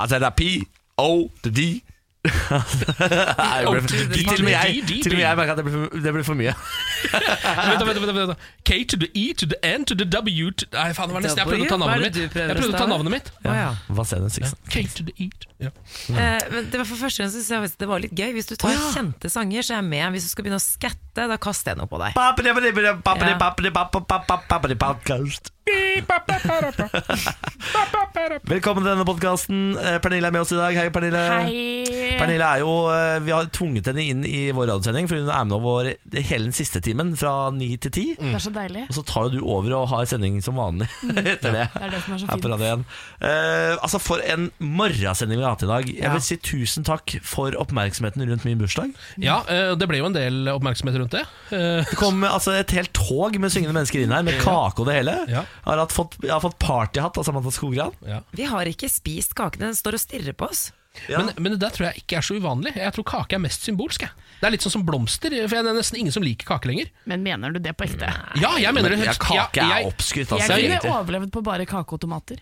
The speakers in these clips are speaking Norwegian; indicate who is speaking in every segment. Speaker 1: Altså, der er pi og det er de. Nei, det ble-
Speaker 2: Ordentlig, det-
Speaker 1: til og med jeg,
Speaker 2: de- de- de.
Speaker 1: til og med jeg merker at det ble, for- det ble for mye.
Speaker 2: Vent, da, vent, da, vent, da, vent, da. K to the E to the N to the W to Nei, faen, det var nesten Jeg prøvde å ta
Speaker 3: W? Hva er
Speaker 2: navnet
Speaker 3: det
Speaker 2: mitt.
Speaker 3: du prøver
Speaker 2: Jeg
Speaker 3: å
Speaker 2: prøvde å ta
Speaker 3: stave?
Speaker 2: navnet mitt.
Speaker 3: Å, ja.
Speaker 1: Hva ser den siste?
Speaker 2: K to the E to ja.
Speaker 3: Eh, men det var for første gang så synes jeg faktisk det var litt gøy. Hvis du tar kjente sanger, så er jeg med. Hvis du skal begynne å skatte, da kaster jeg noe på deg. Ja.
Speaker 1: Podcast. Velkommen til denne podkasten. Pernille er med oss i dag. Hei, Pernille. Pernille er jo, eh, Vi har tvunget henne inn i vår radiosending, for hun er med vår hele den siste timen fra ni til ti.
Speaker 4: Det er så deilig.
Speaker 1: Og så tar jo du over og har sending som vanlig etter det.
Speaker 4: Det er det som er så
Speaker 1: Her på
Speaker 4: fint.
Speaker 1: Radio 1. Eh, altså For en morgensending vi har hatt i dag. Jeg vil si tusen takk for oppmerksomheten rundt min bursdag.
Speaker 2: ja, eh, det ble jo en del oppmerksomhet rundt det. Eh,
Speaker 1: Det kom altså, et helt tog med syngende mennesker inn her, med kake og det hele.
Speaker 2: Ja.
Speaker 1: Har hatt fått, jeg har fått partyhatt av Samantha Skogran.
Speaker 2: ja.
Speaker 3: Vi har ikke spist kakene, den står og stirrer på oss.
Speaker 1: Ja.
Speaker 2: Men, men det der tror jeg ikke er så uvanlig. Jeg tror kake er mest symbolsk. Jeg. Det er litt sånn som blomster, for det er nesten ingen som liker kake lenger.
Speaker 4: Men mener du det på ekte?
Speaker 2: Ja, jeg mener det
Speaker 1: ja, kake
Speaker 2: Ja,
Speaker 1: er
Speaker 2: jeg-
Speaker 1: oppskrytt,
Speaker 4: Jeg
Speaker 1: altså.
Speaker 4: kunne
Speaker 1: egentlig.
Speaker 4: overlevd på bare kake og tomater.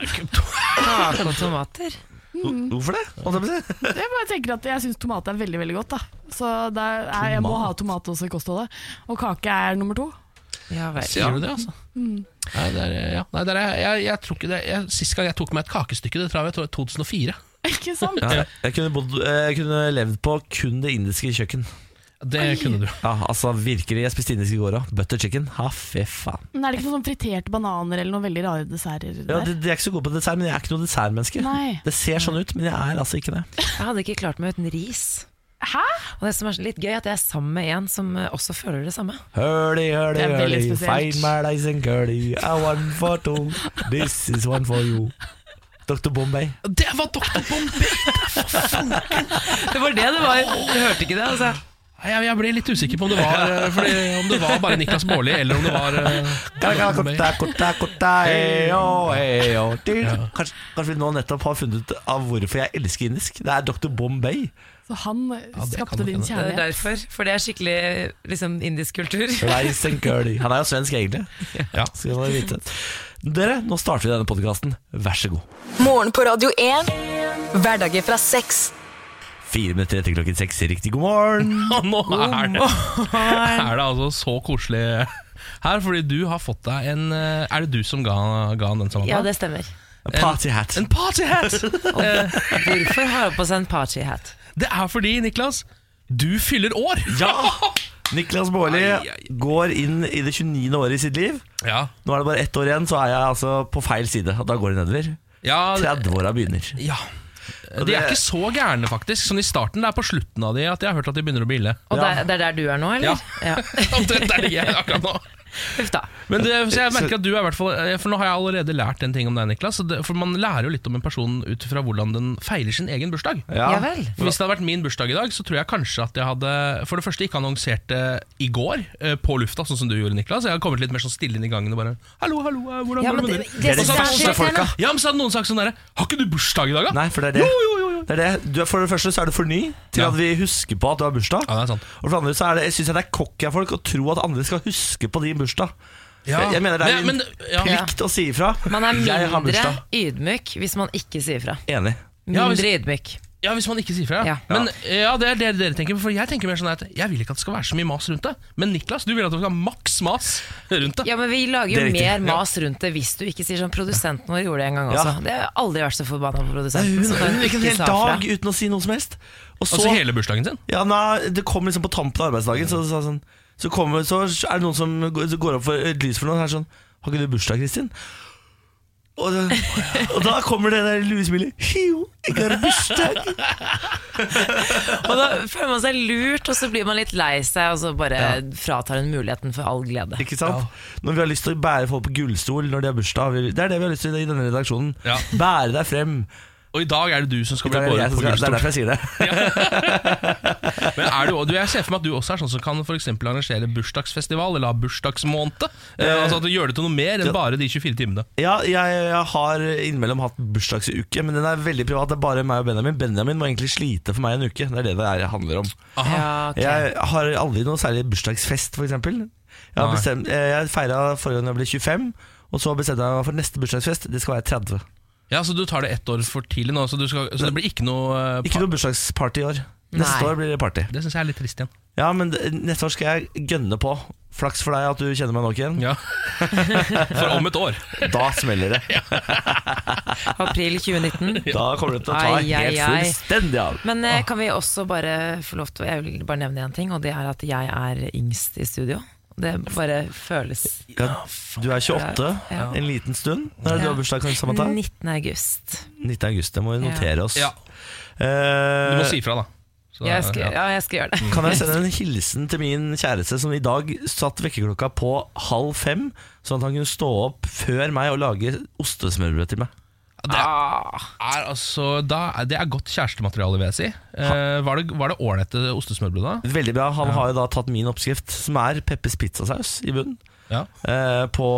Speaker 3: Kake og tomater.
Speaker 1: Hvorfor det? Holdt jeg på å si.
Speaker 4: Jeg bare tenker at jeg syns tomat er veldig veldig godt. da Så det er, jeg må
Speaker 1: Tomat?
Speaker 4: ha tomat også i kostholdet. Og kake er nummer to.
Speaker 3: Ja vel.
Speaker 2: Sier du det, altså? Nei, det er, eh, ja. Nei, det er, jeg, jeg tror ikke det jeg, Sist gang jeg tok meg et kakestykke, det tror jeg var i 2004.
Speaker 4: Ikke sant?
Speaker 1: Ja, jeg- jeg, kunne bodd, eh, jeg kunne levd på kun det indiske kjøkken.
Speaker 2: Det kunne du.
Speaker 1: Ja, altså Virkelig. Jeg spiste indisk i går òg. Butter chicken. Ha, fy faen.
Speaker 4: Men er det ikke noen sånn friterte bananer eller noen veldig rare desserter der?
Speaker 1: Ja, de, de er ikke så gode på dessert, men jeg er ikke noe dessertmenneske.
Speaker 4: Nei.
Speaker 1: Det ser sånn ut, men jeg er altså ikke det.
Speaker 3: Jeg hadde ikke klart meg uten ris.
Speaker 4: Hæ?
Speaker 3: Og det som er så litt gøy, er at jeg er sammen med en som eh, også føler det samme.
Speaker 1: Hurdy, hurdy,
Speaker 4: Det er veldig
Speaker 1: hurdy,
Speaker 4: spesielt.
Speaker 1: find my lies and curly. I one for two, this is one for you. Dr. Bombay.
Speaker 2: Det var Dr. Bombay!
Speaker 3: Det var det det var. Du hørte ikke det, altså.
Speaker 2: Nei, Jeg, jeg ble litt usikker på om det var, eh, fordi, om det var bare Niklas Baarli, eller om det var eh, Dr. Bombay.
Speaker 1: Kaka-kota, kota, kota, eyo, eyo, til. eh, Kanskje, kanskje vi nå nettopp har funnet ut av hvorfor jeg elsker indisk. Det er Dr. Bombay.
Speaker 4: Så han
Speaker 2: kan
Speaker 4: skapte
Speaker 2: nok
Speaker 4: din
Speaker 2: hende.
Speaker 3: Det er
Speaker 4: kjærlighet.
Speaker 3: derfor. For det er skikkelig liksom, indisk kultur.
Speaker 1: Rice and curly. Han er jo svensk, egentlig.
Speaker 2: Ja.
Speaker 1: Skal dere vite. Dere, nå starter vi denne podkasten. Vær så god.
Speaker 5: Morgen på Radio 1. Hverdager fra seks.
Speaker 1: Fire minutter etter klokken seks. Riktig god morgen.
Speaker 2: Og nå
Speaker 1: Oh
Speaker 2: er det, er det altså så koselig her, fordi du har fått deg en eh, Er det du som ga, ga han den
Speaker 3: Ja,
Speaker 2: samtalen?
Speaker 3: det stemmer.
Speaker 1: Partyhat.
Speaker 2: En partyhat! Eh,
Speaker 3: Hvorfor har hun på seg en partyhat?
Speaker 2: det er fordi, Niklas, du fyller år!
Speaker 1: Ja! Niklas Baarli
Speaker 2: Ai, ai, ai.
Speaker 1: går inn i det 29. året i sitt liv.
Speaker 2: Ja,
Speaker 1: Nå er det bare ett år igjen, så er jeg altså på feil side. og Da går det nedover.
Speaker 2: ja, det-
Speaker 1: 30-åra begynner.
Speaker 2: ja.
Speaker 1: Og
Speaker 2: De er
Speaker 1: det-
Speaker 2: ikke så gærne, faktisk. Sånn i starten, Det er på slutten av de at jeg har hørt at de begynner å bli ille.
Speaker 3: Og
Speaker 1: Ja.
Speaker 3: det er- det er der du er nå, eller? Ja.
Speaker 2: Omtrent der ligger jeg akkurat nå.
Speaker 3: Uff da.
Speaker 2: Men det,
Speaker 1: Eh,
Speaker 2: så jeg merker at du er i hvert fall eh, For nå har jeg allerede lært en ting om deg, Niklas. og det- For man lærer jo litt om en person ut fra hvordan den feiler sin egen bursdag.
Speaker 3: Ja vel.
Speaker 2: For Hvis det hadde vært min bursdag i dag, så tror jeg kanskje at jeg hadde For det første ikke annonsert det i går eh, på lufta, sånn som du gjorde, Niklas. Jeg hadde kommet litt mer sånn stille inn i gangen og bare Hallo, hallo, eh, hvordan
Speaker 3: Ja,
Speaker 2: går det
Speaker 3: men
Speaker 2: med
Speaker 3: det-
Speaker 2: dere?
Speaker 3: det
Speaker 2: Og
Speaker 1: er
Speaker 2: så hadde noen
Speaker 1: det
Speaker 2: sagt-
Speaker 1: verste folka.
Speaker 2: Ja, men så hadde noen sagt sånn derre Har ikke du bursdag i dag, da?
Speaker 1: Nei, for det er det.
Speaker 2: Jo, jo, jo, jo.
Speaker 1: Det er det. Du, er- for det første så er du for ny til
Speaker 2: Ja.
Speaker 1: at vi husker på at du har bursdag.
Speaker 2: Ja, det er sant.
Speaker 1: Og for det andre så er det, jeg syns jeg det er cocky av folk å tro at andre skal huske på din bursdag.
Speaker 2: Ja.
Speaker 1: Jeg, jeg mener det er
Speaker 2: Men-
Speaker 1: din
Speaker 2: men- ja.
Speaker 1: plikt å si ifra.
Speaker 3: Man er
Speaker 1: Jeg har
Speaker 3: mindre
Speaker 1: bursdag.
Speaker 3: ydmyk hvis man ikke sier fra.
Speaker 1: Enig.
Speaker 2: Ja, hvis-
Speaker 3: Mindre ydmyk.
Speaker 2: Ja, hvis man ikke sier fra. Ja.
Speaker 3: Ja.
Speaker 2: Men ja, det er det dere tenker. For jeg tenker mer sånn at jeg vil ikke at det skal være så mye mas rundt det. Men Niklas, du vil at det skal være maks mas rundt det.
Speaker 3: Ja, men Vi lager
Speaker 1: Det er
Speaker 3: jo
Speaker 1: riktig.
Speaker 3: mer mas rundt det hvis du ikke sier sånn. Produsenten vår gjorde det en gang
Speaker 1: Ja.
Speaker 3: også. Det har jeg aldri vært så forbanna på produsenten.
Speaker 1: Hun,
Speaker 3: som da
Speaker 1: hun gikk en
Speaker 3: ikke
Speaker 1: hel
Speaker 3: sa fra.
Speaker 1: dag uten å si noe som helst. Og så,
Speaker 2: Altså hele bursdagen sin.
Speaker 1: Ja, nei, det kom liksom på tampen av arbeidsdagen Så, så, sånn, så, kommer, så er det noen som går, så går opp for et lys for noen Og er sånn, har ikke du bursdag, Kristin? Og, det, og da kommer det der luesmilet Jo, jeg har bursdag
Speaker 3: Og da føler man seg lurt, og så blir man litt lei seg, og så bare fratar hun muligheten for all glede.
Speaker 1: Ikke sant? Når vi har lyst til å bære folk på gullstol Når de har bursdag har vi, Det er det vi har lyst til i denne redaksjonen
Speaker 2: Ja.
Speaker 1: Bære deg frem
Speaker 2: Og i dag er det du som skal
Speaker 1: Det
Speaker 2: bli
Speaker 1: er, jeg
Speaker 2: båret
Speaker 1: som
Speaker 2: på
Speaker 1: skal, det er
Speaker 2: gullstol.
Speaker 1: derfor jeg sier det
Speaker 2: Men er du, du, jeg ser for meg at du også er sånn som kan for eksempel arrangere bursdagsfestival eller ha bursdagsmåned. Eh, altså at du gjør det til noe mer enn
Speaker 1: ja.
Speaker 2: bare de 24 timene.
Speaker 1: ja, jeg, jeg har innmellom hatt bursdagsuke Men den er veldig privat Det er bare meg og Benjamin Benjamin må egentlig slite for meg en uke Det er det det er, handler om
Speaker 2: Aha.
Speaker 3: Ja, ok.
Speaker 1: Jeg har aldri noe særlig bursdagsfest, for eksempel. Jeg, har
Speaker 2: Nei.
Speaker 1: bestemt- eh, jeg feira forrige gang jeg ble 25, og så bestemte jeg meg for neste bursdagsfest. Det skal være 30.
Speaker 2: Ja, Så du tar det ett år for tidlig nå, så, du skal, så det blir ikke noe eh,
Speaker 1: Ikke
Speaker 2: par-
Speaker 1: noe bursdagsparty i år. Neste
Speaker 3: Nei.
Speaker 1: år blir det party.
Speaker 2: Det syns jeg er litt trist igjen.
Speaker 1: Ja, men d- neste år skal jeg gønne på. Flaks for deg at du kjenner meg nok igjen.
Speaker 2: Ja. For om et år.
Speaker 1: Da smeller det.
Speaker 3: April 2019.
Speaker 1: Da kommer det til å ta
Speaker 3: Ai, ai,
Speaker 1: helt
Speaker 3: ai.
Speaker 1: fullstendig av.
Speaker 3: Men eh, kan vi også bare få lov til Jeg vil bare nevne én ting, og det er at jeg er yngst i studio. Det bare føles
Speaker 1: Ja, du er 28
Speaker 3: Ja.
Speaker 1: en liten stund. Når er det du har bursdag, kanskje, Samantha?
Speaker 3: 19. august.
Speaker 1: 19. august. Det må vi notere oss.
Speaker 2: Ja, Du må
Speaker 1: Eh,
Speaker 2: si ifra, da. Så,
Speaker 3: Jeg skal,
Speaker 2: ja. Mm.
Speaker 3: ja, jeg skal gjøre det.
Speaker 1: Kan jeg sende en hilsen til min kjæreste som i dag satt vekkerklokka på halv fem, sånn at han kunne stå opp før meg og lage ostesmørbrød til meg?
Speaker 2: Det er, altså, da, er- det er godt kjærestemateriale, vil jeg si. Eh, var det var det ålreite ostesmørbrød da?
Speaker 1: Veldig bra. Han har jo da tatt min oppskrift, som er Peppers pizzasaus i bunnen,
Speaker 2: Ja.
Speaker 1: eh, på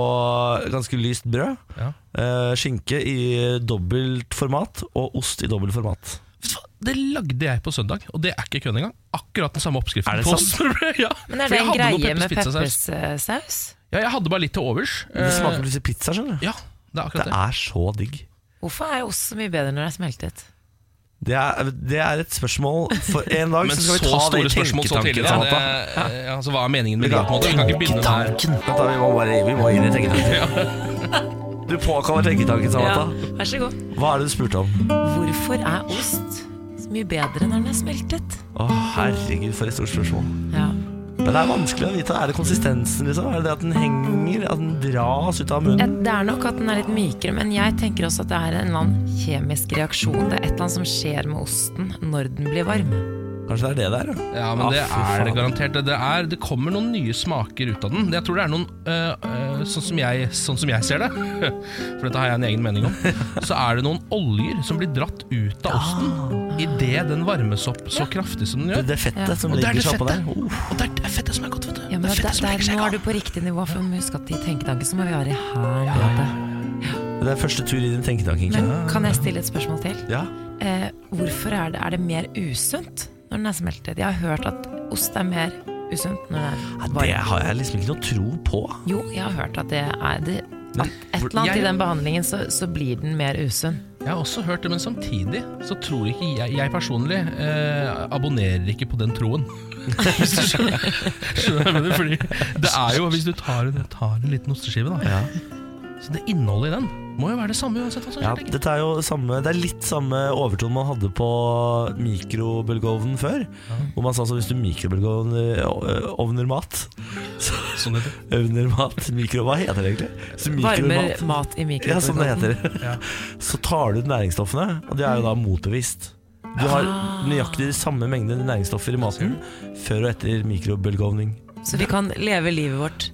Speaker 1: ganske lyst brød.
Speaker 2: Ja.
Speaker 1: eh, Skinke i dobbelt format og ost i dobbelt format.
Speaker 2: Vet du hva? Det lagde jeg på søndag, og det er ikke kødd engang. Akkurat den samme oppskriften.
Speaker 1: Er det
Speaker 2: på
Speaker 1: sant?
Speaker 2: ostesmørbrød, ja.
Speaker 3: Men er
Speaker 2: For
Speaker 3: det
Speaker 2: jeg
Speaker 3: en
Speaker 2: hadde noe
Speaker 3: greie med
Speaker 2: pizzasaus.
Speaker 3: peppersaus?
Speaker 2: Ja, jeg hadde bare litt til overs.
Speaker 1: Det
Speaker 2: Eh,
Speaker 1: smaker plutselig pizza, skjønner du.
Speaker 2: Ja, det er akkurat
Speaker 1: Det
Speaker 2: det.
Speaker 1: er så digg.
Speaker 3: Hvorfor er ost så mye bedre når det er smeltet?
Speaker 1: Det er, det er et spørsmål for en dag,
Speaker 2: Men
Speaker 1: så
Speaker 2: så
Speaker 1: skal vi ta det
Speaker 2: store
Speaker 1: i
Speaker 2: spørsmål så tidlig,
Speaker 1: tenketanken.
Speaker 2: da.
Speaker 1: Samantha.
Speaker 2: Det, eh, altså, hva er meningen med det? på en måte? Vi kan ikke begynne der.
Speaker 1: Vent da, vi må bare vi må inn i tenketanken. Du påkaller tenketanken,
Speaker 3: Ja,
Speaker 1: Samantha.
Speaker 3: vær så god.
Speaker 1: Hva er det du spurte om?
Speaker 3: Hvorfor er ost så mye bedre når den er smeltet?
Speaker 1: Å, herregud, for et stort spørsmål.
Speaker 3: Ja.
Speaker 1: Men det er vanskelig å vite. Er det konsistensen, liksom? Er det det at den henger? At den dras ut av munnen?
Speaker 3: Det er nok at den er litt mykere, men jeg tenker også at det er en eller annen kjemisk reaksjon. Det er et eller annet som skjer med osten når den blir varm.
Speaker 1: Kanskje det er det der, ja.
Speaker 2: Ja, men
Speaker 1: Ah,
Speaker 2: det
Speaker 1: fy
Speaker 2: er det
Speaker 1: faen.
Speaker 2: garantert. Det- Det, er, det kommer noen nye smaker ut av den. Jeg tror det er noen eh, eh, sånn, som jeg, sånn som jeg ser det, for dette har jeg en egen mening om, så er det noen oljer som blir dratt ut av osten idet den varmes opp så kraftig som den
Speaker 1: Det,
Speaker 2: gjør.
Speaker 1: det fettet som
Speaker 2: Og det er
Speaker 1: legger
Speaker 2: det
Speaker 1: seg oppå der.
Speaker 2: fettet.
Speaker 1: Oh,
Speaker 2: Og det er det fettet som er godt, vet du.
Speaker 3: Ja, men
Speaker 2: det er
Speaker 3: der,
Speaker 2: fettet som legger
Speaker 3: der,
Speaker 2: seg i
Speaker 3: nå
Speaker 2: gang.
Speaker 3: er du på riktig nivå, for vi må huske at i tenketanken så må vi være her nede.
Speaker 1: det er første tur i din tenketanken.
Speaker 3: Men
Speaker 1: Kine.
Speaker 3: kan jeg stille et spørsmål til?
Speaker 1: Ja.
Speaker 3: Eh, hvorfor er det, er det mer usunt når den er smeltet? Jeg har hørt at ost er mer usunt når den er
Speaker 1: Det
Speaker 3: varm.
Speaker 1: har jeg liksom ikke noe tro på.
Speaker 3: Jo, jeg har hørt at det er det,
Speaker 1: Men
Speaker 3: at et eller annet
Speaker 2: jeg-
Speaker 3: i den behandlingen så, så blir den mer usunn.
Speaker 2: Jeg har også hørt det, men samtidig så tror ikke jeg Jeg personlig eh, abonnerer ikke på den troen. Hvis du skjønner skjønner hva jeg mener. Fordi det er jo Hvis du tar en, tar en liten osteskive, da.
Speaker 1: Ja.
Speaker 2: Så det innholdet i den må jo være det samme uansett altså. hva som
Speaker 1: Ja,
Speaker 2: skjer. tenker jeg.
Speaker 1: dette er jo samme, det er litt samme overton man hadde på mikrobølgeovnen før. Hvor man sa sånn hvis du mikrobølgeovner ø- ovner mat
Speaker 2: Sånn heter det.
Speaker 1: Ovner mat, mikro, hva heter det egentlig? Så
Speaker 3: Varmer
Speaker 1: mikromat-
Speaker 3: mat i
Speaker 1: Ja, sånn det
Speaker 3: mikrofonen.
Speaker 1: heter.
Speaker 2: Ja.
Speaker 1: Så tar du ut næringsstoffene, og det er jo da
Speaker 3: Mm.
Speaker 1: motbevist. Du har
Speaker 3: Ah.
Speaker 1: nøyaktig de samme mengde næringsstoffer i maten før og etter mikrobølgeovning.
Speaker 3: Så vi kan leve livet vårt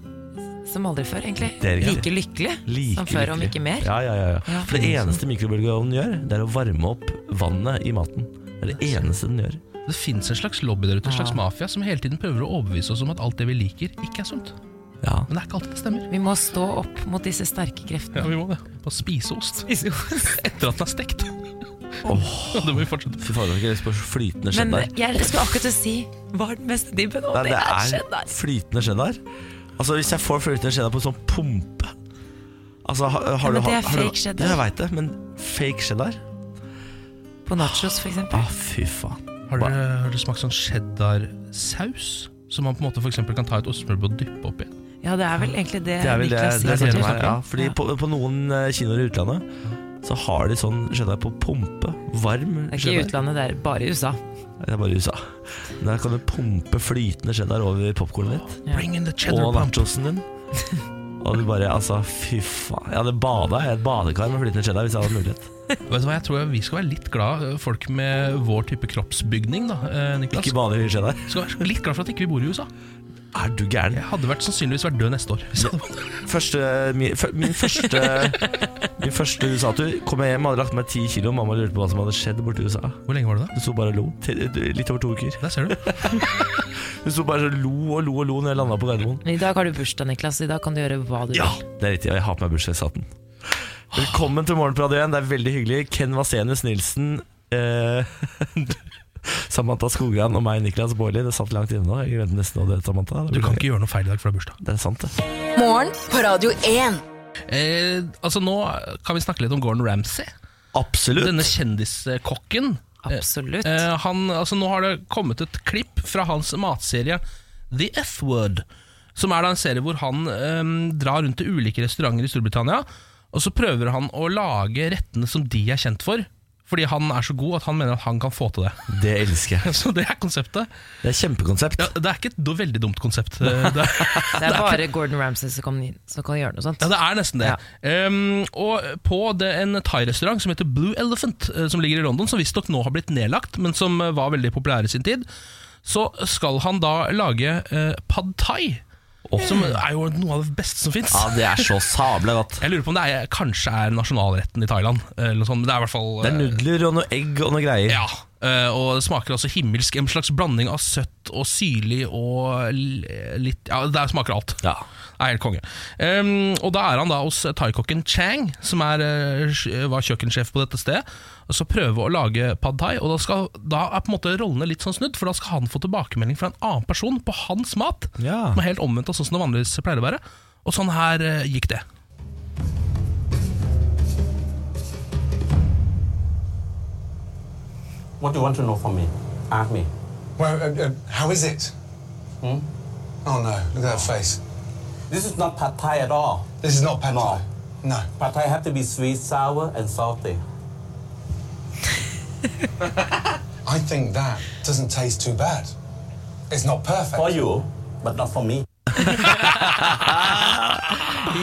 Speaker 3: som aldri før, egentlig.
Speaker 1: Det er riktig.
Speaker 3: Like lykkelig
Speaker 1: Like
Speaker 3: som før, om
Speaker 1: lykkelig.
Speaker 3: ikke mer.
Speaker 1: Ja, ja, ja, ja.
Speaker 3: Ja. Mm.
Speaker 1: For det eneste mikrobølgeovnen gjør, det er å varme opp vannet i maten. Det er det eneste den gjør.
Speaker 2: Det fins en slags lobby der ute, en slags
Speaker 3: Ja.
Speaker 2: mafia, som hele tiden prøver å overbevise oss om at alt det vi liker, ikke er sunt.
Speaker 1: Ja.
Speaker 2: Men det er ikke alltid det stemmer.
Speaker 3: Vi må stå opp mot disse sterke kreftene.
Speaker 2: Ja, vi må det. Bare spise ost etter at den er stekt. Det må vi fortsette
Speaker 1: Fy faen, det er ikke lyst på flytende
Speaker 3: Men
Speaker 1: cheddar.
Speaker 3: jeg skulle akkurat til å si hva er den beste dibben? Og
Speaker 1: Nei,
Speaker 3: det er
Speaker 1: det er
Speaker 3: cheddar!
Speaker 1: flytende cheddar. Altså, hvis jeg får flytende cheddar på en sånn pumpe Altså, har, har
Speaker 3: men
Speaker 1: du,
Speaker 3: det er
Speaker 1: har, har du-
Speaker 3: fake cheddar.
Speaker 1: Ja, Jeg veit det, men fake cheddar?
Speaker 3: På nachos, for eksempel.
Speaker 1: Ah, fy faen.
Speaker 2: Har dere, har dere smakt sånn cheddarsaus? Som man på en måte for eksempel kan ta et ostesmørbrød og dyppe oppi?
Speaker 3: Ja, det er vel egentlig det.
Speaker 1: Det er vel det
Speaker 3: Niklas
Speaker 1: det
Speaker 3: sier.
Speaker 1: er sånn som
Speaker 2: snakker
Speaker 1: er, ja, Fordi
Speaker 3: Ja.
Speaker 1: På, på noen eh, kinoer i utlandet så har de sånn cheddar på pumpe. Varm
Speaker 3: Det er ikke i
Speaker 1: cheddar.
Speaker 3: utlandet, det er bare i USA.
Speaker 1: Det er bare i USA. Der kan du pumpe flytende cheddar over popkornet ditt
Speaker 3: Ja.
Speaker 2: Bring in the cheddar
Speaker 1: og
Speaker 2: pump.
Speaker 1: nachosen din. Og du bare, altså, fy faen. Jeg hadde bada i et badekar med flytende cheddar hvis jeg hadde mulighet.
Speaker 2: Vet du hva, jeg tror vi skal være litt glad eh, folk med vår type kroppsbygning, da, eh, Niklas.
Speaker 1: Ikke bade i cheddar.
Speaker 2: Skal være litt glad for at ikke vi bor i USA.
Speaker 1: Er du gæren?
Speaker 2: Jeg hadde vært, sannsynligvis vært død neste år. hvis jeg hadde vært-
Speaker 1: første, min, fø- min første Min første USA-tur Kom jeg hjem, hadde lagt meg 10 kilo Mamma lurte på hva som hadde skjedd borte i USA
Speaker 2: Hvor lenge var det da?
Speaker 1: Hun sto bare og lo Til- Litt over to uker
Speaker 2: Der ser du.
Speaker 1: Hun sto bare og lo og lo og lo Når jeg landet på Gardermoen
Speaker 3: Men I dag har du bursdag, Niklas. I dag kan du gjøre hva du
Speaker 1: Ja,
Speaker 3: vil.
Speaker 1: det er riktig Og jeg har på meg bursdagshatten Velkommen til Morgenprad igjen Det er veldig hyggelig Ken Vasenius Nilsen eh, Samantha Skogran og meg Niklas Bårli Det satt langt inne nå Jeg glemte nesten å døde Samantha
Speaker 2: Du kan ikke gjøre noe feil i dag, for det er bursdag.
Speaker 1: Det er sant det
Speaker 5: Morgen på Radio 1.
Speaker 2: Eh, altså Nå kan vi snakke litt om Gordon Ramsay.
Speaker 1: Absolutt.
Speaker 2: Denne kjendiskokken.
Speaker 3: Absolutt.
Speaker 2: Eh, han, altså, nå har det kommet et klipp fra hans matserie The F-Word. Som er da en serie hvor han eh, drar rundt til ulike restauranter i Storbritannia. Og så prøver han å lage rettene som de er kjent for. Fordi han er så god at han mener at han kan få til det.
Speaker 1: Det elsker jeg.
Speaker 2: Så det er konseptet.
Speaker 1: Det er kjempekonsept.
Speaker 2: Ja, det er ikke et do- veldig dumt konsept. Eh, Det er,
Speaker 3: Det er bare Gordon Ramsay som kan, som kan gjøre noe sånt.
Speaker 2: Ja, det er nesten det. Um, og på det, en thai-restaurant som heter Blue Elephant, eh, som ligger i London, som visstnok nå har blitt nedlagt, men som eh, var veldig populær i sin tid, så skal han da lage eh, pad thai. Som er jo noe av det beste som fins.
Speaker 1: Ja, det er så sabla godt.
Speaker 2: Jeg lurer på om det er, kanskje er nasjonalretten i Thailand. Eller noe sånt, men det er i hvert fall
Speaker 1: Det er
Speaker 2: eh,
Speaker 1: nudler og noe egg og noe greier.
Speaker 2: ja, eh, og det smaker altså himmelsk. En slags blanding av søtt og syrlig og l- litt Ja, det smaker alt.
Speaker 1: Ja.
Speaker 2: Det er helt konge. Ehm, og da er han da hos thaikokken Chang, som er, eh, sj- var kjøkkensjef på dette stedet. Og så prøve å lage pad thai, og da, skal, da er på en måte rollene litt sånn snudd, for da skal han få tilbakemelding fra en annen person på hans mat.
Speaker 1: Ja.
Speaker 2: Som er helt omvendt av sånn som det vanligvis pleier å være. Og sånn her eh, gikk det.
Speaker 6: What do you want to know from me? Ask me.
Speaker 7: Well, uh, uh, how is it? Oh no, look at that face.
Speaker 6: This is not pad thai at all.
Speaker 7: This is not pad
Speaker 6: No.
Speaker 7: thai. No.
Speaker 6: Pad thai have to be sweet, sour, and salty.
Speaker 7: I think that doesn't taste too bad. It's not perfect.
Speaker 6: For you, but not for me.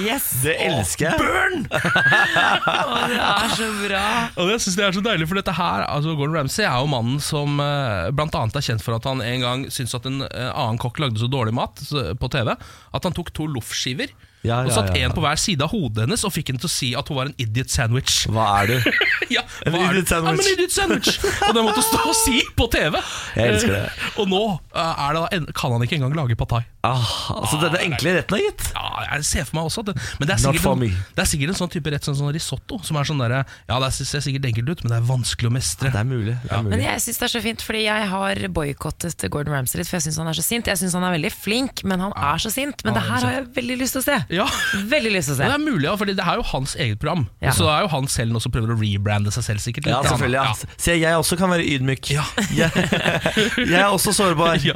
Speaker 3: Yes!
Speaker 1: Det elsker jeg.
Speaker 3: Det er så bra!
Speaker 2: Og jeg synes det er så deilig, for dette her altså Gordon Ramsay er jo mannen som eh, blant annet er kjent for at han en gang syntes at en eh, annen kokk lagde så dårlig mat så- på TV at han tok to loffskiver
Speaker 1: Ja,
Speaker 2: og
Speaker 1: ja,
Speaker 2: satt
Speaker 1: ja.
Speaker 2: en på hver side av hodet hennes og fikk henne til å si at hun var en idiot sandwich.
Speaker 1: Hva er du?
Speaker 2: Ja,
Speaker 1: En
Speaker 2: hva er det?
Speaker 1: idiot sandwich.
Speaker 2: Ja, men idiot sandwich Og det måtte stå og si på TV.
Speaker 1: Jeg elsker det.
Speaker 2: Eh, Og nå eh, er det da en, kan han ikke engang lage pad thai.
Speaker 1: Ah, altså, denne enkle retten er gitt.
Speaker 2: Ja, jeg ser for meg også at det, Men det er,
Speaker 1: Not
Speaker 2: sikkert
Speaker 1: for
Speaker 2: en,
Speaker 1: me.
Speaker 2: det er sikkert en sånn type rett som sånn risotto. Som er sånn derre Ja, det ser sikkert enkelt ut, men det er vanskelig å mestre.
Speaker 1: Det er mulig. Det er
Speaker 3: Men
Speaker 1: mulig.
Speaker 3: jeg syns det er så fint, fordi jeg har boikottet Gordon Ramsay litt, for jeg syns han er så sint. Jeg syns han er veldig flink, men han er så sint. Men det her har jeg veldig lyst til å se.
Speaker 2: Ja.
Speaker 3: Veldig lyst til å
Speaker 2: Men
Speaker 3: se.
Speaker 2: det er mulig, ja, fordi det er jo hans eget program.
Speaker 3: Ja.
Speaker 2: Så det er jo han selv nå som prøver å rebrande seg selv. sikkert litt.
Speaker 1: Ja, selvfølgelig. Ja. Se, jeg også kan være ydmyk.
Speaker 2: Ja.
Speaker 1: Jeg, jeg er også sårbar.
Speaker 2: Ja.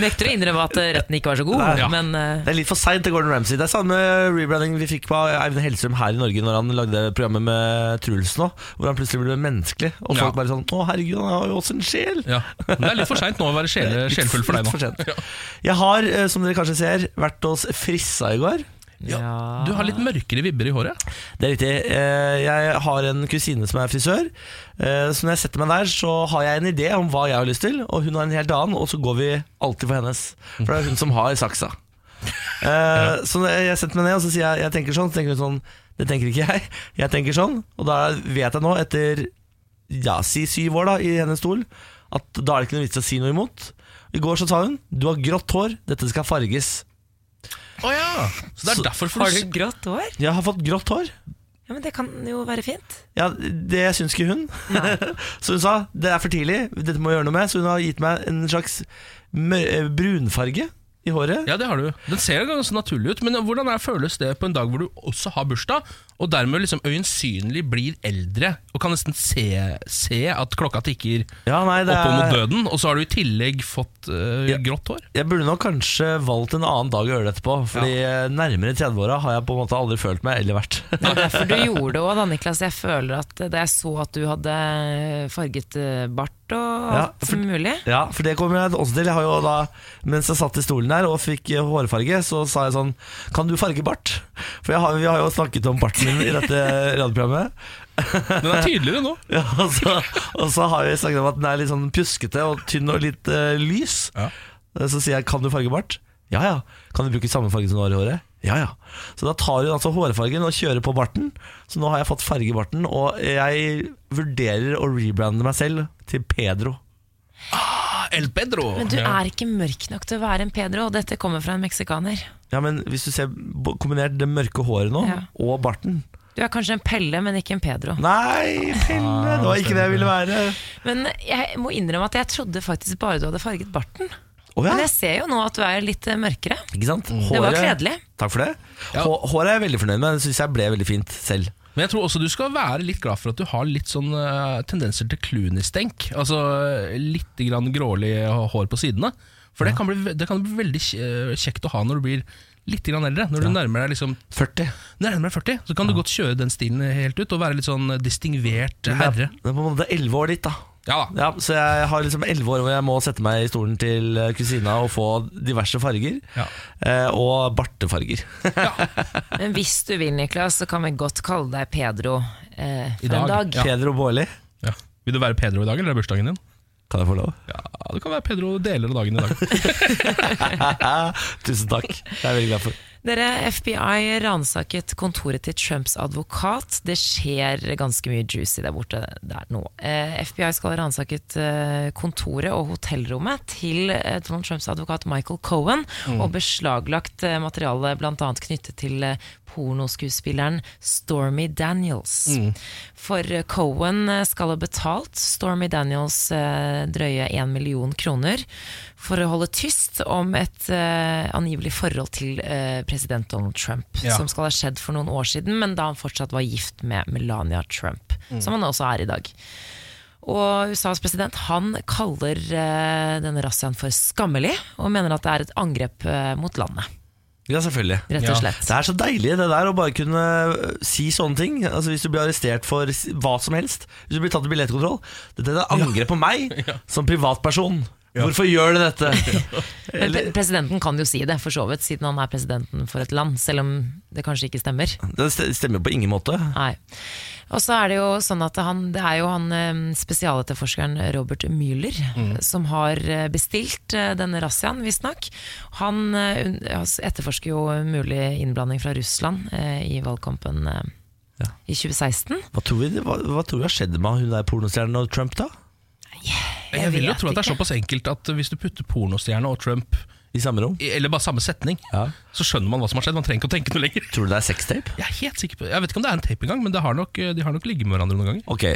Speaker 3: Nekter å innrømme at eh, retten ikke var så god,
Speaker 1: Nei.
Speaker 3: men eh,
Speaker 1: Det er litt for seint til Gordon Ramsay. Det er samme rebranding vi fikk på Eivind Hellstrøm her i Norge når han lagde programmet med Truls nå, hvor han plutselig ble menneskelig. Og folk
Speaker 2: Ja.
Speaker 1: bare sånn Å, herregud, han har jo også en sjel!
Speaker 2: Ja. Men det er litt for seint nå å være sjel,
Speaker 1: Litt-
Speaker 2: sjelfull for deg
Speaker 1: litt
Speaker 2: nå.
Speaker 1: sent. Jeg har, eh, som dere kanskje ser, vært hos Frissa i går.
Speaker 2: Ja. Du har litt mørkere vibber i håret.
Speaker 1: Det er riktig. Eh, Jeg har en kusine som er frisør. Eh, Så når jeg setter meg der, så har jeg en idé om hva jeg har lyst til, og hun har en helt annen, og så går vi alltid for hennes. For det er hun som har saksa. Eh, Så når jeg setter meg ned og så sier jeg, jeg tenker sånn, så tenker hun sånn Det tenker ikke jeg. Jeg tenker sånn. Og da vet jeg nå, etter ja, si syv år da, i hennes stol, at da er det ikke noe vits i å si noe imot. I går så sa hun du har grått hår, dette skal farges.
Speaker 2: Å ja. Så det er derfor får
Speaker 3: har
Speaker 2: du
Speaker 3: du grått hår?
Speaker 1: Jeg har fått grått hår.
Speaker 3: Ja, men Det kan jo være fint.
Speaker 1: Ja, det syns ikke hun.
Speaker 3: Nei.
Speaker 1: Så hun sa det er for tidlig, dette må jeg gjøre noe med. Så hun har gitt meg en slags mø- eh, brunfarge i håret.
Speaker 2: Ja, det har du. Den ser ganske naturlig ut, men hvordan er, føles det på en dag hvor du også har bursdag, og dermed liksom øyensynlig blir eldre, og kan nesten se, se at klokka tikker
Speaker 1: Ja, nei, det
Speaker 2: oppover mot
Speaker 1: er,
Speaker 2: døden, og så har du i tillegg fått eh,
Speaker 1: Ja.
Speaker 2: grått hår?
Speaker 1: jeg burde nok kanskje valgt en annen dag å gjøre det etterpå. Fordi eh, nærmere 30-åra har jeg på en måte aldri følt meg eller vært.
Speaker 3: Det var derfor du gjorde det òg, da, Niklas. Jeg føler at eh, da jeg så at du hadde farget eh, bart og
Speaker 1: Ja,
Speaker 3: alt som mulig
Speaker 1: Ja, for det kommer jeg også til. Jeg har jo da, mens jeg satt i stolen der og fikk eh, hårfarge, så sa jeg sånn Kan du farge bart? For jeg har, vi har jo snakket om barten min i dette radioprogrammet.
Speaker 2: Den er tydeligere nå.
Speaker 1: Ja, og, så, og så har vi snakket om at den er litt sånn pjuskete og tynn og litt eh, lys. Eh,
Speaker 2: Ja.
Speaker 1: Så sier jeg 'kan du farge bart'? Ja ja. Kan du bruke samme farge som du har i håret? Ja ja. Så da tar hun altså hårfargen og kjører på barten. Så nå har jeg fått farge i barten, og jeg vurderer å rebrande meg selv til Pedro.
Speaker 2: El Pedro.
Speaker 3: Men du
Speaker 2: Ja.
Speaker 3: er ikke mørk nok til å være en Pedro, og dette kommer fra en meksikaner.
Speaker 1: Ja, men hvis du ser bo- kombinert det mørke håret nå
Speaker 3: Ja.
Speaker 1: og barten
Speaker 3: Du er kanskje en Pelle, men ikke en Pedro.
Speaker 1: Nei, Pelle! Det var ikke det jeg ville være.
Speaker 3: Men jeg må innrømme at jeg trodde faktisk bare du hadde farget barten.
Speaker 1: Å ja,
Speaker 3: Men jeg ser jo nå at du er litt eh, mørkere.
Speaker 1: ikke sant?
Speaker 3: Det var kledelig.
Speaker 1: Takk for det. Hå- Håret er jeg veldig fornøyd med. Det syns jeg ble veldig fint selv.
Speaker 2: Men jeg tror også du skal være litt glad for at du har litt sånn eh, tendenser til Clooney-stenk. Altså eh, litt grann grålig hår på sidene. For det kan bli, ve- det kan bli veldig kje- eh, kjekt å ha når du blir litt grann eldre. Når du nærmer deg liksom
Speaker 1: 40.
Speaker 2: nærmer deg 40, så kan du godt kjøre den stilen helt ut og være litt sånn distingvert
Speaker 1: Det
Speaker 2: herre.
Speaker 1: er på en måte 11 år dit, da.
Speaker 2: Ja da.
Speaker 1: Ja, så jeg har liksom 11 år hvor jeg må sette meg i stolen til eh, kusina og få diverse farger.
Speaker 2: Ja.
Speaker 1: Eh, og bartefarger.
Speaker 3: Men hvis du vil, Niklas, så kan vi godt kalle deg Pedro eh, for
Speaker 2: dag,
Speaker 3: en dag.
Speaker 2: ja.
Speaker 1: Pedro Bårli.
Speaker 2: Ja. Vil du være Pedro i dag, eller er det bursdagen din?
Speaker 1: Kan jeg få lov?
Speaker 2: Ja, du kan være Pedro deler av dagen i dag.
Speaker 1: Tusen takk. Det er jeg veldig glad for.
Speaker 3: Dere, FBI ransaket kontoret til Trumps advokat. Det skjer ganske mye juicy der borte der nå. Eh, FBI skal ha ransaket eh, kontoret og hotellrommet til eh, Donald Trumps advokat Michael Cohen, og beslaglagt eh, materiale bl.a. knyttet til eh, pornoskuespilleren Stormy Daniels.
Speaker 2: Mm.
Speaker 3: For eh, Cohen eh, skal ha betalt Stormy Daniels eh, drøye 1 million kroner for å holde tyst om et eh, angivelig forhold til eh, president Donald Trump,
Speaker 2: Ja.
Speaker 3: som skal ha skjedd for noen år siden, men da han fortsatt var gift med Melania Trump,
Speaker 2: Mm.
Speaker 3: som han også er i dag. Og USAs president han kaller eh, denne razziaen for skammelig, og mener at det er et angrep eh, mot landet,
Speaker 1: Ja, selvfølgelig.
Speaker 3: rett
Speaker 2: Ja.
Speaker 3: og slett.
Speaker 1: Det er så deilig det der å bare kunne øh, si sånne ting. Altså Hvis du blir arrestert for s- hva som helst. Hvis du blir tatt i billettkontroll. Dette er angrep på meg som privatperson. Hvorfor gjør du dette?
Speaker 3: Men
Speaker 1: Eller,
Speaker 3: pre- presidenten kan jo si det, for så vidt, siden han er presidenten for et land, selv om det kanskje ikke stemmer.
Speaker 1: det st- stemmer jo på ingen måte.
Speaker 3: Nei. Og så er det jo sånn at han, det er jo han eh, spesialetterforskeren Robert Müller
Speaker 2: Mm.
Speaker 3: som har eh, bestilt eh, denne razziaen, visstnok. Han eh, un- altså, etterforsker jo mulig innblanding fra Russland eh, i valgkampen eh,
Speaker 1: Ja.
Speaker 3: i 2016.
Speaker 1: Hva tror, vi, hva, hva tror vi har skjedd med hun der pornostjernen og Trump, da?
Speaker 2: Jeg, vil jo tro at det er såpass enkelt at hvis du putter pornostjerne og Trump
Speaker 1: I samme rom?
Speaker 2: i- eller bare samme setning,
Speaker 1: Ja.
Speaker 2: så skjønner man hva som har skjedd. Man trenger ikke å tenke noe lenger.
Speaker 1: Tror du det er sextape?
Speaker 2: Jeg er helt sikker på Jeg vet ikke om det er en tape engang, men det har nok, de har nok ligget med hverandre noen ganger.
Speaker 1: Ok,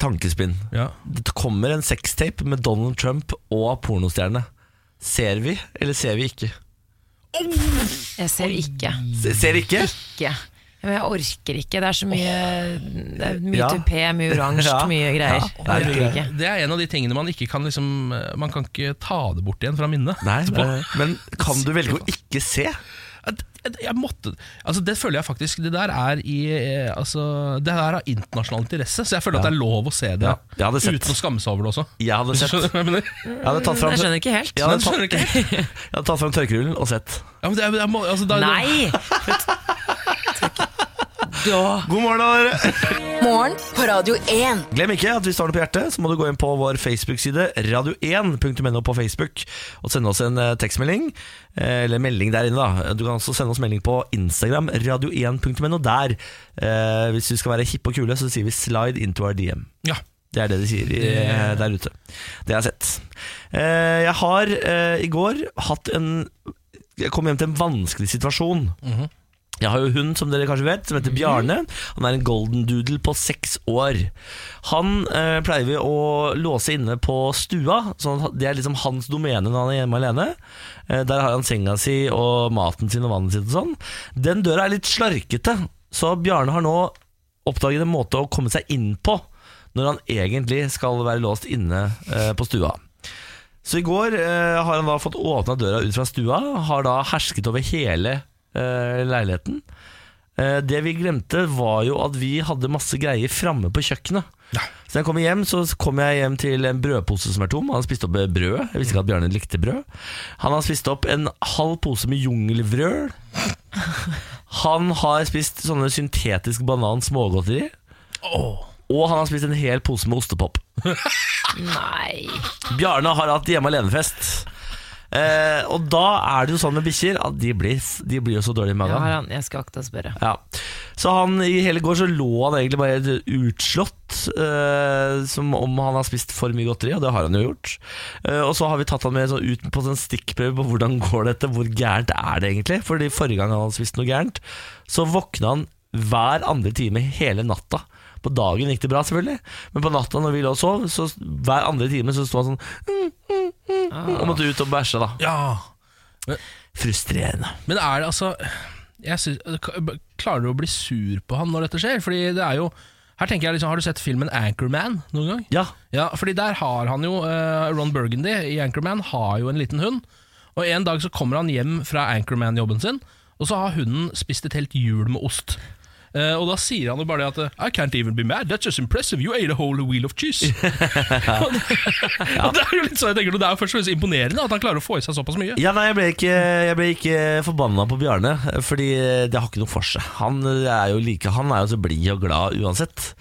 Speaker 1: tankespinn.
Speaker 2: Ja.
Speaker 1: Det kommer en sextape med Donald Trump og pornostjerne. Ser vi, eller ser vi ikke?
Speaker 3: Jeg ser ikke.
Speaker 1: Se- Ser ikke?
Speaker 3: ikke. Men jeg orker ikke. Det er så mye Det er mye
Speaker 1: Ja.
Speaker 3: tupé, mye oransje,
Speaker 1: Ja.
Speaker 3: mye greier.
Speaker 1: Ja.
Speaker 3: Jeg orker ikke.
Speaker 2: Det er en av de tingene man ikke kan liksom Man kan ikke ta det bort igjen fra minnet.
Speaker 1: Nei,
Speaker 2: Etterpå.
Speaker 1: eh, men kan du velge å ikke se?
Speaker 2: At- at Jeg måtte Altså Det føler jeg faktisk Det der er i eh, Altså Det der har internasjonal interesse, så jeg føler at det er lov å se det.
Speaker 1: Ja. Jeg hadde sett.
Speaker 2: Uten å skamme seg over det også.
Speaker 1: Jeg hadde
Speaker 2: Hvis du
Speaker 1: sett
Speaker 2: skjønner hva jeg mener?
Speaker 1: Jeg hadde tatt fram,
Speaker 3: Jeg skjønner ikke helt.
Speaker 1: Jeg hadde
Speaker 2: Nei,
Speaker 1: tatt,
Speaker 2: skjønner ikke.
Speaker 1: jeg hadde tatt fram tørkerullen og sett.
Speaker 2: Ja, men det, er- jeg må, altså, da,
Speaker 3: Nei!
Speaker 1: God morgen, dere!
Speaker 5: Morgen på Radio 1.
Speaker 1: Glem ikke at hvis du har noe på hjertet, så må du gå inn på vår Facebook-side, radio1.no på Facebook, og sende oss en eh, tekstmelding, eh, eller melding der inne, da. Du kan også sende oss melding på Instagram, radio1.no der. Eh, Hvis vi skal være hippe og kule, så sier vi 'slide into our DM'.
Speaker 2: Ja.
Speaker 1: Det er det de sier i, eh, der ute. Det har jeg sett. Eh, jeg har eh, i går hatt en Jeg kom hjem til en vanskelig situasjon. Jeg har jo hund, som dere kanskje vet, som heter Bjarne. Han er en golden doodle på seks år. Han eh, pleier vi å låse inne på stua, så det er liksom hans domene når han er hjemme alene. Eh, der har han senga si og maten sin og vannet sitt og sånn. Den døra er litt slarkete, så Bjarne har nå oppdaget en måte å komme seg inn på når han egentlig skal være låst inne eh, på stua. Så i går eh, har han da fått åpna døra ut fra stua, har da hersket over hele eh, leiligheten. Eh, det vi glemte, var jo at vi hadde masse greier framme på kjøkkenet.
Speaker 2: Ja.
Speaker 1: Så da jeg kom hjem, så kom jeg hjem til en brødpose som er tom. Han har spist opp eh, brød. Jeg visste ikke at Bjarne likte brød. Han har spist opp en halv pose med jungelvrøl. Han har spist sånne syntetisk banan smågodteri. Og han har spist en hel pose med ostepop.
Speaker 3: Nei.
Speaker 1: Bjarne har hatt hjemme alene-fest. Eh, og da er det jo sånn med bikkjer at de blir, de blir jo så dårlige i
Speaker 3: Jeg, har
Speaker 1: magen.
Speaker 3: an- jeg skal akte å spørre.
Speaker 1: Ja. Så han i hele går så lå han egentlig bare helt utslått, eh, som om han har spist for mye godteri, og det har han jo gjort. Eh, og så har vi tatt han med sånn ut på sånn stikkprøve på hvordan går dette, hvor gærent er det egentlig? Fordi forrige gang han hadde spist noe gærent, så våkna han hver andre time hele natta. På dagen gikk det bra, selvfølgelig, men på natta når vi lå og sov, så hver andre time så sto han sånn og måtte ut og bæsje, da.
Speaker 2: ja.
Speaker 1: Frustrerende.
Speaker 2: Men er det altså jeg synes, Klarer du å bli sur på han når dette skjer? Fordi det er jo her tenker jeg liksom, Har du sett filmen Anchorman noen gang?
Speaker 1: Ja.
Speaker 2: Ja, fordi der har han jo eh, Ron Burgundy i Anchorman har jo en liten hund. Og en dag så kommer han hjem fra Anchorman-jobben sin, og så har hunden spist et helt hjul med ost. Eh, og da sier han jo bare det at I can't even be mad, that's just impressive, you ate a whole wheel of cheese. og, det, og det er jo litt sånn jeg tenker, det er jo først og fremst imponerende at han klarer å få i seg såpass mye.
Speaker 1: Ja, nei, jeg ble ikke, jeg ble ikke forbanna på Bjarne, fordi det har ikke noe for seg. Han er jo like, han er jo så blid og glad uansett.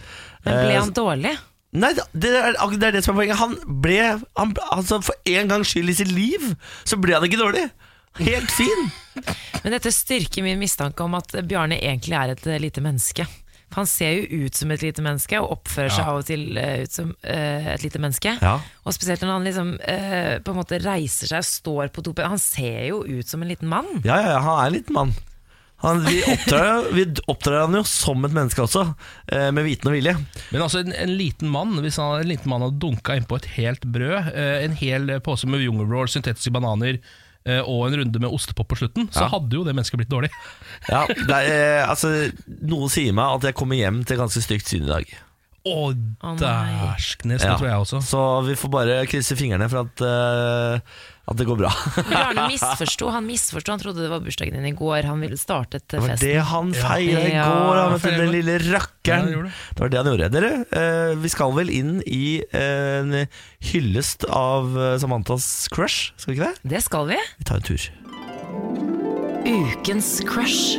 Speaker 3: Men ble
Speaker 1: Eh,
Speaker 3: han dårlig?
Speaker 1: Nei, det er, ak- det er det som er poenget. Han ble han, altså For en gangs skyld i sitt liv, så ble han ikke dårlig. Helt fin.
Speaker 3: Men dette styrker min mistanke om at Bjarne egentlig er et eh, lite menneske. For han ser jo ut som et lite menneske, og oppfører seg av og til eh, ut som eh, et lite menneske.
Speaker 1: Ja.
Speaker 3: Og spesielt når han liksom eh, på en måte reiser seg og står på to ben. Han ser jo ut som en liten mann.
Speaker 1: Ja, ja, ja han er en liten mann. Han, vi oppdrar vi oppdrar han jo som et menneske også, eh, med viten og vilje.
Speaker 2: Men altså en, en liten mann Hvis han, en liten mann hadde dunka innpå et helt brød eh, En hel pose med jungelroll, syntetiske bananer eh, Og en runde med ostepop på slutten Så hadde jo det mennesket blitt dårlig
Speaker 1: Ja, det er, eh, altså, noen sier meg at jeg kommer hjem til ganske stygt syn i dag.
Speaker 2: Å,
Speaker 3: Å, nei.
Speaker 2: dæskenes,
Speaker 1: Ja.
Speaker 2: det tror jeg også
Speaker 1: Så vi får bare krysse fingrene for at, eh, at det går bra.
Speaker 3: Bjarne misforsto. Han misforsto, han trodde det var bursdagen din i går. Han ville startet
Speaker 1: Det
Speaker 3: eh,
Speaker 1: var
Speaker 3: festen.
Speaker 1: det han feira i
Speaker 3: Ja,
Speaker 1: går, han,
Speaker 2: han
Speaker 1: vet
Speaker 2: feiret
Speaker 1: du, den
Speaker 2: i går.
Speaker 1: lille
Speaker 2: Ja,
Speaker 1: rakkeren.
Speaker 2: han gjorde det.
Speaker 1: det var det han gjorde. Dere, eh, vi skal vel inn i eh, en hyllest av eh, Samanthas crush, skal vi ikke det?
Speaker 3: Det skal vi.
Speaker 1: Vi tar en tur.
Speaker 3: Ukens crush.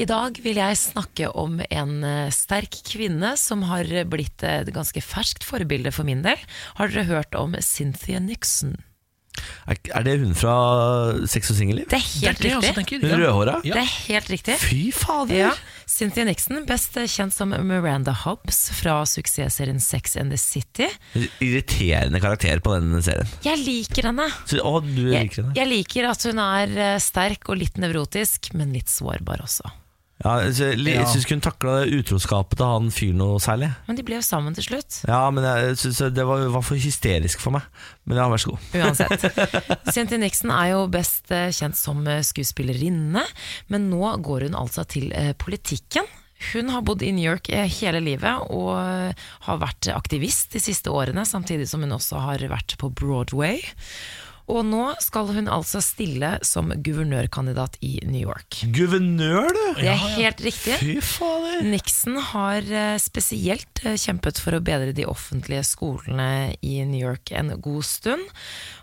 Speaker 3: I dag vil jeg snakke om en eh, sterk kvinne som har blitt eh, et ganske ferskt forbilde for min del. Har dere hørt om Cynthia Nixon?
Speaker 1: Er, er det hun fra Sex og singelliv?
Speaker 3: Det er
Speaker 2: Det er
Speaker 3: helt
Speaker 2: det jeg også
Speaker 3: riktig.
Speaker 2: tenker
Speaker 1: Hun rødhåra?
Speaker 2: ja.
Speaker 3: Det er helt riktig.
Speaker 1: Fy fader!
Speaker 3: Ja. Cynthia Nixon, best eh, kjent som Miranda Hobbs fra suksessserien Sex and the City.
Speaker 1: Irriterende karakter på den serien.
Speaker 3: Jeg liker henne.
Speaker 1: Så, å, du
Speaker 3: Jeg,
Speaker 1: liker henne.
Speaker 3: jeg liker at hun er eh, sterk og litt nevrotisk, men litt sårbar også.
Speaker 1: Ja, så, li-
Speaker 2: Ja.
Speaker 1: Jeg syns ikke hun takla utroskapet til han fyren noe særlig.
Speaker 3: Men de ble jo sammen til slutt.
Speaker 1: Ja, men jeg synes Det var, var for hysterisk for meg. Men ja, vær så god.
Speaker 3: Uansett. Cynthia Nixon er jo best eh, kjent som eh, skuespillerinne, men nå går hun altså til eh, politikken. Hun har bodd i New York eh, hele livet og eh, har vært aktivist de siste årene, samtidig som hun også har vært på Broadway. Og nå skal hun altså stille som guvernørkandidat i New York.
Speaker 1: Guvernør, du!
Speaker 3: Det er helt riktig.
Speaker 1: Fy fader!
Speaker 3: Nixon har eh, spesielt eh, kjempet for å bedre de offentlige skolene i New York en god stund.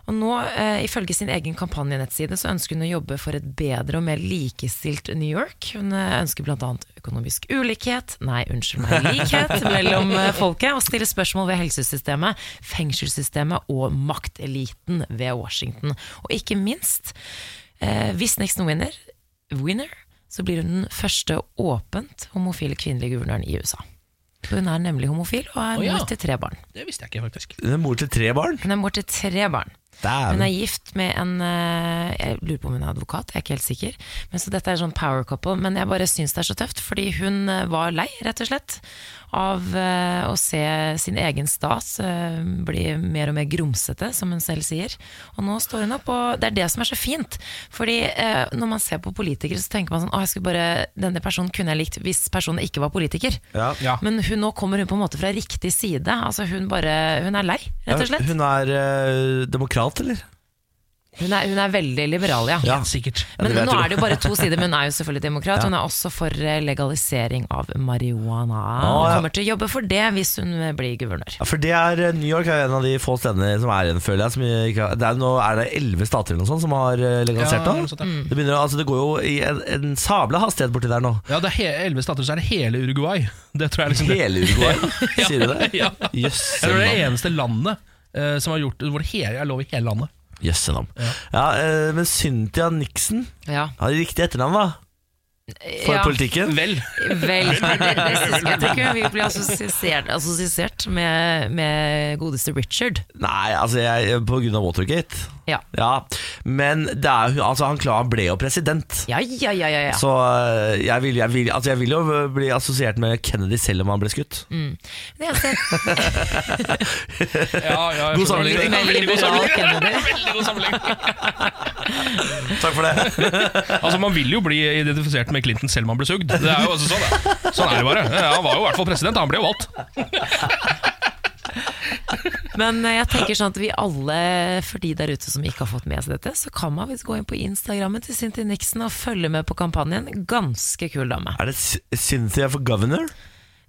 Speaker 3: Og nå, eh, ifølge sin egen kampanjenettside, så ønsker hun å jobbe for et bedre og mer likestilt New York. Hun eh, ønsker bl.a. økonomisk ulikhet, nei, unnskyld meg, likhet mellom eh, folket, og stiller spørsmål ved helsesystemet, fengselssystemet og makteliten ved Washington. Og ikke minst, eh, hvis Nixon vinner winner, så blir hun den første åpent homofile kvinnelige guvernøren i USA. Hun er nemlig homofil og er
Speaker 2: Å, ja.
Speaker 3: mor til tre barn.
Speaker 2: Det visste jeg ikke faktisk
Speaker 1: Hun er mor til tre barn.
Speaker 3: Hun er mor til tre barn. Hun er
Speaker 1: Dæven.
Speaker 3: gift med en eh, Jeg lurer på om hun er advokat, jeg er ikke helt sikker. Men så dette er sånn power couple. Men jeg bare syns det er så tøft, fordi hun eh, var lei, rett og slett, av eh, å se sin egen stas eh, bli mer og mer grumsete, som hun selv sier. Og nå står hun opp, og det er det som er så fint. Fordi eh, når man ser på politikere, så tenker man sånn Å, jeg skulle bare Denne personen kunne jeg likt hvis personen ikke var politiker.
Speaker 1: Ja.
Speaker 2: Ja.
Speaker 3: Men hun, nå kommer hun på en måte fra riktig side. Altså hun bare Hun er lei, rett og slett.
Speaker 1: Hun er eh, demokrat, eller?
Speaker 3: Hun er, hun er veldig liberal, ja.
Speaker 1: Ja.
Speaker 2: Sikkert
Speaker 3: Men
Speaker 1: det vet
Speaker 3: nå
Speaker 1: du.
Speaker 3: er det jo bare to sider, men hun er jo selvfølgelig demokrat. Hun er også for eh, legalisering av marihuana.
Speaker 1: Å,
Speaker 3: Hun
Speaker 1: ja.
Speaker 3: kommer til å jobbe for det hvis hun eh, blir guvernør.
Speaker 1: Ja, for det er, eh, New York er en av de få stedene som er igjen, føler jeg. Som ikke har, det er, nå er det elleve stater eller noe sånt som har eh,
Speaker 2: Ja,
Speaker 1: legalisert
Speaker 2: liksom.
Speaker 1: det.
Speaker 2: noe sånt, ja.
Speaker 1: Det, begynner, å- altså, det går jo i en, en sabla hastighet borti der nå.
Speaker 2: Ja, det er he- 11 stater, så er det hele Uruguay Det tror jeg liksom det
Speaker 1: Hele Uruguay, sier du det?
Speaker 2: Ja. Jeg
Speaker 1: Jøsse
Speaker 2: tror det er det
Speaker 1: navn.
Speaker 2: eneste landet eh, som har gjort Hvor det hele, er lov i hele landet
Speaker 1: Jøsse navn. Ja, eh, men Cynthia Nixon
Speaker 3: Ja.
Speaker 1: har de riktig etternavn, da? For
Speaker 3: Ja,
Speaker 1: politikken?
Speaker 2: Vel
Speaker 3: Vel, for det, det synes jeg tror ikke hun vil bli assosiert, assosiert med, med godeste Richard.
Speaker 1: Nei, altså jeg, på grunn av Watergate.
Speaker 3: Ja.
Speaker 1: Ja, men det er, jo- altså, han Klan ble jo president.
Speaker 3: Ja, ja, ja, ja, ja.
Speaker 1: Så øh, jeg vil, jeg, vil, altså, jeg vil jo øh, bli assosiert med Kennedy selv om han ble skutt.
Speaker 3: Mm. Det eneste jeg-
Speaker 2: Ja, ja, jeg
Speaker 1: God
Speaker 2: skjønner
Speaker 1: sammenligning.
Speaker 2: det.
Speaker 3: Veldig
Speaker 2: Veldig god
Speaker 3: liberal
Speaker 2: sammenligning.
Speaker 3: Kennedy.
Speaker 2: Veldig god sammenligning.
Speaker 1: Takk for det.
Speaker 2: Altså, Man vil jo bli identifisert med Clinton selv om han ble sugd. Det er jo altså sånn, det. sånn er det bare. Ja, han var jo i hvert fall president. Han ble jo valgt.
Speaker 3: Men eh, jeg tenker sånn at vi alle, for de der ute som ikke har fått med seg dette, så kan man visst gå inn på Instagrammen til Cynthia Nixon og følge med på kampanjen. Ganske kul dame.
Speaker 1: Er det Sy- Cynthia for governor?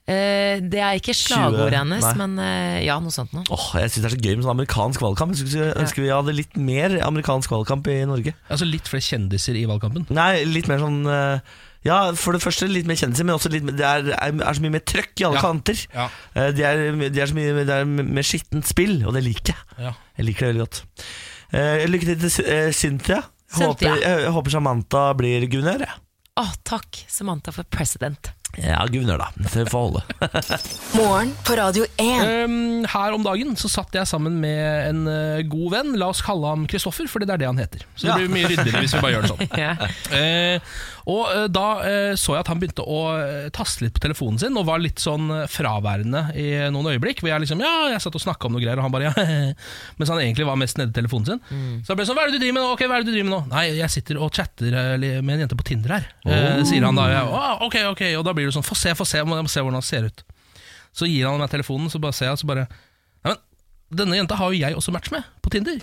Speaker 3: Eh, Det er ikke slagordet
Speaker 1: 20,
Speaker 3: hennes,
Speaker 1: nei.
Speaker 3: men eh, ja, noe sånt noe.
Speaker 1: Åh, Jeg syns det er så gøy med sånn amerikansk valgkamp. Jeg skulle ønske vi hadde litt mer amerikansk valgkamp i Norge.
Speaker 2: Altså Litt flere kjendiser i valgkampen.
Speaker 1: Nei, litt mer sånn eh, Ja, for det første litt mer kjendiser, men også litt mer, det er, er, er så mye mer trøkk i alle
Speaker 2: Ja.
Speaker 1: kanter.
Speaker 2: Ja.
Speaker 1: Eh, Det, er, det er så mye det er mer skittent spill, og det liker jeg.
Speaker 2: Ja.
Speaker 1: Jeg liker det veldig godt. Eh, lykke til til Sy- eh, Cynthia. Jeg
Speaker 3: Cynthia.
Speaker 1: Håper, jeg, håper Samantha blir guvernør. jeg.
Speaker 3: Å, takk, Samantha, for president.
Speaker 1: Ja, guvernør, da. Det får holde.
Speaker 5: Morgen på Radio 1.
Speaker 2: Um, her om dagen så satt jeg sammen med en eh, god venn. La oss kalle ham Kristoffer, for det er det han heter. Så det
Speaker 1: Ja.
Speaker 2: blir mye ryddigere hvis vi bare gjør det sånn.
Speaker 3: Ja.
Speaker 2: Eh, og eh, da eh, så jeg at han begynte å eh, taste litt på telefonen sin, og var litt sånn eh, fraværende i noen øyeblikk. Hvor jeg liksom, ja, jeg satt og snakka om noe greier, og han bare ja. Mens han egentlig var mest nede i telefonen sin. Så jeg ble sånn, hva er det du driver med nå? Ok, hva er det du driver med nå? Nei, jeg sitter og chatter eh, li- med en jente på Tinder her, eh, sier han da. Og jeg, «Å, ok, ok, og da blir det sånn, få se, få se, jeg må jeg må se hvordan han ser ut. Så gir han meg telefonen, så bare ser jeg, så bare Nei, men denne jenta har jo jeg også match med på Tinder.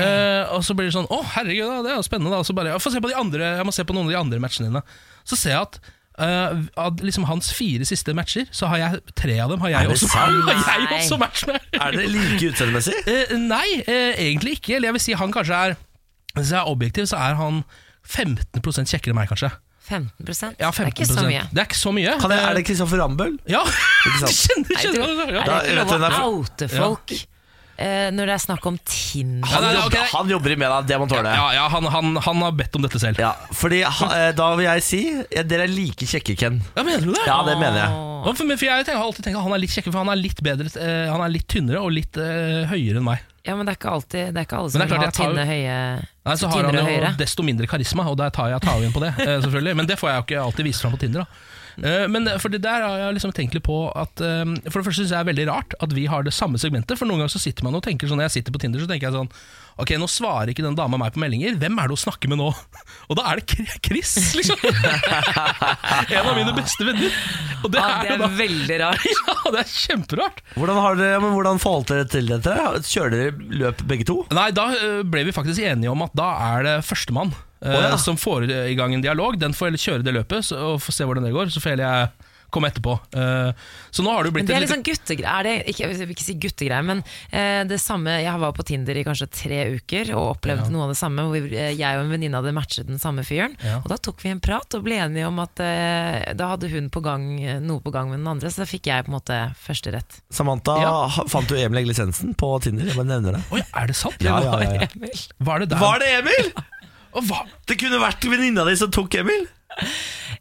Speaker 2: Eh, og så blir det sånn Å, herregud, da, det er jo spennende. Da. Så bare, jeg, får se på de andre, jeg må se på noen av de andre matchene dine. Så ser jeg at eh, av liksom hans fire siste matcher, så har jeg tre av dem har
Speaker 1: Er
Speaker 2: jeg,
Speaker 1: det
Speaker 2: også,
Speaker 1: sant?
Speaker 2: har jeg
Speaker 3: Nei.
Speaker 2: også match med.
Speaker 1: Er det like utseendemessig?
Speaker 2: Eh, nei, eh, egentlig ikke. Eller jeg vil si han kanskje er Hvis jeg er objektiv, så er han 15 kjekkere enn meg, kanskje.
Speaker 3: 15
Speaker 2: Ja,
Speaker 3: Det
Speaker 2: 15%.
Speaker 3: er ikke så mye.
Speaker 2: Det er ikke så mye. Eh,
Speaker 1: Kan jeg, er det Kristoffer Rambøll?
Speaker 2: Ja,
Speaker 1: Ikke
Speaker 2: du
Speaker 1: sant?
Speaker 2: kjenner,
Speaker 3: Nei, du,
Speaker 2: kjenner ja.
Speaker 3: er
Speaker 1: Da
Speaker 3: det ikke lov
Speaker 1: vet du, det
Speaker 3: å
Speaker 1: er for-
Speaker 3: oute folk eh, når det er snakk om Tinder?
Speaker 2: Ja,
Speaker 1: Han,
Speaker 2: nei, nei,
Speaker 1: jobber,
Speaker 2: ok.
Speaker 1: han jobber i media, det må han tåle.
Speaker 2: Ja, ja han, han, han har bedt om dette selv.
Speaker 1: Ja, fordi ha- eh, Da vil jeg si eh, dere er like kjekke, Ken.
Speaker 2: Ja, mener du det?
Speaker 1: Ja, det mener jeg.
Speaker 3: Åh.
Speaker 2: Ja, for, men for jeg tenker, har alltid tenkt at han er litt kjekkere, for han er litt, bedre, eh, han er litt tynnere og litt eh, høyere enn meg.
Speaker 3: Ja, men det er ikke alltid Det er ikke alle som
Speaker 2: Men det er
Speaker 3: vil
Speaker 2: klart,
Speaker 3: ha
Speaker 2: jeg tar jo-
Speaker 3: tynne, høye
Speaker 2: Nei, så har han
Speaker 3: tynnere og
Speaker 2: jo
Speaker 3: høyere.
Speaker 2: desto mindre karisma, og der tar jeg, tar jo inn på det. eh, selvfølgelig Men det får jeg jo ikke alltid vist fram på Tinder. da Eh, men for det der har jeg liksom tenkt litt på at eh, For det første syns jeg det er veldig rart at vi har det samme segmentet. For noen ganger så sitter man og tenker sånn Når jeg sitter på Tinder, så tenker jeg sånn Ok, nå svarer ikke den dama meg på meldinger. Hvem er det hun snakker med nå? Og da er det Kri- Chris, liksom! en av mine beste venner. Og det
Speaker 3: Ja,
Speaker 2: er
Speaker 3: Ah, det
Speaker 2: jo
Speaker 3: er
Speaker 2: da
Speaker 3: veldig rart.
Speaker 2: Ja, det er kjemperart!
Speaker 1: Hvordan, har dere, men hvordan forholdt dere til dette? Kjører dere løp begge to?
Speaker 2: Nei, da ø, ble vi faktisk enige om at da er det førstemann ø,
Speaker 1: Å, ja.
Speaker 2: som får i gang en dialog. Den får heller kjøre det løpet så, og få se hvordan det går, så får heller jeg komme etterpå. Eh, så nå har det jo
Speaker 3: Men
Speaker 2: blitt
Speaker 3: det
Speaker 2: et
Speaker 3: er litt
Speaker 2: lite-
Speaker 3: sånn guttegreier er det, ikke, Jeg vil ikke si guttegreier, men eh, det samme Jeg var på Tinder i kanskje tre uker og opplevde noe av det samme. Hvor eh, jeg og en venninne hadde matchet den samme fyren.
Speaker 2: Ja.
Speaker 3: Og da tok vi en prat og ble enige om at eh, da hadde hun på gang, noe på gang med den andre, så da fikk jeg på en måte førsterett.
Speaker 1: Samantha,
Speaker 2: Ja.
Speaker 1: ha- fant du Emil Egilisensen på Tinder? Jeg bare nevner
Speaker 3: liksom-
Speaker 1: det.
Speaker 2: Oi, er det sant?
Speaker 1: Ja, ja, ja, ja.
Speaker 2: Var det der?
Speaker 1: Var det Emil?
Speaker 2: Å, hva?
Speaker 1: Det kunne vært venninna di som tok Emil.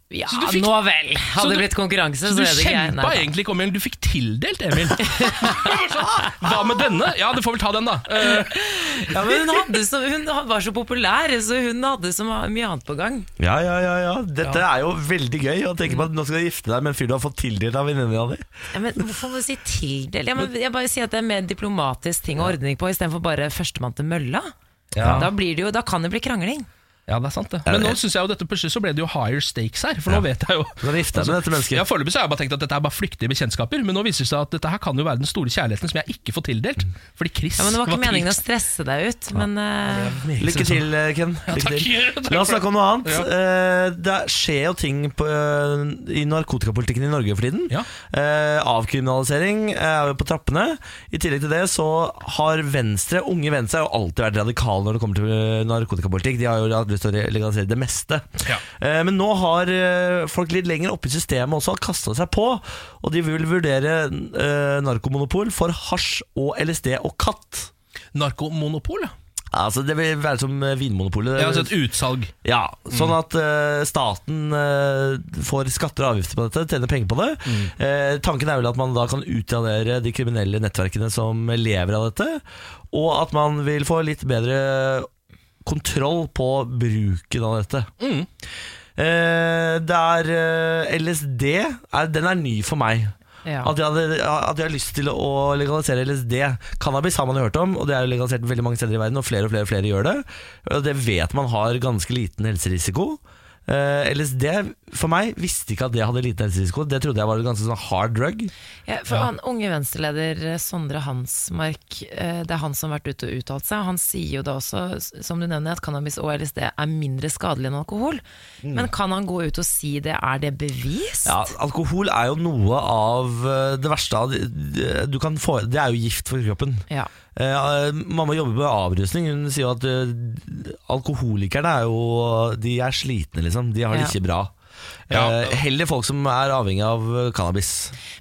Speaker 3: Ja,
Speaker 2: Så du fikk-
Speaker 3: nå vel!
Speaker 2: Så
Speaker 3: Hadde
Speaker 2: du-
Speaker 3: det blitt konkurranse, så,
Speaker 2: Så du
Speaker 3: er det ikke jeg.
Speaker 2: kjempa
Speaker 3: Nei, da.
Speaker 2: egentlig ikke om Emil, du fikk tildelt Emil. Hva med denne? Ja, du får vel ta den, da. Eh,
Speaker 3: Ja, men hun, hadde så, hun var så populær, så hun hadde så mye annet på gang.
Speaker 1: Ja, ja, ja, ja. Dette er jo veldig gøy å tenke på at nå skal du gifte deg med en fyr du har fått tildelt av venninna di.
Speaker 3: Ja, men hvorfor må du si tildel? Ja, men jeg bare sier at det er mer diplomatisk ting å ordne på istedenfor bare førstemann til mølla.
Speaker 2: Ja.
Speaker 3: Da, blir det jo, da kan det bli krangling.
Speaker 2: ja, det er sant, det.
Speaker 1: Eh,
Speaker 2: Men nå syns jeg jo dette plutselig så ble det jo higher stakes her, for nå vet jeg jo
Speaker 1: Du kan gifte deg med dette mennesket.
Speaker 2: Ja, Foreløpig så har jeg bare tenkt at dette er bare flyktige bekjentskaper, men nå viser det seg at dette her kan jo være den store kjærligheten som jeg ikke får tildelt.
Speaker 1: Mm.
Speaker 2: Fordi Chris
Speaker 3: Ja, men Det var ikke meningen å
Speaker 2: tildelt.
Speaker 3: stresse deg ut, men eh,
Speaker 2: Liksom
Speaker 1: Lykke til, Ken. Lykke
Speaker 2: takk.
Speaker 1: til.
Speaker 2: Takk
Speaker 1: La
Speaker 2: for
Speaker 1: oss snakke om noe annet.
Speaker 2: Ja.
Speaker 1: Eh, Det skjer jo ting på, eh, i narkotikapolitikken i Norge for tiden.
Speaker 2: Ja.
Speaker 1: Eh, Avkriminalisering eh, er jo på trappene. I tillegg til det så har Venstre, unge Venstre, har jo alltid vært radikale når det kommer til eh, narkotikapolitikk. De har jo hatt lyst til å legalisere det meste.
Speaker 2: Ja.
Speaker 1: Eh, Men nå har eh, folk litt lenger oppe i systemet også kasta seg på, og de vil vurdere eh, narkomonopol for hasj og LSD og katt.
Speaker 2: sånn Narkomonopol, ja.
Speaker 1: Altså, det vil være som eh, Vinmonopolet.
Speaker 2: Ja, altså et utsalg.
Speaker 1: Ja, Sånn at eh, staten eh, får skatter og avgifter på dette, tjener penger på det. Eh, tanken er vel at man da kan utradere de kriminelle nettverkene som lever av dette. Og at man vil få litt bedre kontroll på bruken av dette. Eh, det er eh, LSD er, Den er ny for meg.
Speaker 3: Ja.
Speaker 1: At, jeg hadde, at jeg har lyst til å legalisere LSD. Cannabis har man jo hørt om, og det er jo legalisert veldig mange steder i verden, og flere og flere, og flere gjør det. Og det vet man har ganske liten helserisiko. Eh, LSD for meg visste ikke at det hadde liten helserisiko. Det trodde jeg var en ganske sånn hard drug.
Speaker 3: Ja, for han, Unge venstreleder eh, Sondre Hansmark, eh, det er han som har vært ute og uttalt seg. Han sier jo da også, s- som du nevner, at cannabis og LSD er mindre skadelig enn alkohol. Men kan han gå ut og si det? Er det bevist?
Speaker 1: Ja, alkohol er jo noe av eh, det verste av de- du kan få Det er jo gift for kroppen.
Speaker 3: Ja.
Speaker 1: Eh, mamma jobber med avrusning. Hun sier jo at eh, alkoholikerne er jo De er slitne, liksom. De har det
Speaker 3: Ja.
Speaker 1: ikke bra.
Speaker 2: Ja.
Speaker 1: Eh, heller folk som er avhengig av eh, cannabis.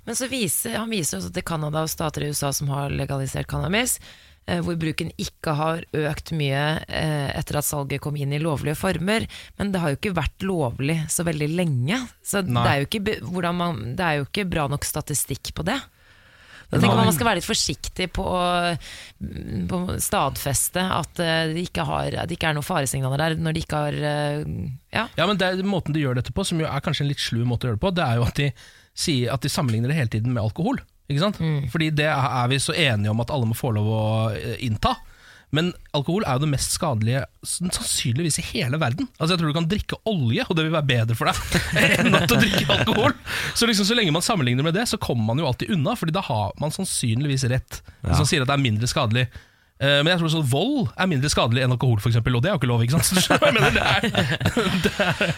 Speaker 3: Men så viser, han viser også til Canada og stater i USA som har legalisert cannabis, eh, hvor bruken ikke har økt mye eh, etter at salget kom inn i lovlige former. Men det har jo ikke vært lovlig så veldig lenge. Så det er, jo ikke, be- hvordan man, det er jo ikke bra nok statistikk på det. Jeg tenker Man skal være litt forsiktig på å på å stadfeste at eh, det ikke, har, det ikke er noen faresignaler der, når de ikke har eh, Ja,
Speaker 2: Ja, men det er Måten de gjør dette på, som jo er kanskje en litt slu måte å gjøre det på, det er jo at de, sier at de sammenligner det hele tiden med alkohol. Ikke sant? Fordi det er vi så enige om at alle må få lov å eh, innta. Men alkohol er jo det mest skadelige sann- sannsynligvis i hele verden. Altså Jeg tror du kan drikke olje, og det vil være bedre for deg enn at du drikker alkohol. Så liksom så lenge man sammenligner med det, så kommer man jo alltid unna, Fordi da har man sannsynligvis rett. Hvis man sier at det er mindre skadelig. Eh, Men jeg tror sånn vold er mindre skadelig enn alkohol, for eksempel, og det er jo ikke lov. ikke sant? Så du skjønner hva jeg mener, det er,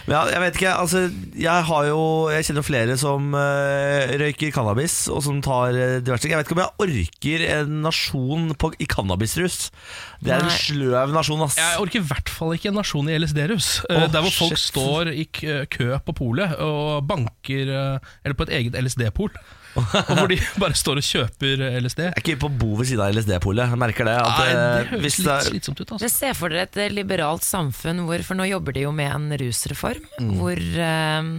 Speaker 1: Men jeg, jeg vet ikke, altså Jeg, har jo, jeg kjenner jo flere som eh, røyker cannabis Og som tar eh, diverse ting Jeg vet ikke om jeg orker en nasjon på, i cannabisrus Det er
Speaker 3: Nei.
Speaker 1: en sløv nasjon ass
Speaker 2: Jeg orker i hvert fall ikke en nasjon i LSD-rus. Eh,
Speaker 1: Åh,
Speaker 2: der hvor folk
Speaker 1: shit.
Speaker 2: står i kø kø på polet og banker eh, Eller på et eget LSD-pol. og hvor de bare står og kjøper eh, LSD.
Speaker 1: Jeg er ikke på bo ved siden av LSD-polet Jeg merker det, at,
Speaker 2: Nei, det
Speaker 1: eh,
Speaker 2: høres
Speaker 1: hvis det
Speaker 2: litt
Speaker 1: er-
Speaker 2: slitsomt ut. altså
Speaker 3: Men se for dere et eh, liberalt samfunn hvor, for nå jobber de jo med en rusreform, hvor, eh,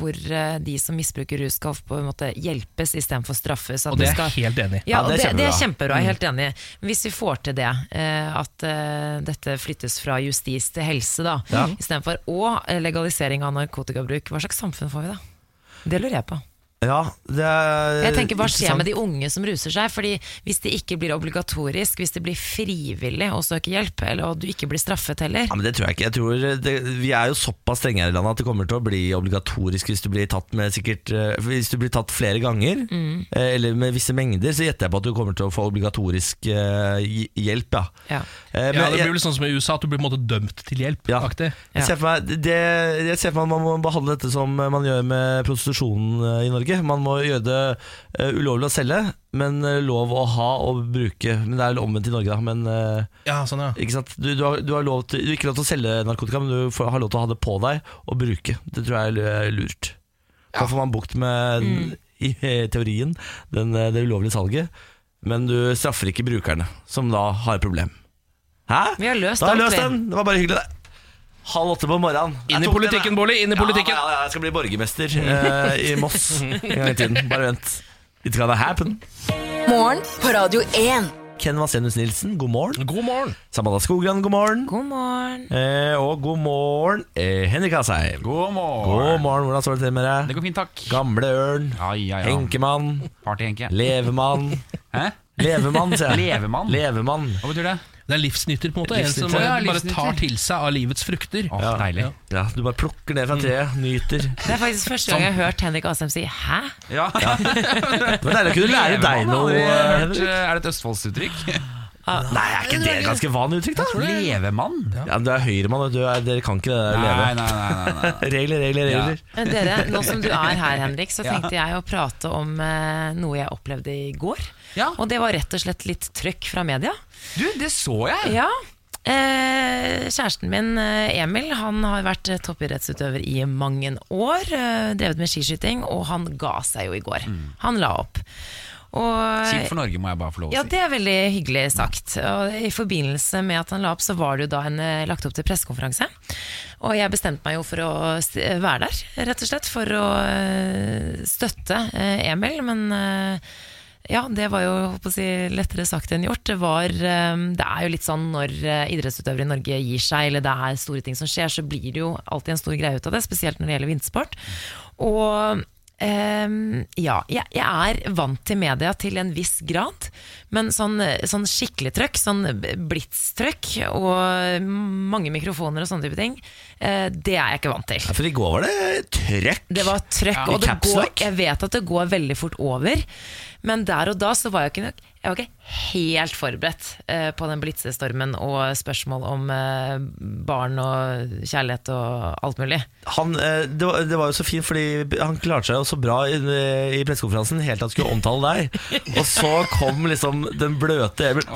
Speaker 3: hvor eh, de som misbruker rus skal på en måte hjelpes istedenfor straffes. at
Speaker 2: Og det
Speaker 3: vi
Speaker 2: er
Speaker 3: skal-
Speaker 2: jeg helt enig i.
Speaker 1: Ja,
Speaker 3: ja, og
Speaker 1: det
Speaker 3: det,
Speaker 1: er
Speaker 3: det er kjempebra, jeg er helt enig. Hvis vi får til det, eh, at eh, dette flyttes fra justis til helse, da,
Speaker 1: Ja.
Speaker 3: istedenfor og eh, legalisering av narkotikabruk, hva slags samfunn får vi da? Det lurer jeg på.
Speaker 1: ja, det er
Speaker 3: Jeg tenker, Hva skjer
Speaker 1: Eh, interessant.
Speaker 3: med de unge som ruser seg? Fordi Hvis det ikke blir obligatorisk, hvis det blir frivillig å søke hjelp, eller og du ikke blir straffet heller
Speaker 1: Ja, men det tror jeg ikke. Jeg tror det, vi er jo såpass strenge her i landet at det kommer til å bli obligatorisk hvis du blir tatt, med sikkert, eh, hvis du blir tatt flere ganger,
Speaker 3: Mm.
Speaker 1: eh, eller med visse mengder, så gjetter jeg på at du kommer til å få obligatorisk eh, hj- hjelp. Ja.
Speaker 3: Ja.
Speaker 1: Eh, men
Speaker 2: Ja, det
Speaker 1: jeg-
Speaker 2: blir vel sånn som i USA, at du blir på en måte dømt til hjelp.
Speaker 1: Ja.
Speaker 2: aktig
Speaker 1: Jeg ser, for meg, det, jeg ser for meg at man må behandle dette som man gjør med prostitusjonen eh, i Norge. Man må gjøre det eh, ulovlig å selge, men eh, lov å ha og bruke. Men Det er omvendt i Norge, da. Men, eh,
Speaker 2: Ja, sånn, ja.
Speaker 1: ikke sant? Du, du, har, du, har lov til, du har ikke lov til å selge narkotika, men du får, har lov til å ha det på deg og bruke. Det tror jeg er lu- er lurt. Da får man bukt med,
Speaker 3: Mm.
Speaker 1: i eh, teorien, den, eh, det ulovlige salget. Men du straffer ikke brukerne, som da har et problem. Hæ?
Speaker 3: Vi har løst
Speaker 1: da har jeg
Speaker 3: alt,
Speaker 1: løst
Speaker 3: vi.
Speaker 1: den! Det var bare hyggelig, det. Halv åtte på morgenen. Jeg
Speaker 2: Inn i
Speaker 1: tok den,
Speaker 2: politikken,
Speaker 1: jeg.
Speaker 2: Bårli! Inn i politikken!
Speaker 1: Ja, ja, ja, jeg skal bli borgermester eh, i Moss en gang i tiden. Bare vent. It's gonna happen.
Speaker 5: Morgen på Radio 1.
Speaker 1: Ken Vasenus Nilsen, god morgen.
Speaker 2: God morgen!
Speaker 1: Samanda Skogran, god morgen.
Speaker 3: God morgen.
Speaker 1: Eh, og god morgen, eh, Henrik Asheim.
Speaker 8: God morgen.
Speaker 1: God morgen, hvordan står det til med
Speaker 8: Det
Speaker 1: deg?
Speaker 8: går fint, takk.
Speaker 1: Gamle ørn,
Speaker 8: Ja, ja, ja.
Speaker 1: henkemann,
Speaker 8: Party, Henke.
Speaker 1: levemann.
Speaker 8: Hæ?
Speaker 1: Levemann, sier jeg.
Speaker 8: Levemann?
Speaker 1: Levemann.
Speaker 8: Hva betyr det?
Speaker 2: Det er livsnytter, på en måte. En som
Speaker 1: Livsnytter.
Speaker 8: Å, ja,
Speaker 2: bare
Speaker 8: livsnytter.
Speaker 2: tar til seg av livets frukter.
Speaker 8: Åh, deilig.
Speaker 1: Ja, du bare plukker
Speaker 8: Mm.
Speaker 1: ned fra treet, nyter.
Speaker 3: Det er faktisk første gang jeg har hørt Henrik Asheim si 'hæ?'
Speaker 8: Ja.
Speaker 1: Det var deilig å kunne lære deg noe,
Speaker 8: Levemann, har
Speaker 1: eh,
Speaker 8: dere hørt,
Speaker 1: Henrik.
Speaker 8: eh, Er det et Østfoldsuttrykk?
Speaker 3: Ah,
Speaker 1: Nei, er ikke det et ganske vanlig uttrykk, da?
Speaker 8: Levemann?
Speaker 1: Ja, men du er høyremann, vet du. Er- Dere kan ikke det der
Speaker 8: Nei, nei,
Speaker 1: leve.
Speaker 8: nei. nei, nei.
Speaker 1: Regler, regler,
Speaker 8: Ja.
Speaker 1: regler.
Speaker 3: Men dere, nå som du er her, Henrik, så tenkte jeg å prate om eh, noe jeg opplevde i går.
Speaker 8: Ja.
Speaker 3: Og det var rett og slett litt trøkk fra media.
Speaker 8: Du, det så jeg!
Speaker 3: Ja. Eh, kjæresten min eh, Emil han har vært eh, toppidrettsutøver i mange år. Eh, drevet med skiskyting, og han ga seg jo i går. Han la opp.
Speaker 8: Kjipt
Speaker 3: Og
Speaker 8: for Norge, må jeg bare få lov å
Speaker 3: ja,
Speaker 8: si.
Speaker 3: det er veldig hyggelig sagt. Og I forbindelse med at han la opp, så var det jo da en eh, lagt opp til pressekonferanse. Og jeg bestemte meg jo for å s- eh, være der, rett og slett, for å eh, støtte eh, Emil. Men eh, ja, det var jo holdt på å si, lettere sagt enn gjort. Det, var, eh, det er jo litt sånn når eh, idrettsutøvere i Norge gir seg, eller det er store ting som skjer, så blir det jo alltid en stor greie ut av det, spesielt når det gjelder vintersport. Og Ehm, ja, jeg, jeg er vant til media til en viss grad, men sånn, sånn skikkelig trøkk, sånn blitztrøkk og mange mikrofoner og sånne type ting, eh, det er jeg ikke vant til.
Speaker 1: For i går var det trøkk.
Speaker 3: Det var trøkk,
Speaker 1: Ja.
Speaker 3: og det
Speaker 1: Caps
Speaker 3: går,
Speaker 1: lock?
Speaker 3: jeg vet at det går veldig fort over, men der og da så var jeg ikke, nok- jeg var ikke helt forberedt eh, på den blitzestormen og spørsmål om eh, barn og kjærlighet og alt mulig.
Speaker 1: han, eh, det, var, det var jo så fint, fordi han klarte seg jo så bra i, i pressekonferansen helt til han skulle omtale deg. Og så kom liksom den bløte Emil.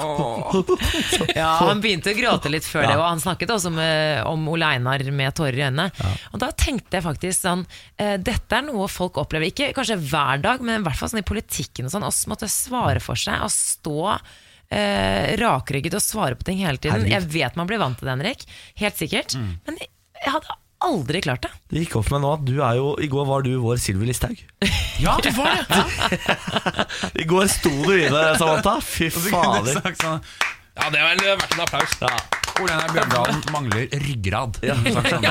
Speaker 3: Ja, han begynte å gråte litt før det, og han snakket også med, om Ole Einar med tårer i øynene. Og da tenkte jeg faktisk sånn eh, Dette er noe folk opplever, ikke kanskje hver dag, men i hvert fall sånn i politikken og sånn. Oss måtte svare for seg og stå eh, rakrygget og svare på ting hele tiden. Jeg vet man blir vant til det, Henrik. Helt sikkert. Men jeg, jeg hadde aldri klart det.
Speaker 1: Det gikk opp for meg nå at du er jo I går var du vår Sylvi Listhaug.
Speaker 8: Ja, du får det!
Speaker 1: I går sto du i det, Samantha. Fy
Speaker 8: Og så kunne du
Speaker 1: fader.
Speaker 8: sagt sånn
Speaker 2: Ja, det er vel verdt en applaus.
Speaker 1: Ja.
Speaker 8: Ole Einar Bjørndalen mangler ryggrad. Sagt sånn.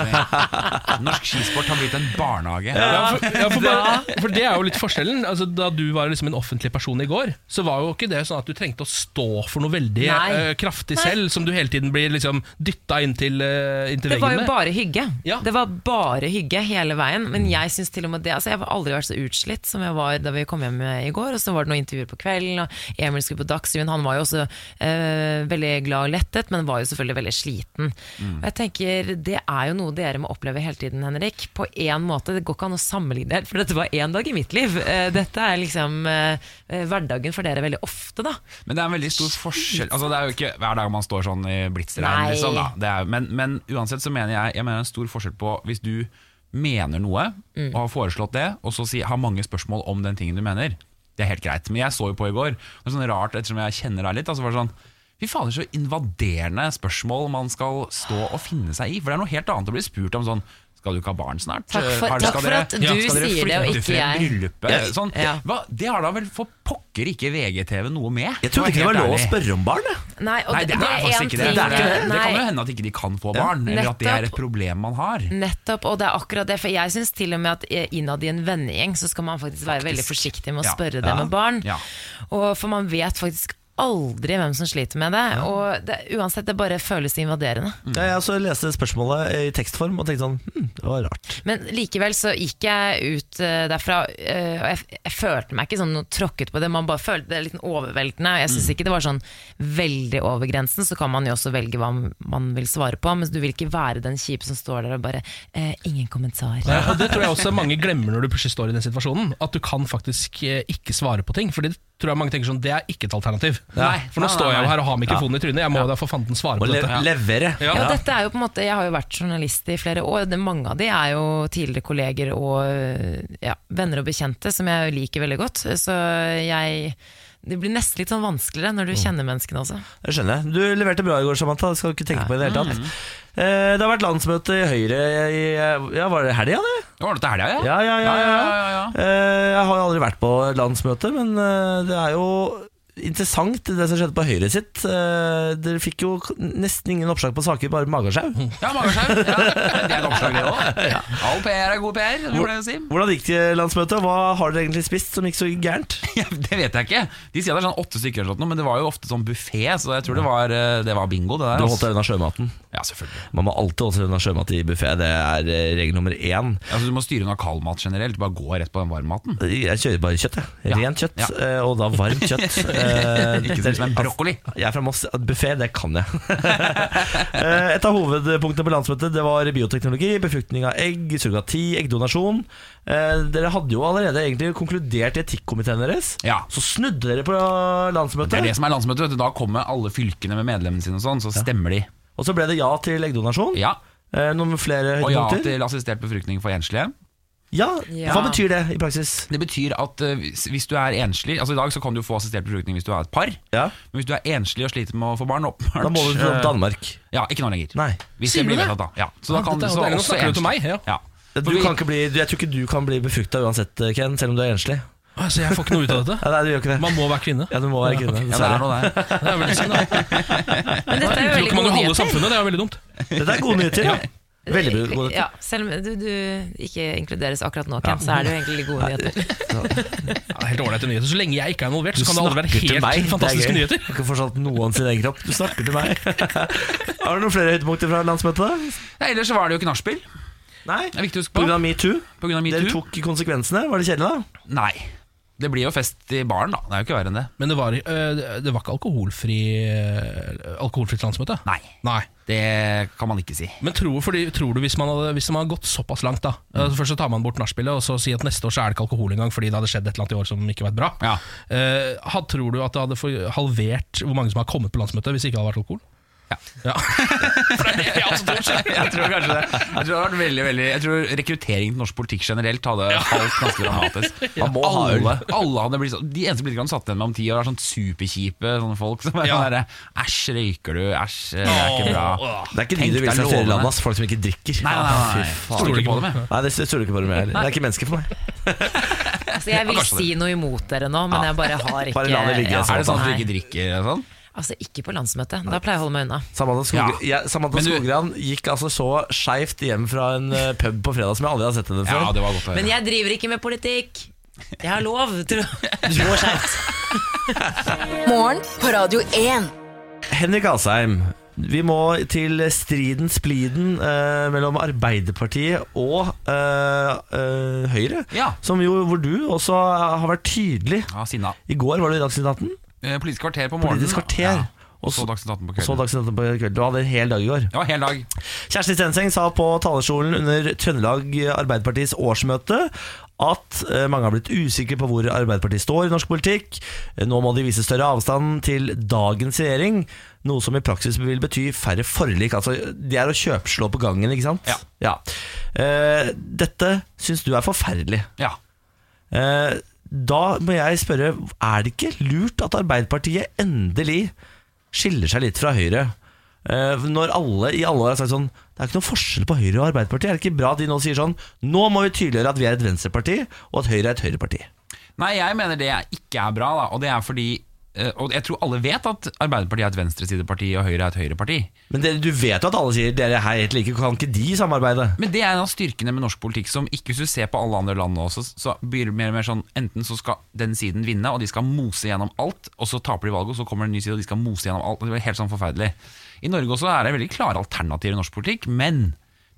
Speaker 8: Norsk skisport har blitt en barnehage.
Speaker 2: Ja, for, ja, for, bare, for det er jo litt forskjellen. Altså, da du var liksom en offentlig person i går, så var jo ikke det sånn at du trengte å stå for noe veldig
Speaker 3: Nei.
Speaker 2: eh, kraftig selv, som du hele tiden blir liksom dytta inntil, uh, inntil
Speaker 3: Det var
Speaker 2: veggen
Speaker 3: jo
Speaker 2: med.
Speaker 3: bare hygge.
Speaker 2: Ja.
Speaker 3: Det var bare hygge hele veien. Men jeg synes til og med det altså Jeg har aldri vært så utslitt som jeg var da vi kom hjem eh, i går. Og så var det noen intervjuer på kvelden, og Emil skulle på Dagsrevyen. Han var jo også eh, veldig glad og lettet, men var jo selvfølgelig veldig sliten.
Speaker 8: Mm.
Speaker 3: Og jeg tenker, Det er jo noe dere må oppleve hele tiden, Henrik. På én måte. Det går ikke an å sammenligne helt, for dette var én dag i mitt liv. Eh, dette er liksom eh, hverdagen for dere veldig ofte, da.
Speaker 8: Men det er en veldig stor forskjell Altså Det er jo ikke hver dag man står sånn i blitsregn.
Speaker 3: Nei.
Speaker 8: Liksom, da. Det er, men, men uansett så mener jeg Jeg mener det er en stor forskjell på hvis du mener noe
Speaker 3: Mm.
Speaker 8: og har foreslått det, og så si, har mange spørsmål om den tingen du mener. Det er helt greit. Men jeg så jo på i går. Det er sånn rart ettersom jeg kjenner deg litt. Altså var det sånn Fy fader, så invaderende spørsmål man skal stå og finne seg i. For det er noe helt annet å bli spurt om sånn Skal du ikke ha barn snart?
Speaker 3: Takk for-
Speaker 8: Har-
Speaker 3: takk
Speaker 8: skal
Speaker 3: for
Speaker 8: dere-
Speaker 3: at du sier det, og
Speaker 8: flytte
Speaker 3: ikke
Speaker 8: frem
Speaker 3: jeg.
Speaker 8: Bryllupet, sånn.
Speaker 3: Ja.
Speaker 8: Hva, det har da vel for pokker ikke VGTV noe med?
Speaker 1: Jeg trodde ikke det var
Speaker 8: helt
Speaker 1: lov å
Speaker 8: ærlig.
Speaker 1: spørre om barn. jeg.
Speaker 3: Nei, og
Speaker 8: Nei, det er faktisk
Speaker 3: en
Speaker 8: ikke
Speaker 3: ting-
Speaker 8: det. Det, er ikke det. det
Speaker 3: Nei.
Speaker 8: kan jo hende at ikke de kan få barn, eller at det er et
Speaker 3: Nettopp.
Speaker 8: problem man har.
Speaker 3: Nettopp, og det er akkurat det. For jeg syns til og med at eh, innad i en vennegjeng så skal man faktisk være veldig forsiktig med å
Speaker 8: Ja.
Speaker 3: spørre
Speaker 8: Ja.
Speaker 3: det med barn.
Speaker 8: Ja.
Speaker 3: Og for man vet faktisk aldri hvem som sliter med det. Og det, uansett, det bare føles invaderende.
Speaker 8: Mm.
Speaker 1: Ja, jeg også leste spørsmålet i tekstform og tenkte sånn hm, Det var rart.
Speaker 3: Men likevel så gikk jeg ut eh, derfra, eh, og jeg, jeg følte meg ikke sånn noe tråkket på det. Man bare følte det litt sånn overveldende. Jeg
Speaker 8: Mm.
Speaker 3: syns ikke det var sånn veldig over grensen. Så kan man jo også velge hva man vil svare på, men du vil ikke være den kjipe som står der og bare eh, Ingen kommentar.
Speaker 2: Ja, og Det tror jeg også mange glemmer når du plutselig står i den situasjonen. At du kan faktisk eh, ikke svare på ting. Fordi det tror jeg mange tenker sånn, det er ikke et alternativ.
Speaker 8: Nei.
Speaker 2: For nå
Speaker 8: Nei,
Speaker 2: står
Speaker 8: nei,
Speaker 2: jeg jo
Speaker 8: nei.
Speaker 2: her og har mikrofonen i trynet. Jeg må da for fanden svare
Speaker 1: Å
Speaker 2: på
Speaker 1: le
Speaker 2: dette.
Speaker 1: levere.
Speaker 2: Ja.
Speaker 3: Ja, dette er jo på en måte, Jeg har jo vært journalist i flere år. Det, mange av de er jo tidligere kolleger og eh, ja, venner og bekjente, som jeg liker veldig godt. Så jeg Det blir nesten litt sånn vanskeligere når du kjenner menneskene også.
Speaker 1: Det skjønner jeg. Du leverte bra i går, Samantha. Det skal du ikke tenke på i det hele
Speaker 8: Mm.
Speaker 1: tatt. Eh, Det har vært landsmøte i Høyre i Ja, var det helga, det?
Speaker 8: Det var noe til helga,
Speaker 1: Ja, ja, ja. ja, ja. Eh, Jeg har jo aldri vært på et landsmøte, men eh, det er jo interessant det som skjedde på Høyre sitt. Eh, Dere fikk jo k- nesten ingen oppslag på saker, bare magesjau.
Speaker 8: Ja, Magerskjær. Ja, det er et oppslag, det òg. All PR er god PR, som vi pleier å si.
Speaker 1: Hvordan gikk det landsmøtet? Hva har dere egentlig spist som gikk så gærent?
Speaker 8: Ja, det vet jeg ikke. De sier det er sånn åtte stykker, eller sånt, men det var jo ofte sånn buffé, så jeg tror det var, eh, det var bingo. Det der,
Speaker 1: Du
Speaker 8: altså.
Speaker 1: holdt deg unna sjømaten.
Speaker 8: Ja, selvfølgelig
Speaker 1: Man må alltid holde seg unna sjømat i buffé, det er eh, regel nummer én.
Speaker 8: altså, Du må styre unna kald mat generelt. Bare gå rett på den varmmaten.
Speaker 1: Jeg kjører bare kjøtt, jeg.
Speaker 8: Ja.
Speaker 1: Rent kjøtt,
Speaker 8: Ja.
Speaker 1: eh, og da varmt kjøtt. Eh,
Speaker 8: Ikke sånn som en brokkoli.
Speaker 1: Jeg er fra Moss. Buffé, det kan jeg. Eh, Et av hovedpunktene på landsmøtet Det var bioteknologi, befruktning av egg, surrogati, eggdonasjon. Eh, Dere hadde jo allerede egentlig konkludert i etikkomiteen deres.
Speaker 8: Ja.
Speaker 1: Så snudde dere på landsmøtet,
Speaker 8: Det er det som er landsmøtet. vet du. Da kommer alle fylkene med medlemmene sine, og sånn, så stemmer de.
Speaker 1: og så ble det ja til eggdonasjon.
Speaker 8: Ja,
Speaker 1: Eh, Noen flere
Speaker 8: Og ja
Speaker 1: høydepunkter?
Speaker 8: til assistert befruktning for enslige.
Speaker 1: Ja,
Speaker 3: Ja.
Speaker 1: Hva betyr det i praksis?
Speaker 8: Det betyr at eh, hvis, hvis du er enslig Altså I dag så kan du få assistert befruktning hvis du er et par.
Speaker 1: Ja.
Speaker 8: Men hvis du er enslig og sliter med å få barn oppmalt
Speaker 1: Da må du til
Speaker 8: eh,
Speaker 1: Danmark.
Speaker 8: Ja, ikke nå lenger.
Speaker 1: Nei.
Speaker 8: Hvis
Speaker 2: Sier
Speaker 8: jeg
Speaker 2: du
Speaker 8: blir
Speaker 2: det?
Speaker 8: vedtatt, da. Ja. Så
Speaker 2: Ja,
Speaker 8: da kan
Speaker 2: dette er
Speaker 8: så
Speaker 2: jo deilig. Nå
Speaker 8: også
Speaker 2: snakker du til
Speaker 8: enslig.
Speaker 2: meg, ja.
Speaker 1: Du
Speaker 8: For vi-
Speaker 1: kan ikke bli, jeg tror ikke du kan bli befrukta uansett, Ken, selv om du er enslig.
Speaker 2: Altså, jeg får ikke noe ut av
Speaker 1: Ja,
Speaker 2: dette.
Speaker 1: nei, du gjør ikke det.
Speaker 2: Man må være kvinne.
Speaker 1: Ja, du må være kvinne.
Speaker 8: Ja, det er
Speaker 1: Dessverre.
Speaker 8: noe der.
Speaker 2: Det er veldig synd, da.
Speaker 3: Men dette er jo
Speaker 2: Utelukker
Speaker 3: veldig
Speaker 2: man
Speaker 3: gode
Speaker 2: jo halve
Speaker 3: nyheter.
Speaker 2: samfunnet, det er jo veldig dumt.
Speaker 1: Dette er gode nyheter. Ja. Veldig gode nyheter.
Speaker 3: Ja, selv om du, du ikke inkluderes akkurat nå, Ken, så er det jo egentlig gode nyheter.
Speaker 2: Ja, det er helt ålreite nyheter. Så lenge jeg ikke er involvert,
Speaker 1: Du
Speaker 2: så kan det aldri
Speaker 1: snakker til
Speaker 2: være
Speaker 1: meg, det
Speaker 2: helt
Speaker 1: er
Speaker 2: fantastiske
Speaker 1: gøy.
Speaker 2: nyheter.
Speaker 1: Jeg har ikke forstått noe om sin egen kropp. Du snakker til meg. Har du noen flere høydepunkter fra landsmøtet?
Speaker 8: Nei, ellers så var det jo ikke nachspiel. Det
Speaker 1: Nei.
Speaker 8: er viktig å huske
Speaker 1: På
Speaker 8: på.
Speaker 1: grunn av metoo?
Speaker 8: På grunn av
Speaker 1: Dere
Speaker 8: metoo?
Speaker 1: tok konsekvensene? Var det kjedelig, da?
Speaker 8: Nei. Det blir jo fest i baren, da. Det er jo ikke verre enn det.
Speaker 2: Men det var, øh, det var ikke alkoholfri, øh, alkoholfritt landsmøte?
Speaker 8: Nei.
Speaker 2: Nei.
Speaker 8: Det kan man ikke si.
Speaker 2: Men tror, fordi, tror du hvis man, hadde, hvis man hadde gått såpass langt da
Speaker 1: Mm.
Speaker 2: altså Først så tar man bort nachspielet og så sier at neste år så er det ikke alkohol engang fordi det hadde skjedd et eller annet i år som ikke var bra.
Speaker 8: Ja.
Speaker 2: Eh, had, tror du at det hadde for- halvert hvor mange som har kommet på landsmøtet hvis det ikke hadde vært alkohol?
Speaker 8: Ja.
Speaker 2: For det er det jeg også tror skjer.
Speaker 8: altså, Jeg tror kanskje det. Jeg tror, det har vært veldig, veldig, jeg tror rekrutteringen til norsk politikk generelt hadde falt ganske dramatisk.
Speaker 1: Man må ha øl.
Speaker 8: alle, alle hadde blitt sånn De eneste politikerne satt igjen med om ti år, er sånn superkjipe sånne folk som er
Speaker 2: Ja.
Speaker 8: sånn derre Æsj, røyker du? Æsj, det er ikke bra.
Speaker 1: Det er ikke
Speaker 8: Ah, Tenk
Speaker 1: de du
Speaker 8: deg
Speaker 1: vil seg stjele
Speaker 8: lovene.
Speaker 1: landet, ass. Folk som ikke drikker. Ah,
Speaker 8: Nei, nei, nei, nei.
Speaker 1: Fy faen.
Speaker 8: Stoler ikke på
Speaker 2: det.
Speaker 8: dem, jeg.
Speaker 1: Nei, det stoler ikke på dem heller. Det er ikke mennesker for meg.
Speaker 3: Altså, jeg vil
Speaker 8: kanskje det.
Speaker 3: si noe imot dere nå, men jeg bare har ikke
Speaker 1: Bare la det ligge,
Speaker 3: Ja,
Speaker 1: altså.
Speaker 8: Er det sånn at du
Speaker 3: nei.
Speaker 8: ikke drikker? og Sånn?
Speaker 3: Altså, ikke på landsmøtet. Da pleier jeg å holde meg unna.
Speaker 1: Samantha, Skog
Speaker 8: Ja.
Speaker 1: jeg- Samantha
Speaker 8: Men du-
Speaker 1: Skogran gikk altså så skeivt hjem fra en eh, pub på fredag som jeg aldri har sett henne
Speaker 8: Ja,
Speaker 1: før.
Speaker 8: det var godt å
Speaker 3: Men
Speaker 8: høre.
Speaker 3: jeg driver ikke med politikk. Jeg har lov til å gå skjevt.
Speaker 5: Morgen på Radio 1.
Speaker 1: Henrik Asheim, vi må til striden, spliden eh, mellom Arbeiderpartiet og eh, eh, Høyre.
Speaker 8: Ja.
Speaker 1: Som jo, hvor du også har vært tydelig.
Speaker 8: Ja, Sinna.
Speaker 1: I går var du i Dagsnytt 18.
Speaker 8: Eh, Politisk kvarter på morgenen.
Speaker 1: Politisk kvarter.
Speaker 8: Ja. Og så
Speaker 1: så-
Speaker 8: Dagsnytt 18 på
Speaker 1: og så
Speaker 8: kvelden.
Speaker 1: Dagsnytt 18 på kvelden. Du hadde en hel dag i går.
Speaker 8: Ja, hel dag.
Speaker 1: Kjersti Stenseng sa på talerstolen under Trøndelag Arbeiderpartis årsmøte at eh, mange har blitt usikre på hvor Arbeiderpartiet står i norsk politikk. Eh, Nå må de vise større avstand til dagens regjering, noe som i praksis vil bety færre forlik. Altså, det er å kjøpslå på gangen, ikke sant?
Speaker 8: Ja.
Speaker 1: Eh, Dette syns du er forferdelig.
Speaker 8: Ja.
Speaker 1: Eh, Da må jeg spørre, er det ikke lurt at Arbeiderpartiet endelig skiller seg litt fra Høyre? Eh, Når alle i alle år har sagt sånn Det er ikke noen forskjell på Høyre og Arbeiderpartiet. Er det ikke bra at de nå sier sånn Nå må vi tydeliggjøre at vi er et venstreparti, og at Høyre er et høyreparti.
Speaker 8: Nei, jeg mener det ikke er bra, da. Og det er fordi eh, og jeg tror alle vet at Arbeiderpartiet er et venstresideparti og Høyre er et høyreparti.
Speaker 1: Men det, du vet jo at alle sier dere er helt like, kan ikke de samarbeide?
Speaker 8: Men det er en av styrkene med norsk politikk som ikke hvis du ser på alle andre land nå også, så blir det mer og mer sånn enten så skal den siden vinne, og de skal mose gjennom alt, og så taper de valget, og så kommer det en ny side, og de skal mose gjennom alt. og Det blir helt sånn forferdelig. I Norge også er det veldig klare alternativer i norsk politikk, men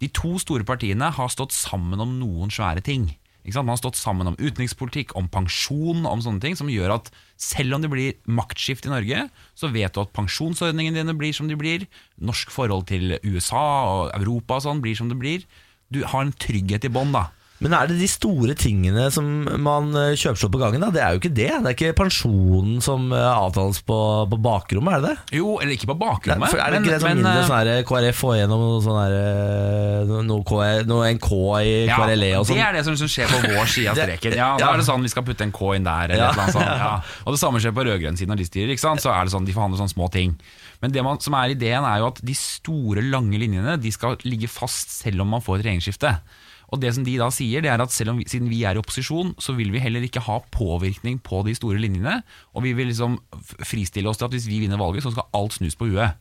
Speaker 8: de to store partiene har stått sammen om noen svære ting. Ikke sant? Man har stått sammen om utenrikspolitikk, om pensjon, om sånne ting, som gjør at selv om det blir maktskift i Norge, så vet du at pensjonsordningene dine blir som de blir, norsk forhold til USA og Europa og sånn blir som det blir. Du har en trygghet i bånn, da.
Speaker 1: Men er det de store tingene som man eh, kjøpslår på gangen? da? Det er jo ikke det. Det er ikke pensjonen som eh, avtales på, på bakrommet, er det det?
Speaker 8: Jo, eller ikke på
Speaker 1: Nei,
Speaker 8: bakrommet,
Speaker 1: for er det ikke det sånn
Speaker 8: men,
Speaker 1: mindre
Speaker 8: eh,
Speaker 1: sånn her KrF får gjennom noe sånn her eh, no- noe, K- noe en K i KRLE og sånn?
Speaker 8: Det er det som, som skjer på vår side av
Speaker 1: Det-
Speaker 8: streken. Ja, da
Speaker 1: ja.
Speaker 8: er det sånn vi skal putte en K inn der, eller
Speaker 1: Ja.
Speaker 8: et eller annet sånt. Ja. Og det samme skjer på rød-grønn siden når de styrer, ikke sant? så er det sånn de forhandler sånne små ting. Men det man, som er ideen er jo at de store, lange linjene de skal ligge fast selv om man får et regjeringsskifte. Og det som de da sier, det er at selv om vi, siden vi er i opposisjon, så vil vi heller ikke ha påvirkning på de store linjene, og vi vil liksom f- fristille oss til at hvis vi vinner valget, så skal alt snus på huet.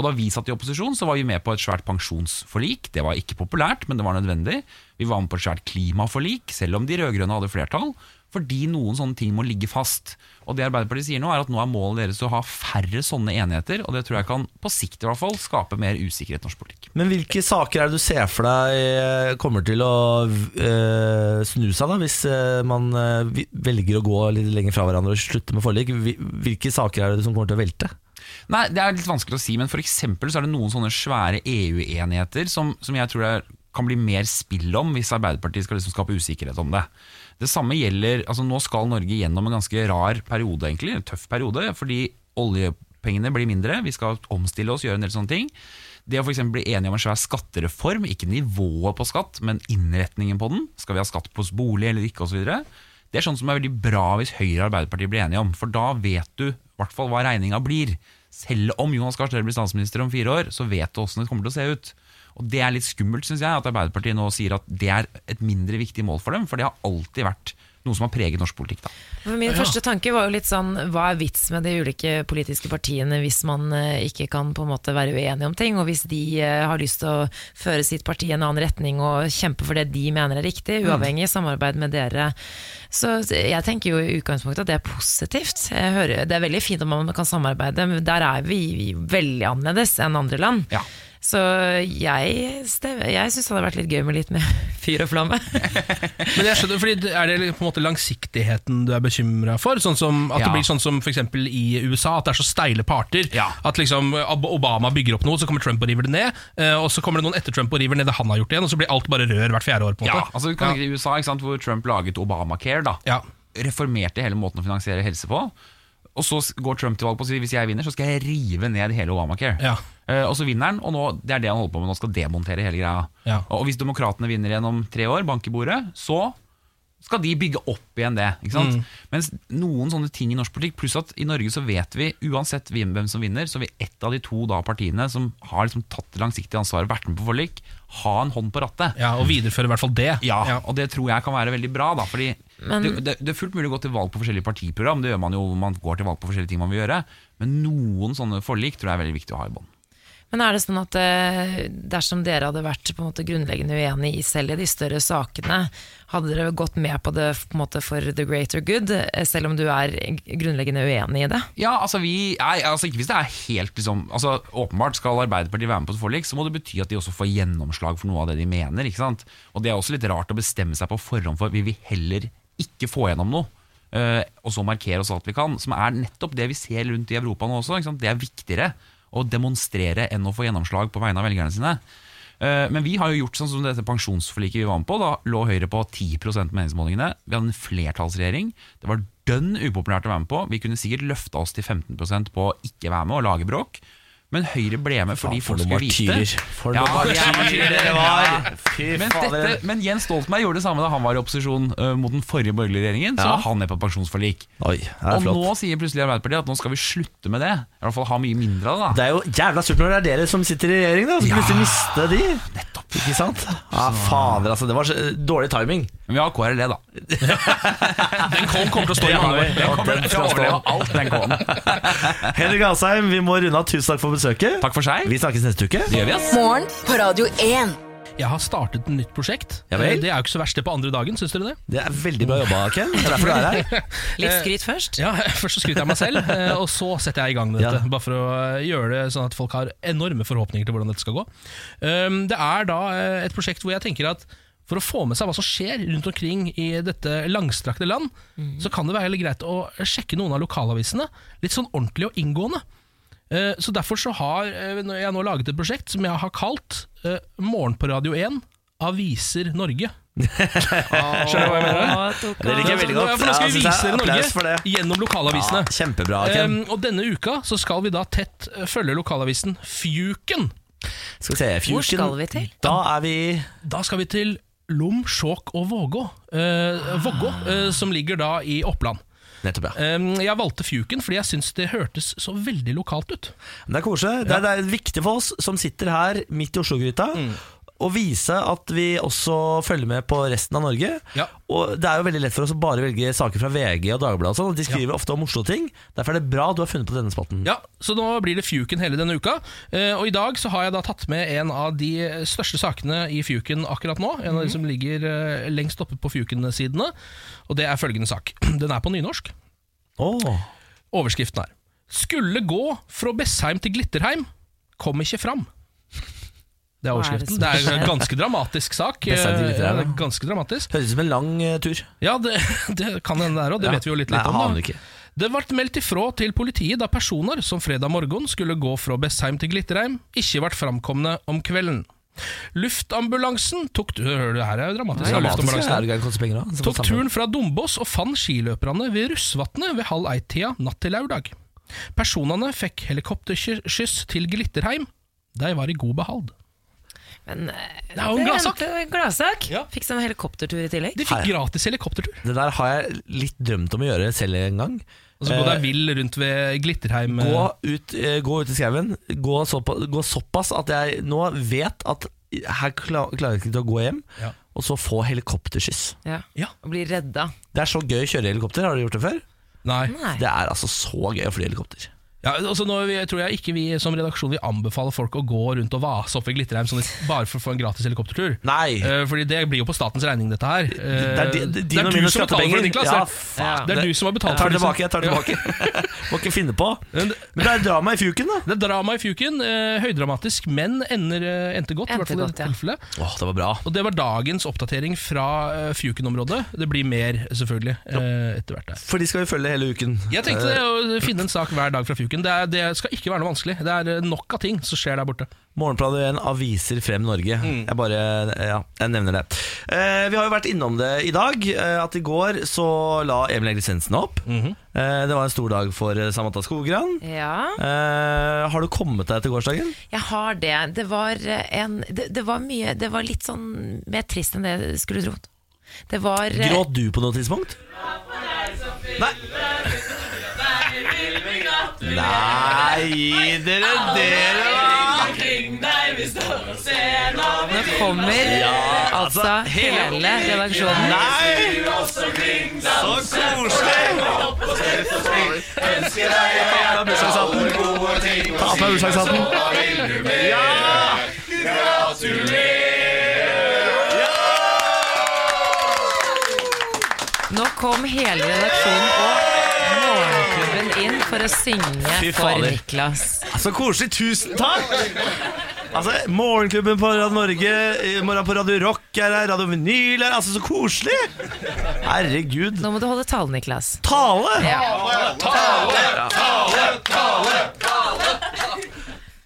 Speaker 8: Og da vi satt i opposisjon, så var vi med på et svært pensjonsforlik. Det var ikke populært, men det var nødvendig. Vi var med på et svært klimaforlik, selv om de rød-grønne hadde flertall. Fordi noen sånne ting må ligge fast. Og det Arbeiderpartiet sier nå, er at nå er målet deres å ha færre sånne enigheter. Og det tror jeg kan, på sikt i hvert fall, skape mer usikkerhet i norsk politikk.
Speaker 1: Men hvilke saker er det du ser for deg eh, kommer til å eh, snu seg, da, hvis eh, man eh, vi- velger å gå litt lenger fra hverandre og slutte med forlik? Hvil- Hvilke saker er det som kommer til å velte?
Speaker 8: Nei, det er litt vanskelig å si, men for eksempel så er det noen sånne svære EU-enigheter som, som jeg tror det er- kan bli mer spill om hvis Arbeiderpartiet skal liksom skape usikkerhet om det. Det samme gjelder, altså nå skal Norge gjennom en ganske rar periode egentlig, en tøff periode, fordi oljepengene blir mindre, vi skal omstille oss, gjøre en del sånne ting. Det å for eksempel bli enige om en svær skattereform, ikke nivået på skatt, men innretningen på den, skal vi ha skatt på bolig eller ikke, osv. Det er sånn som er veldig bra hvis Høyre og Arbeiderpartiet blir enige om, for da vet du i hvert fall hva regninga blir. Selv om Jonas Gahr Støre blir statsminister om fire år, så vet du åssen det kommer til å se ut. Og Det er litt skummelt, syns jeg, at Arbeiderpartiet nå sier at det er et mindre viktig mål for dem, for det har alltid vært noe som har preget norsk politikk. da.
Speaker 3: For min første tanke var jo litt sånn Hva er vits med de ulike politiske partiene hvis man eh, ikke kan på en måte være uenig om ting, og hvis de eh, har lyst til å føre sitt parti i en annen retning og kjempe for det de mener er riktig, uavhengig i samarbeid med dere. Så jeg tenker jo i utgangspunktet at det er positivt. Jeg hører, det er veldig fint om man kan samarbeide, men der er vi, vi veldig annerledes enn andre land.
Speaker 8: Ja.
Speaker 3: Så jeg, stem- jeg syns det hadde vært litt gøy med litt mer fyr og flamme.
Speaker 2: Men jeg skjønner, fordi det- Er det på en måte langsiktigheten du er bekymra for? Sånn som, at
Speaker 8: Ja.
Speaker 2: det blir sånn som for eksempel i USA, at det er så steile parter.
Speaker 8: Ja.
Speaker 2: At liksom Ob- Obama bygger opp noe, så kommer Trump og river det ned. eh, Og så kommer det noen etter Trump og river ned det han har gjort igjen, og så blir alt bare rør hvert fjerde år. på en
Speaker 8: Ja,
Speaker 2: måte
Speaker 8: altså du kan tenke deg I USA, ikke sant, hvor Trump laget Obamacare, da,
Speaker 2: Ja.
Speaker 8: reformerte hele måten å finansiere helse på. Og så s- går Trump til valg på å si hvis jeg vinner, så skal jeg rive ned hele Obamacare.
Speaker 2: Ja.
Speaker 8: Eh, og så vinner han, og nå, det er det han holder på med. Nå skal demontere hele greia.
Speaker 2: Ja.
Speaker 8: Og hvis demokratene vinner igjen om tre år, bank i bordet, så skal de bygge opp igjen det. Ikke sant?
Speaker 2: Mm.
Speaker 8: Mens noen sånne ting i norsk politikk, pluss at i Norge så vet vi, uansett hvem hvem som vinner, så vil ett av de to da partiene som har liksom tatt det langsiktige ansvaret, vært med på forlik, ha en hånd på rattet.
Speaker 2: ja, Og videreføre i hvert fall det.
Speaker 8: Ja, og det tror jeg kan være veldig bra. Da, fordi
Speaker 3: Men-
Speaker 8: det, det, det er fullt mulig å gå til valg på forskjellige partiprogram. Det gjør man jo, man går til valg på forskjellige ting man vil gjøre. Men noen sånne forlik tror jeg er veldig viktig å ha i bånd.
Speaker 3: Men er det sånn at eh, dersom dere hadde vært på en måte grunnleggende uenig i selv i de større sakene, hadde dere gått med på det på en måte for the greater good, eh, selv om du er grunnleggende uenig i det?
Speaker 8: Ja, altså vi nei, altså Ikke hvis det er helt liksom altså Åpenbart skal Arbeiderpartiet være med på et forlik, så må det bety at de også får gjennomslag for noe av det de mener. ikke sant? Og det er også litt rart å bestemme seg på forhånd for vi vil heller ikke få gjennom noe. eh, og så markere oss alt vi kan, som er nettopp det vi ser rundt i Europa nå også. ikke sant? Det er viktigere å demonstrere enn å få gjennomslag på vegne av velgerne sine. Eh, Men vi har jo gjort sånn som dette pensjonsforliket vi var med på. Da lå Høyre på 10 på meningsmålingene. Vi hadde en flertallsregjering. Det var dønn upopulært å være med på. Vi kunne sikkert løfta oss til 15 på å ikke være med og lage bråk. Men Høyre ble med fordi folk skulle vite
Speaker 1: For
Speaker 8: Ja,
Speaker 1: noen
Speaker 8: vi er
Speaker 1: martyrer dere var! Fy
Speaker 8: men,
Speaker 1: fader.
Speaker 8: dette, men Jens Stoltenberg gjorde det samme da han var i opposisjon eh, mot den forrige borgerlige regjeringen. Så
Speaker 1: Ja.
Speaker 8: var han med på et pensjonsforlik.
Speaker 1: Oi, det er
Speaker 8: Og
Speaker 1: flott.
Speaker 8: nå sier plutselig Arbeiderpartiet at nå skal vi slutte med det. I hvert fall ha mye mindre av det. da
Speaker 1: Det er jo jævla surt når det er dere som sitter i regjering, da. Så
Speaker 8: Ja.
Speaker 1: plutselig miste de. Nettopp. Ikke sant? Ja, fader, altså. Det var så, dårlig timing.
Speaker 8: Men vi har KRLE, E, da.
Speaker 2: Den kom, kommer til å stå i mange år.
Speaker 8: Den kommer til å overleve alt, den K-en.
Speaker 1: Henrik Asheim, vi må runde av. Tusen takk for besøket.
Speaker 8: Takk for seg.
Speaker 1: Vi snakkes neste uke.
Speaker 8: Det gjør vi, ass.
Speaker 5: Morgen på Radio 1.
Speaker 2: Jeg har startet et nytt prosjekt. Eh,
Speaker 1: Ja vel.
Speaker 2: Det er jo ikke så verst det på andre dagen, syns dere det?
Speaker 1: Det er veldig bra jobba, Ken. Det er derfor du er her.
Speaker 3: Litt skryt først.
Speaker 2: Eh, Ja, Først så skryter jeg meg selv, eh, og så setter jeg i gang med dette.
Speaker 1: Ja.
Speaker 2: Bare for å eh, gjøre det sånn at folk har enorme forhåpninger til hvordan dette skal gå. Um, Det er da eh, et prosjekt hvor jeg tenker at for å få med seg hva som skjer rundt omkring i dette langstrakte land, så kan det være litt greit å sjekke noen av lokalavisene litt sånn ordentlig og inngående. Eh, Så derfor så har eh, nå- jeg nå laget et prosjekt som jeg har kalt eh, Morgen på Radio 1 Aviser Norge. Skjønner du hva jeg mener?
Speaker 3: Å, tok
Speaker 1: Det liker jeg
Speaker 3: av.
Speaker 1: veldig
Speaker 2: Nå-
Speaker 1: godt.
Speaker 2: for Nå skal vi
Speaker 1: Ja, synes
Speaker 2: vise
Speaker 1: jeg-
Speaker 2: dere
Speaker 1: applaus for
Speaker 2: Norge
Speaker 1: det.
Speaker 2: gjennom lokalavisene.
Speaker 1: Ja, kjempebra, Ken.
Speaker 2: Um, og denne uka så skal vi da tett eh, følge lokalavisen Fjuken.
Speaker 1: Skal vi se,
Speaker 3: Hvor
Speaker 1: Fusion.
Speaker 3: skal vi til?
Speaker 1: Da er vi
Speaker 2: Da skal vi til Lom, Skjåk og Vågå. Eh, Vågå, eh, som ligger da i Oppland.
Speaker 1: Nettopp, ja.
Speaker 2: Um, jeg valgte Fjuken fordi jeg syns det hørtes så veldig lokalt ut.
Speaker 1: Men Det er koselig. Det, er- det er viktig for oss som sitter her midt i Oslo-gryta,
Speaker 2: Mm.
Speaker 1: å vise at vi også følger med på resten av Norge.
Speaker 2: Ja.
Speaker 1: Og Det er jo veldig lett for oss å bare velge saker fra VG og Dagbladet. og sånn, og De skriver ofte om Oslo-ting. Derfor er det bra du har funnet på denne spotten.
Speaker 2: Ja, Så nå blir det Fjuken hele denne uka. Eh, og i dag så har jeg da tatt med en av de største sakene i Fjuken akkurat nå. En av de som ligger eh, lengst oppe på Fjuken-sidene. Og det er følgende sak. Den er på nynorsk.
Speaker 1: Åh.
Speaker 2: Overskriften er Skulle gå fra Bessheim til Glitterheim Kom ikke fram Det er
Speaker 3: Hva er det
Speaker 2: overskriften
Speaker 3: som
Speaker 2: Det er en ganske dramatisk sak
Speaker 1: Bessheim til Glitterheim,
Speaker 2: Eh,
Speaker 1: ja.
Speaker 2: Ganske dramatisk
Speaker 1: Høres ut som en lang eh, tur.
Speaker 2: Ja, det, det kan hende der også Det
Speaker 1: Ja.
Speaker 2: vet vi jo litt,
Speaker 1: Nei,
Speaker 2: litt om
Speaker 1: jeg
Speaker 2: da.
Speaker 1: aner ikke.
Speaker 2: Det ble meldt ifra til politiet da personer som fredag morgen skulle gå fra Bessheim til Glitterheim, ikke ble framkomne om kvelden. Luftambulansen tok tu- Hør, det her er jo dramatisk. da,
Speaker 1: Dramatisk,
Speaker 2: luftambulansen.
Speaker 1: ja. Er det ikke koste penger, da? Så får
Speaker 2: Tok
Speaker 1: samfunnet-
Speaker 2: turen fra Dombås og fant skiløperne ved Russvatnet ved halv ett-tida natt til lørdag. Personene fikk helikopterskyss til Glitterheim, De var i god behald.
Speaker 3: Men eh,
Speaker 2: Det er jo en gladsak.
Speaker 3: det er en gladsak.
Speaker 2: Ja.
Speaker 3: Fikk seg en helikoptertur i tillegg.
Speaker 2: De fikk gratis helikoptertur.
Speaker 1: Det der har jeg litt drømt om å gjøre selv en gang.
Speaker 2: Og så Altså, gå deg vill rundt ved Glitterheim. eh,
Speaker 1: Eh, Gå ut, eh, gå ut i skauen. Gå, såpa- gå såpass at jeg nå vet at her kla- klarer jeg ikke til å gå hjem.
Speaker 2: Ja.
Speaker 1: Og så få helikopterskyss.
Speaker 3: Ja.
Speaker 2: Ja.
Speaker 3: Og bli redda.
Speaker 1: Det er så gøy å kjøre helikopter. Har du gjort det før?
Speaker 2: eh, Nei.
Speaker 3: Nei.
Speaker 1: Det er altså så gøy å fly helikopter.
Speaker 2: Ja, altså nå vi, tror jeg ikke vi som redaksjon vil anbefale folk å gå rundt og vase opp ved Glitterheim sånn, bare for å få en gratis helikoptertur.
Speaker 1: Nei.
Speaker 2: Eh, fordi det blir jo på statens regning, dette her. Eh,
Speaker 1: Det er di- di- dine og
Speaker 2: du
Speaker 1: mine
Speaker 2: som betaler for det,
Speaker 1: skattepenger.
Speaker 2: Niklas.
Speaker 1: Ja,
Speaker 2: det.
Speaker 1: faen.
Speaker 2: det liksom. er du som har betalt
Speaker 1: Jeg tar det
Speaker 2: for
Speaker 1: tilbake. jeg tar det tilbake Må ikke finne på.
Speaker 2: Men-
Speaker 1: Men det er drama i fjuken, da.
Speaker 2: Det er drama i fjuken. eh, høydramatisk, men ender, eh, endte godt. i
Speaker 3: Endte
Speaker 2: hvert fall i
Speaker 3: godt,
Speaker 2: dette
Speaker 3: ja.
Speaker 2: tilfellet.
Speaker 1: Åh, det var bra.
Speaker 2: Og det var dagens oppdatering fra eh, Fjuken-området. Det blir mer, selvfølgelig, eh, etter hvert. der
Speaker 1: For de skal vi følge hele uken.
Speaker 2: Jeg tenkte
Speaker 9: Eh.
Speaker 2: det, å finne en sak hver dag fra Fjuken. Det, er, det skal ikke være noe vanskelig. Det er eh, nok av ting som skjer der borte.
Speaker 1: Morgenbladet igjen, aviser frem Norge. Jeg bare, ja, jeg nevner det. Eh, vi har jo vært innom det i dag. Eh, at i går så la Emil Egrisensen opp. eh, det var en stor dag for eh, Samantha Skogran.
Speaker 3: Ja,
Speaker 1: Eh, har du kommet deg til gårsdagen?
Speaker 3: jeg har det. Det var, eh, en, det, det var mye Det var litt sånn mer trist enn det jeg skulle trodd. Det var eh,
Speaker 1: Gråt du på noe tidspunkt? Nei. Nei, dere, dere da!
Speaker 3: Nå kommer altså hele redaksjonen.
Speaker 1: Nei! Så koselig! Ta av deg bursdagshatten. Ta av deg bursdagshatten.
Speaker 3: Nå kom hele redaksjonen og Morgenklubben inn for å synge
Speaker 1: Fy
Speaker 3: for
Speaker 1: fader.
Speaker 3: Niklas.
Speaker 1: Så Altså, koselig, tusen takk! Altså, Morgenklubben på Radio Norge, i morgen på Radio Rock er her, Radio Vinyl er altså så koselig! Herregud.
Speaker 3: Nå må du holde talen, Niklas.
Speaker 1: Tale!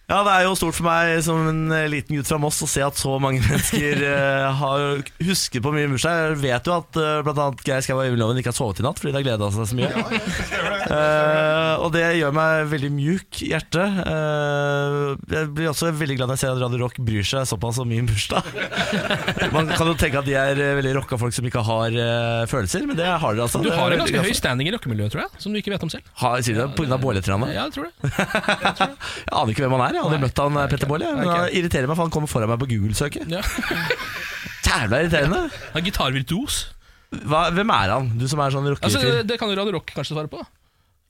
Speaker 1: Ja, det er jo stort for meg som en eh, liten gutt fra Moss å se at så mange mennesker eh, har husket på min bursdag. Jeg vet jo at eh, blant annet Geir Skau og Øyvind Loven ikke har sovet i natt fordi de har gleda seg så mye. Eh, og det gjør meg veldig mjuk i hjertet. Eh, jeg blir også veldig glad når jeg ser at Radio Rock bryr seg såpass om min bursdag. Man kan jo tenke at de er eh, veldig rocka folk som ikke har eh, følelser, men det har dere altså.
Speaker 2: Du
Speaker 1: Det er
Speaker 2: har en
Speaker 1: jeg veldig
Speaker 2: ganske
Speaker 1: glad
Speaker 2: høy
Speaker 1: for.
Speaker 2: standing i rockemiljøet, tror jeg, som du ikke vet om selv.
Speaker 1: Har- Sier du det pga. båletranene?
Speaker 2: Ja, jeg tror det.
Speaker 1: Jeg aner ikke hvem han er. Jeg har aldri
Speaker 2: Nei.
Speaker 1: møtt han
Speaker 2: Nei,
Speaker 1: eh, Petter
Speaker 2: ikke.
Speaker 1: Bolle.
Speaker 2: Nei,
Speaker 1: Men
Speaker 2: ikke.
Speaker 1: han irriterer meg, for han kommer foran meg på Google-søket.
Speaker 2: Ja. Han
Speaker 1: Jævla irriterende.
Speaker 2: er gitarvirtuos.
Speaker 1: Hva, hvem er han, du som er sånn
Speaker 2: Altså,
Speaker 1: rockefyr?
Speaker 2: det kan jo Radio Rock kanskje svare på.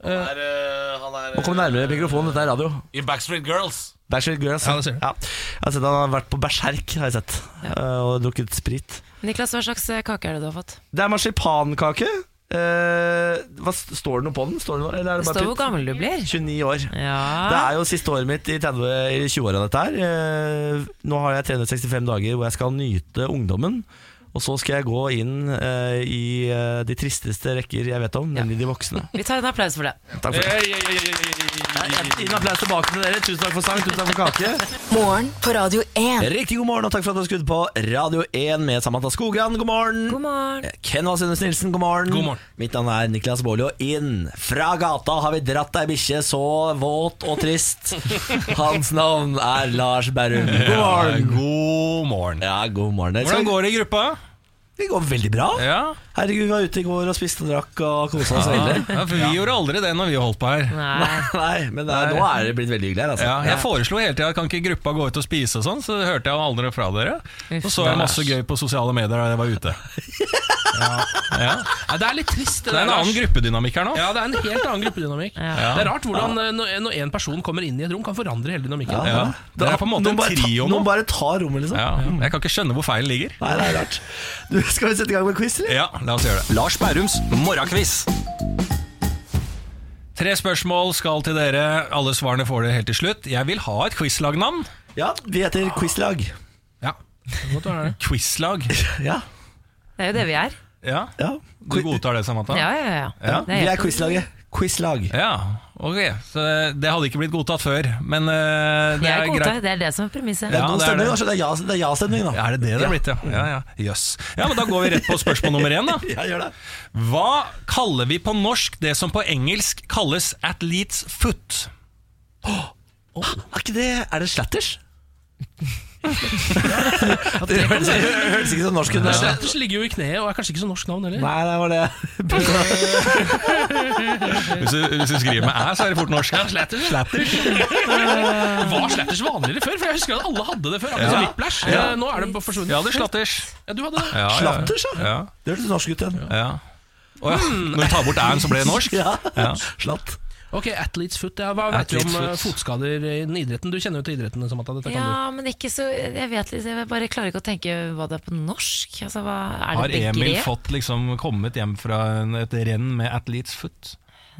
Speaker 2: da.
Speaker 1: Må komme nærmere mikrofonen, dette er radio.
Speaker 9: I Backstreet Girls.
Speaker 1: Bachelor Girls.
Speaker 2: Ja, det ser du.
Speaker 1: Jeg har sett han har vært på berserk, har jeg sett. eh, Og drukket sprit.
Speaker 3: Niklas, hva slags eh, kake er det du har fått?
Speaker 1: Det er marsipankake. Eh, hva, står det noe på den? Står det noe, eller er
Speaker 3: Det
Speaker 1: det
Speaker 3: står
Speaker 1: bare
Speaker 3: hvor gammel du blir.
Speaker 1: pytt? 29 år. Det
Speaker 3: Ja.
Speaker 1: er jo siste året mitt i 30 i 20-åra, dette her. Eh, Nå har jeg 365 dager hvor jeg skal nyte ungdommen. Og så skal jeg gå inn eh, i eh, de tristeste rekker jeg vet om, nemlig de voksne.
Speaker 3: Vi tar en applaus for det.
Speaker 1: Takk for det. En applaus tilbake til dere. Tusen takk for sang, tusen takk for kake.
Speaker 5: Morgen på Radio 1.
Speaker 1: Riktig god morgen, og takk for at du har skrudd på Radio 1 med Samantha Skogran. God morgen.
Speaker 3: God morgen.
Speaker 1: Eh, Ken Vasenus Nilsen, god morgen.
Speaker 2: God morgen.
Speaker 1: Mitt navn er Niklas Baarli, og inn fra gata har vi dratt ei bikkje så våt og trist. Hans navn er Lars Berrum. God morgen.
Speaker 9: God morgen.
Speaker 1: Ja, god morgen. Det
Speaker 9: Hvordan
Speaker 1: skal-
Speaker 9: går det i gruppa?
Speaker 1: det går veldig bra.
Speaker 9: Ja,
Speaker 1: Herregud, vi var ute i går og spiste og drakk og kosa oss
Speaker 9: ja
Speaker 1: veldig.
Speaker 9: for Vi gjorde aldri det når vi holdt på her.
Speaker 3: Nei.
Speaker 1: Nei, men det er, nå er det blitt veldig hyggelig her, altså.
Speaker 9: Ja, jeg foreslo hele tida kan ikke gruppa gå ut og spise, og sånn så hørte jeg aldri fra dere.
Speaker 3: Uff,
Speaker 9: Så så jeg masse gøy på sosiale medier da jeg var ute. Ja.
Speaker 2: Nei, det er litt trist.
Speaker 9: Det er en
Speaker 2: der,
Speaker 9: annen
Speaker 2: Lars.
Speaker 9: gruppedynamikk her nå.
Speaker 2: Ja, det er en helt annen gruppedynamikk. Det er rart hvordan eh, når- når én person kommer inn i et rom, kan forandre hele dynamikken.
Speaker 9: Ja. Det er på en måte
Speaker 1: Noen
Speaker 9: en
Speaker 1: bare ta-
Speaker 9: trio nå.
Speaker 1: Noen bare tar rommet, liksom.
Speaker 9: Ja. Jeg kan ikke skjønne hvor feilen ligger.
Speaker 1: Nei, det er rart. Du, skal vi sette i gang med quiz, eller?
Speaker 9: Ja, la oss gjøre det. Lars Bærums morgenkviss. Tre spørsmål skal til dere. Alle svarene får dere helt til slutt. Jeg vil ha et quizlagnavn.
Speaker 1: Ja, vi heter Quizlag.
Speaker 9: Ja. Quizlag.
Speaker 1: Ja,
Speaker 3: Det er jo det vi er.
Speaker 9: Ja.
Speaker 1: ja.
Speaker 9: Du godtar det, Samantha?
Speaker 3: Ja, ja, ja.
Speaker 9: Ja.
Speaker 3: Det
Speaker 1: Vi
Speaker 3: er
Speaker 1: er
Speaker 3: helt-
Speaker 1: Quizlaget. Quizlag.
Speaker 9: Ja, ok. Så det hadde ikke blitt godtatt før, men eh, det
Speaker 3: Jeg
Speaker 9: er
Speaker 3: godtar.
Speaker 9: greit.
Speaker 3: Det er det som er premisset.
Speaker 9: Ja.
Speaker 1: Noen
Speaker 9: det er
Speaker 1: stemmer,
Speaker 9: det.
Speaker 1: altså, det er ja- det er ja-stemning, da.
Speaker 9: Er det det det er blitt, ja? Ja, ja. Jøss. Ja, men da går vi rett på spørsmål nummer én, da.
Speaker 1: Ja, gjør det.
Speaker 9: Hva kaller vi på norsk det som på engelsk kalles athlete's foot?
Speaker 1: Er, ikke det, er det Slatters? Det høres det høres ikke så norsk ut. det.
Speaker 2: Sletters ligger jo i kneet og er kanskje ikke så norsk navn heller.
Speaker 1: Nei, det var det.
Speaker 9: Hvis du, hvis du skriver med æ, så er det fort norsk.
Speaker 2: Ja, Sletters. Eh, Var Sletters vanligere før? For jeg husker at alle hadde det før. Akkurat som Whiplash. Eh, Nå er det bare forsvunnet.
Speaker 9: Jeg hadde slatters.
Speaker 2: Ja, du hadde det.
Speaker 9: Ja, ja.
Speaker 1: Slatters, ja.
Speaker 9: ja.
Speaker 1: Det hørtes norsk ut igjen.
Speaker 9: ja. Å ja. Når du tar bort æ-en, så ble det norsk?
Speaker 1: Ja. Slatt.
Speaker 2: Ok, Athletes foot. Ja. Hva vet du
Speaker 9: Athlete's
Speaker 2: om eh,
Speaker 9: foot.
Speaker 2: fotskader i den idretten? Du kjenner jo til idretten. Samantha, dette kan du.
Speaker 3: Ja, men ikke så Jeg vet litt, jeg bare klarer ikke å tenke hva det er på norsk. Altså, hva er
Speaker 9: Har
Speaker 3: det
Speaker 9: Emil
Speaker 3: begrep?
Speaker 9: fått liksom kommet hjem fra en- et renn med athlete's foot?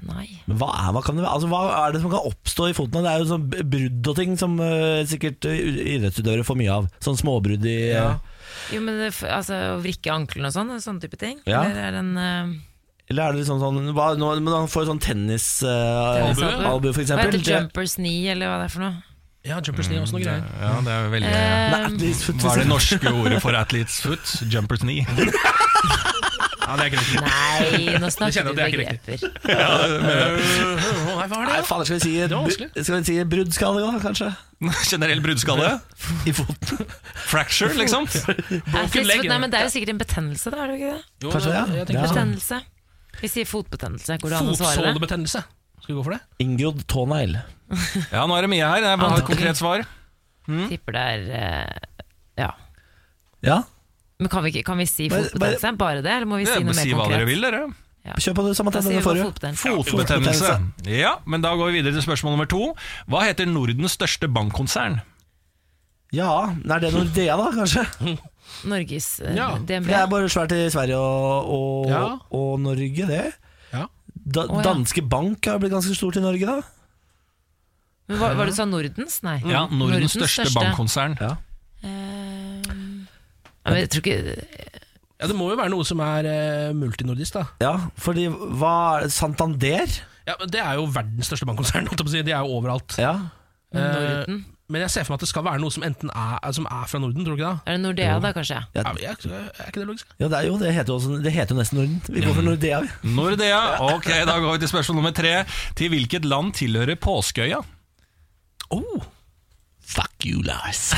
Speaker 3: Nei.
Speaker 1: Men hva er, hva, kan det, være? altså, hva er det som kan oppstå i foten? Det er jo sånn b- brudd og ting som eh, sikkert eh, idrettsutøvere får mye av. Sånn småbrudd i eh,
Speaker 3: Jo, men det, altså, å vrikke ankelen og sånn, sånne type ting.
Speaker 1: Ja.
Speaker 3: Eller er det en eh,
Speaker 1: Eller er det liksom sånn hva, nå, Men han får jo sånn tennisalbue,
Speaker 3: Tennisalbue.
Speaker 1: uh, albue for
Speaker 3: Hva
Speaker 1: eksempel.
Speaker 3: heter jumpers knee, eller hva det er for noe? Eh,
Speaker 2: Ja, Jumpers knee og
Speaker 9: Mm.
Speaker 2: sånne greier.
Speaker 9: Ja, det er jo veldig
Speaker 1: Nei,
Speaker 2: Um,
Speaker 1: athlete's foot.
Speaker 9: Hva er det norske ordet for athlete's foot? Jumpers knee. Ja, det er ikke riktig.
Speaker 3: Nei, nå
Speaker 2: Jeg kjenner
Speaker 3: snakker
Speaker 2: at
Speaker 3: du
Speaker 2: det er ikke
Speaker 3: begreper.
Speaker 2: Åh, nei, hva er det?
Speaker 1: Nei, fader, skal vi si,
Speaker 2: var vanskelig.
Speaker 1: br- skal vi si bruddskade, da, kanskje?
Speaker 9: Generell bruddskade? I foten. Fracture, liksom?
Speaker 3: Athlete's foot,
Speaker 2: leg,
Speaker 3: Nei, men det er jo sikkert en betennelse, da, er det jo ikke det?
Speaker 2: Jo,
Speaker 1: Kanskje det, ja.
Speaker 2: jeg tenker
Speaker 1: Ja.
Speaker 2: sånn
Speaker 3: Betennelse. Vi sier fotbetennelse. Går det an å svare det?
Speaker 2: Fotsålebetennelse. Skal vi gå for det?
Speaker 1: Inngrodd tånegl.
Speaker 9: Ja, nå er det mye her. Jeg må ha et konkret svar.
Speaker 3: Tipper det er eh, Ja.
Speaker 1: Ja,
Speaker 3: Men kan vi, ikke- kan vi si
Speaker 1: Bare-
Speaker 3: fotbetennelse? Bare det, eller må vi si noe mer konkret?
Speaker 9: Si hva dere vil, dere.
Speaker 1: kjør på det samme
Speaker 3: Da sier vi
Speaker 1: temaet forrige.
Speaker 3: fotbetennelse.
Speaker 9: Fotbetennelse. Ja, men da går vi videre til spørsmål nummer to. Hva heter Nordens største bankkonsern?
Speaker 1: Ja, er det Nordea, da, kanskje?
Speaker 3: Norges eh,
Speaker 2: Ja.
Speaker 3: DNB.
Speaker 1: Det er bare svært i Sverige og, og,
Speaker 2: Ja.
Speaker 1: og Norge, det.
Speaker 2: Ja.
Speaker 1: Da,
Speaker 3: ja.
Speaker 1: Danske Bank har blitt ganske stort i Norge, da.
Speaker 3: Men var, var det sånn Nordens? Nei.
Speaker 9: Ja, Nordens, største, bankkonsern.
Speaker 3: Eh, ja, men jeg tror ikke
Speaker 2: Ja, Det må jo være noe som er eh, multinordisk, da.
Speaker 1: Ja, fordi hva er det? Santander?
Speaker 2: Ja, men Det er jo verdens største bankkonsern. holdt jeg på å si. De er jo overalt.
Speaker 1: Ja.
Speaker 3: Norden.
Speaker 2: Eh, Men jeg ser for meg at det skal være noe som enten er, eh, som er fra Norden, tror du ikke det?
Speaker 3: Er det Nordea, da, kanskje?
Speaker 2: Ja, men jeg, er ikke det logisk?
Speaker 1: ja, det er jo det. Heter jo, også, det heter jo nesten Norden. Vi går
Speaker 9: Mm.
Speaker 1: for Nordea, vi.
Speaker 9: Nordea. Ok, da går vi til spørsmål nummer tre. Til hvilket land tilhører Påskeøya?
Speaker 2: Oh,
Speaker 1: Fuck you, Lars.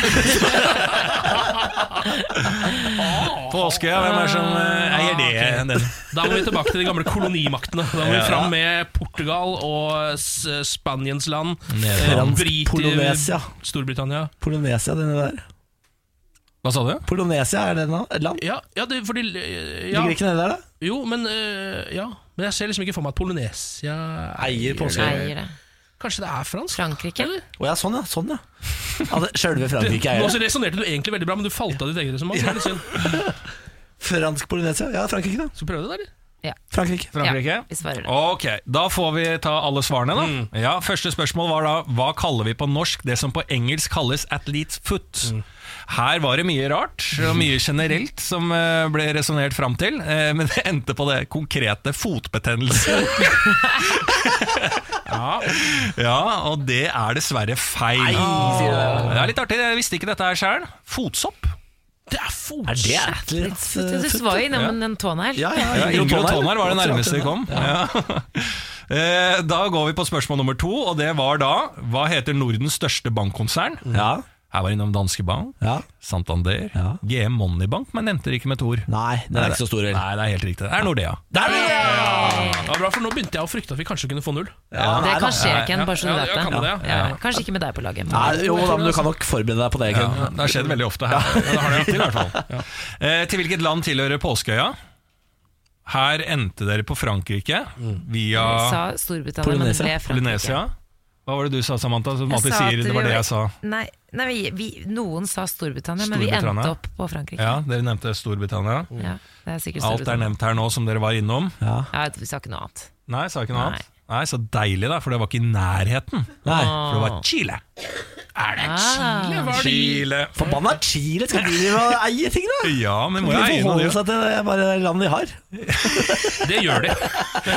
Speaker 9: Påskeøya, hvem er det som
Speaker 1: Ah,
Speaker 9: eh, eier det? Den.
Speaker 2: da må vi tilbake til de gamle kolonimaktene. Da må vi fram med Portugal og s- Spaniens land. eh,
Speaker 1: Fransk
Speaker 2: Briti-
Speaker 1: Polynesia.
Speaker 2: Storbritannia.
Speaker 1: Polonesia, denne der.
Speaker 9: Hva sa du?
Speaker 1: Polonesia, er det et land?
Speaker 2: Ja, ja det, fordi eh, ja,
Speaker 1: Ligger ikke nede der, da?
Speaker 2: Jo, men eh, Ja. Men jeg ser liksom ikke for meg at Polynesia
Speaker 1: Eier Påskeøya.
Speaker 3: Eier det.
Speaker 2: Kanskje det er fransk?
Speaker 3: Frankrike?
Speaker 1: Å ja, sånn ja. Sånn, ja. Altså, Sjølve Frankrike
Speaker 2: Nå
Speaker 1: eier
Speaker 2: så
Speaker 1: det.
Speaker 2: resonnerte du egentlig veldig bra, men du falt av ditt eget resonnement. så det er litt synd.
Speaker 1: Fransk Polonesia? Ja, Frankrike, da.
Speaker 2: Skal vi prøve det, eller?
Speaker 1: Frankrike.
Speaker 9: Frankrike?
Speaker 3: Ja, vi svarer det.
Speaker 9: Ok, da får vi ta alle svarene da Ja, Første spørsmål var da Hva kaller vi på norsk det som på engelsk kalles athlete's foot? Her var det mye rart og mye generelt som eh, ble resonnert fram til, eh, men det endte på det konkrete fotbetennelse. ja, og det er dessverre feil. Ah, det er litt artig, jeg visste ikke dette her sjøl. Fotsopp.
Speaker 2: Det er fot...
Speaker 1: Er det
Speaker 3: Litt,
Speaker 1: athletes
Speaker 3: du, du
Speaker 1: foot?
Speaker 3: var jo innom en tånegl.
Speaker 1: eh, Ja, ja.
Speaker 9: Ja, Ingrid og Tonar var det
Speaker 1: Godt
Speaker 9: nærmeste vi
Speaker 1: sagt,
Speaker 9: kom. Ja. Eh, Da går vi på spørsmål nummer to, og det var da Hva heter Nordens største bankkonsern?
Speaker 1: Ja.
Speaker 9: Her var innom Danske Bank,
Speaker 1: ja.
Speaker 9: Santander,
Speaker 1: Ja.
Speaker 9: GM Moneybank, men nevnte det ikke med et ord.
Speaker 1: Nei, den er ikke så stor heller.
Speaker 9: Nei, det er helt riktig. Det er Nordea.
Speaker 1: Der er det!
Speaker 2: Det var bra, for Nå begynte jeg å frykte at vi kanskje kunne få null.
Speaker 1: Ja,
Speaker 3: Det
Speaker 1: nei,
Speaker 3: kan
Speaker 1: da.
Speaker 3: skje, Ken, bare så du
Speaker 2: Ja, ja,
Speaker 3: vet
Speaker 2: kan
Speaker 3: det.
Speaker 2: det, ja.
Speaker 3: Ja, Kanskje ikke med deg på laget.
Speaker 1: Nei, jo da, men du kan nok forberede deg på det.
Speaker 9: Ja,
Speaker 1: Ken.
Speaker 9: det har skjedd veldig ofte her. Ja, det har det alltid, i hvert fall. Eh, Til hvilket land tilhører Påskeøya? Her endte dere på Frankrike via
Speaker 3: Jeg sa Storbritannia,
Speaker 1: Polynesia.
Speaker 3: men det ble Frankrike.
Speaker 9: Polynesia. Hva var det du sa, Samantha? Som
Speaker 3: Jeg
Speaker 9: alltid
Speaker 3: sa at
Speaker 9: sier,
Speaker 3: vi
Speaker 9: det var det
Speaker 3: var-
Speaker 9: jeg sa.
Speaker 3: Nei, nei vi, vi, noen sa Storbritannia, men vi
Speaker 9: Storbritannia.
Speaker 3: endte opp på Frankrike.
Speaker 9: Ja, Dere nevnte Storbritannia.
Speaker 3: Ja, det er sikkert
Speaker 9: Alt er
Speaker 3: Storbritannia.
Speaker 9: nevnt her nå som dere var innom.
Speaker 3: Ja, vi sa ikke noe annet.
Speaker 9: Nei, sa ikke noe
Speaker 3: Nei.
Speaker 9: annet. Nei, Så deilig, da, for det var ikke i nærheten.
Speaker 1: Nei.
Speaker 3: Ah.
Speaker 9: For det var Chile. Er det Chile? Var det Chile?
Speaker 1: Forbanna Chile! Skal de drive og eie ting, da?
Speaker 9: Ja, men må
Speaker 1: De
Speaker 9: jeg eie noe?
Speaker 1: forholder
Speaker 9: Det
Speaker 1: seg til det bare landet de har.
Speaker 2: Det gjør de.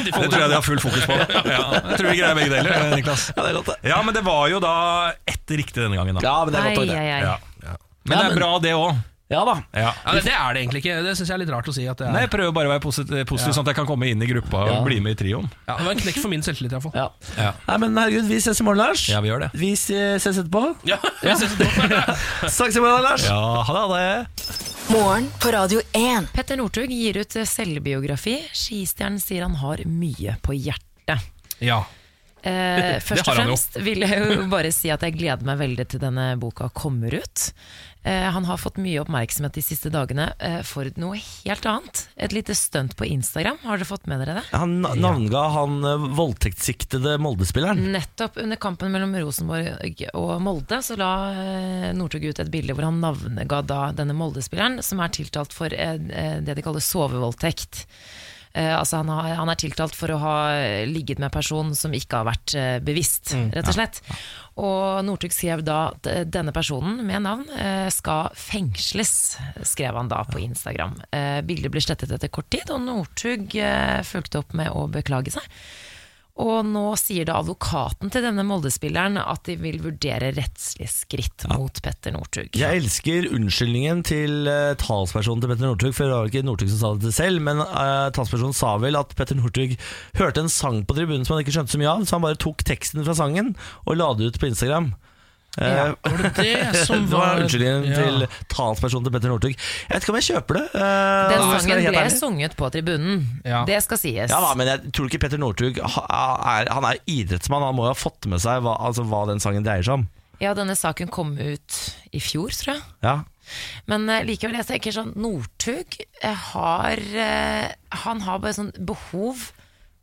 Speaker 2: de får-
Speaker 9: tror jeg de har full fokus på. Ja, jeg tror vi greier begge deler. Niklas
Speaker 1: Ja, det er godt, det.
Speaker 9: Ja, men det var jo da ett riktig denne gangen, da.
Speaker 1: Ja, men det er
Speaker 3: Ai,
Speaker 1: godt å
Speaker 3: ai,
Speaker 1: høre.
Speaker 3: ai.
Speaker 9: Ja. Men det er bra, det òg. Ja da.
Speaker 2: Ja, det, det er det egentlig ikke. Det syns jeg er litt rart å si. At det,
Speaker 9: Nei,
Speaker 2: er.
Speaker 9: jeg prøver bare å være positiv, positiv sånn at jeg kan komme inn i gruppa og
Speaker 2: Ja.
Speaker 9: bli med i trioen.
Speaker 2: Ja, det var en knekk for min selvtillit, iallfall.
Speaker 9: Ja. Ja.
Speaker 1: Nei, men herregud, vi ses i morgen, Lars.
Speaker 9: ja, vi gjør det.
Speaker 1: Vi eh, ses etterpå.
Speaker 2: Ja, jeg synes det var-
Speaker 1: Snakkes i morgen, Lars.
Speaker 9: Ja, ha det.
Speaker 5: Morgen på Radio 1.
Speaker 3: Petter Northug gir ut selvbiografi. Skistjernen sier han har mye på hjertet.
Speaker 2: ja.
Speaker 3: Eh, først og
Speaker 2: har han jo.
Speaker 3: fremst vil jeg jo bare si at jeg gleder meg veldig til denne boka kommer ut. Eh, han har fått mye oppmerksomhet de siste dagene eh, for noe helt annet. Et lite stunt på Instagram, har dere fått med dere det?
Speaker 1: Han na- navnga han eh, voldtektssiktede Molde-spilleren.
Speaker 3: Nettopp under kampen mellom Rosenborg og Molde så la eh, Northug ut et bilde hvor han navnega da denne Molde-spilleren, som er tiltalt for eh, eh, det de kaller sovevoldtekt. Eh, altså han, har, han er tiltalt for å ha eh, ligget med en person som ikke har vært eh, bevisst, rett og slett. Og Northug skrev da at eh, denne personen med navn eh, skal fengsles, skrev han da på Instagram. Eh, bildet ble slettet etter kort tid, og Northug eh, fulgte opp med å beklage seg. Og nå sier da advokaten til denne Molde-spilleren at de vil vurdere rettslige skritt mot Petter Northug.
Speaker 1: Jeg elsker unnskyldningen til eh, talspersonen til Petter Northug, for det var ikke Northug som sa det selv, men eh, talspersonen sa vel at Petter Northug hørte en sang på tribunen som han ikke skjønte så mye av, så han bare tok teksten fra sangen og la det ut på Instagram. Eh,
Speaker 3: Ja.
Speaker 2: Var det det som
Speaker 1: Det
Speaker 2: var
Speaker 1: var unnskyldningen
Speaker 2: Ja.
Speaker 1: til talspersonen til Petter Northug. Jeg vet ikke om jeg kjøper det. eh,
Speaker 3: Den
Speaker 1: hvis jeg skal
Speaker 3: sangen
Speaker 1: være helt
Speaker 3: ble
Speaker 1: ærlig.
Speaker 3: sunget på tribunen,
Speaker 2: Ja.
Speaker 3: det skal sies.
Speaker 1: Ja da, men jeg tror ikke Petter Northug ha- er, Han er idrettsmann, han må jo ha fått med seg hva, altså, hva den sangen dreier seg om.
Speaker 3: Ja, denne saken kom ut i fjor, tror jeg.
Speaker 1: Ja.
Speaker 3: Men eh, likevel, jeg tenker sånn Northug eh, har eh, Han har bare sånn behov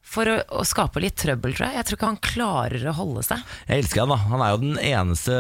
Speaker 3: for å, å skape litt trøbbel, tror jeg. Jeg tror ikke han klarer å holde seg.
Speaker 1: Jeg elsker han da. Han er jo den eneste